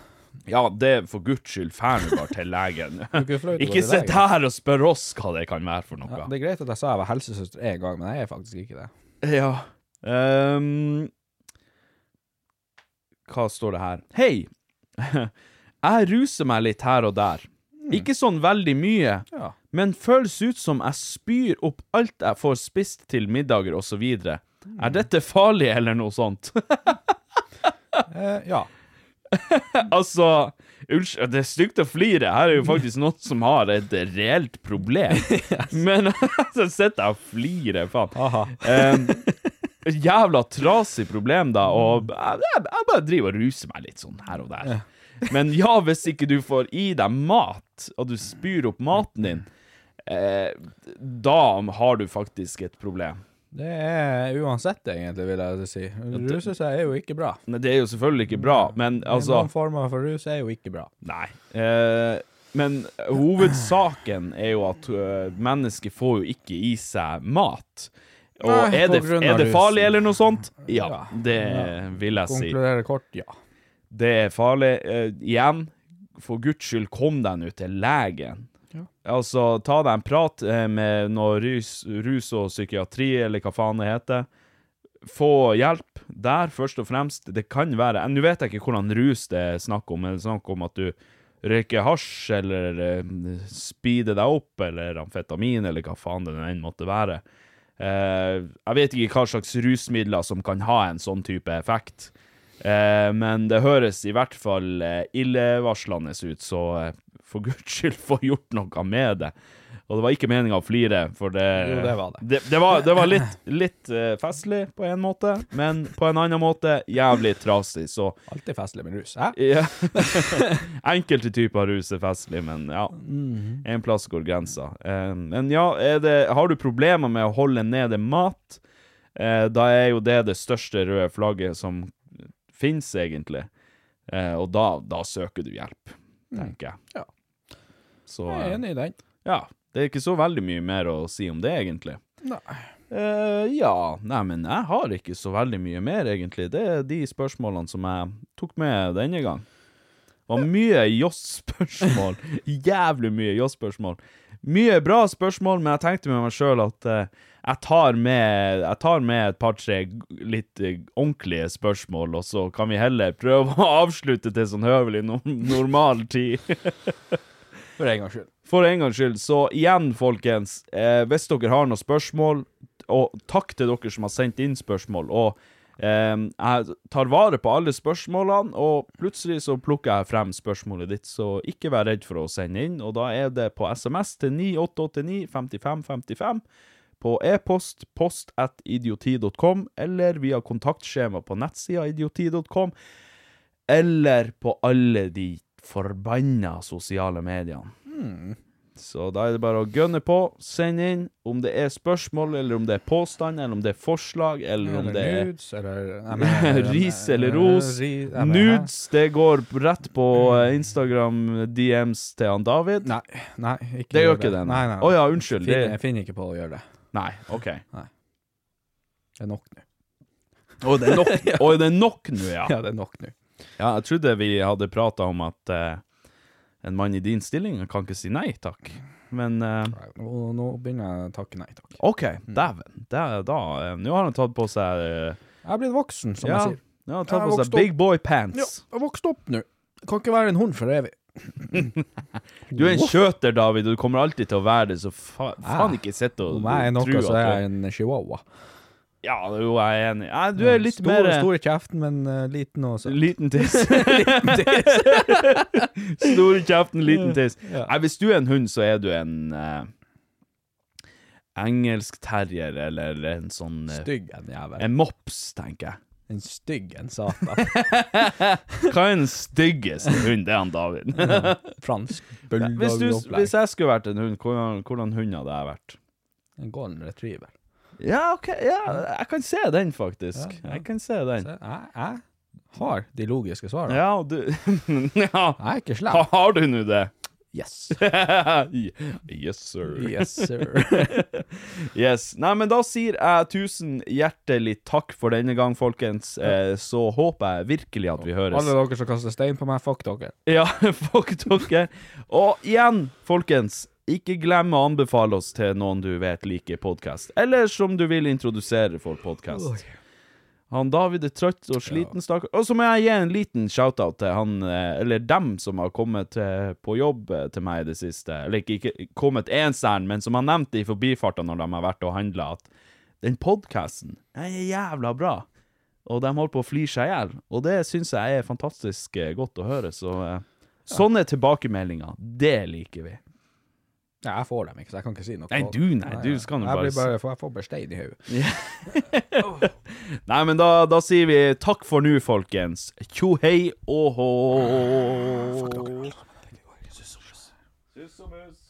S2: Ja, det for guds skyld, fær nå bare til legen.
S3: ikke flaut å gå
S2: Ikke
S3: til
S2: sitt
S3: legen.
S2: her og spør oss hva det kan være for
S3: Ja,
S2: noe.
S3: det er greit at jeg sa jeg var helsesøster én gang, men jeg er faktisk ikke det.
S2: Ja. Ehm, hva står det her? Hei! Jeg ruser meg litt her og der. Ikke sånn veldig mye,
S3: Mm. Ja.
S2: men føles ut som jeg spyr opp alt jeg får spist til middager osv.
S3: Mm.
S2: Er dette farlig, eller noe sånt?
S3: Eh, ja.
S2: altså Unnskyld, det er stygt å flire. Her er jo faktisk noen som har et reelt problem. Men så sitter jeg og flirer, faen.
S3: Aha.
S2: Um, jævla trasig problem, da, og jeg, jeg, jeg bare driver og ruser meg litt sånn her og der. Men ja, hvis ikke du får i deg mat, og du spyr opp maten din, eh, da har du faktisk et problem.
S3: Det er uansett, egentlig, vil jeg si. Ruse seg er jo ikke bra.
S2: Men det er jo selvfølgelig ikke bra, men altså
S3: Noen former for rus er jo ikke bra.
S2: Nei. Eh, men hovedsaken er jo at eh, mennesket får jo ikke i seg mat. Og
S3: Nei,
S2: er,
S3: på
S2: det,
S3: grunn av
S2: er det farlig
S3: rusen.
S2: eller noe sånt? Ja,
S3: Ja.
S2: det vil jeg si.
S3: Konkluderer kort, ja.
S2: Det er farlig. Eh, igjen, for guds skyld, kom deg nå til legen.
S3: Ja.
S2: Altså, ta deg en prat eh, med noe rus, rus og psykiatri, eller hva faen det heter. Få hjelp der, først og fremst. Det kan være eh, Nå vet jeg ikke hvordan rus det er snakk om, men det er snakk om at du røyker hasj, eller eh, speeder deg opp, eller amfetamin, eller hva faen det enn måtte være. Eh, jeg vet ikke hva slags rusmidler som kan ha en sånn type effekt. Eh, men det høres i hvert fall eh, illevarslende ut, så eh, for guds skyld, få gjort noe med det. Og det var ikke meninga å flire, for det
S3: Jo, det var det.
S2: Det, var, det var litt, litt eh, festlig på en måte, men på en annen måte jævlig trasig, så
S3: Alltid festlig med rus. Hæ?
S2: ja. Enkelte typer rus er festlig, men ja.
S3: Mhm.
S2: En plass går grensa. Eh, men ja, er det, har du problemer med å holde nede mat, eh, da er jo det det største røde flagget som fins, egentlig. Eh, og da, da søker du hjelp, tenker jeg.
S3: Mm. Ja.
S2: Så
S3: Jeg er
S2: eh,
S3: enig i den.
S2: ja, det er ikke så veldig mye mer å si om det, egentlig.
S3: Nei.
S2: Eh, ja, nei, men jeg har ikke så veldig mye mer, egentlig. Det er de spørsmålene som jeg tok med denne gang. Det var mye joss-spørsmål. Jævlig mye joss-spørsmål. Mye bra spørsmål, men jeg tenkte med meg sjøl at eh, jeg, tar med, jeg tar med et par-tre g- litt eh, ordentlige spørsmål, og så kan vi heller prøve å avslutte til sånn høvelig no normal tid.
S3: For en gangs skyld.
S2: For en gangs skyld, så igjen, folkens, eh, hvis dere har noen spørsmål, og takk til dere som har sendt inn spørsmål, og eh, jeg tar vare på alle spørsmålene, og plutselig så plukker jeg frem spørsmålet ditt, så ikke vær redd for å sende inn, og da er det på sms til 9889 55 55, på e-post post at idioti.com, eller via kontaktskjema på nettsida idioti.com,
S3: Hmm.
S2: eller på alle de forbanna sosiale mediene. Så da er det bare å gønne på. Send inn om det er spørsmål, eller om det er påstand, eller om det er forslag, eller om det er
S3: nudes, eller Nei, men-
S2: Ris eller ros.
S3: Ri- Nei, men-
S2: Nudes, det går rett på eh, Instagram DMs til han David.
S3: Nei, nei ikke
S2: Det gjør ikke det, nei.
S3: Nei, nei.
S2: Å ja, unnskyld,
S3: Fin,
S2: det-
S3: jeg finner ikke på å gjøre det.
S2: Nei, OK.
S3: Det er nok nå.
S2: Oi, det er nok, Oi, det er nok nå, ja.
S3: Ja, det er nok nå.
S2: Ja, jeg trodde vi hadde prata om at eh, en mann i din stilling kan ikke si nei takk, men eh,
S3: Nå, nå begynner jeg å takke nei takk.
S2: OK,
S3: Mm.
S2: dæven. Det er da eh, Nå har han tatt på seg eh,
S3: Jeg er blitt voksen, som
S2: Ja,
S3: jeg sier.
S2: ja han har tatt
S3: Jeg
S2: på
S3: vokste
S2: seg
S3: opp-
S2: big boy pants.
S3: Ja, jeg har vokst opp nå. Kan ikke være en hund for evig.
S2: Du er en skjøter, David, og du kommer alltid til å være det, så fa faen ikke sitt
S3: Ah.
S2: og
S3: Om jeg er
S2: tro
S3: noe,
S2: at
S3: så
S2: du-
S3: er jeg en chihuahua.
S2: Ja, jo, jeg er enig. Nei, du er litt
S3: Stor-
S2: mer
S3: Stor i kjeften, men eh, liten og søt.
S2: Liten tiss. Stor i kjeften, liten tiss. Nei, hvis du er en hund, så er du en eh, engelsk terrier eller en sånn eh,
S3: Stygg en jævel.
S2: En mops, tenker jeg.
S3: En stygg en satan.
S2: Hva er den styggeste hunden? Det er han David.
S3: Fransk
S2: hvis, du, hvis
S3: bulldog-opplegg.
S2: jeg skulle vært en hund, hvordan, hvordan hund hadde jeg vært?
S3: En golden retriever.
S2: Ja, ok, ja, jeg kan se den, faktisk.
S3: Ja, ja.
S2: Jeg kan se den.
S3: Jeg, jeg har de logiske svarene.
S2: Ja, og du Ja,
S3: Jeg er ikke slem.
S2: har du nå det?
S3: Yes.
S2: yes, sir.
S3: Yes, sir.
S2: Yes. Nei, men da sier jeg tusen hjertelig takk for denne gang, folkens. Eh, så håper jeg virkelig at vi høres.
S3: Alle dere som kaster stein på meg, fuck dere.
S2: Ja, fuck dere. Og igjen, folkens, ikke glem å anbefale oss til noen du vet liker podkast, eller som du vil introdusere for podkast. Han David er trøtt og sliten, stakkar. Og så må jeg gi en liten shout-out til han, eh, eller dem som har kommet eh, på jobb eh, til meg i det siste. Eller ikke, ikke kommet enseren, men som har nevnt det i forbifarten når de har vært og handla, at den podkasten er jævla bra. Og de holder på å flire seg i hjel. Og det syns jeg er fantastisk eh, godt å høre. Så eh, sånne tilbakemeldinger, det liker vi.
S3: Ja, jeg får dem ikke, så jeg kan ikke si noe.
S2: Nei, du, nei, du skal nå
S3: jeg
S2: bare
S3: blir
S2: s-
S3: bare Jeg får bare stein i hodet.
S2: Nei, men da, da sier vi takk for nå, folkens. Tjo hei og hå.
S3: Fuck dere.
S2: Sus og mus.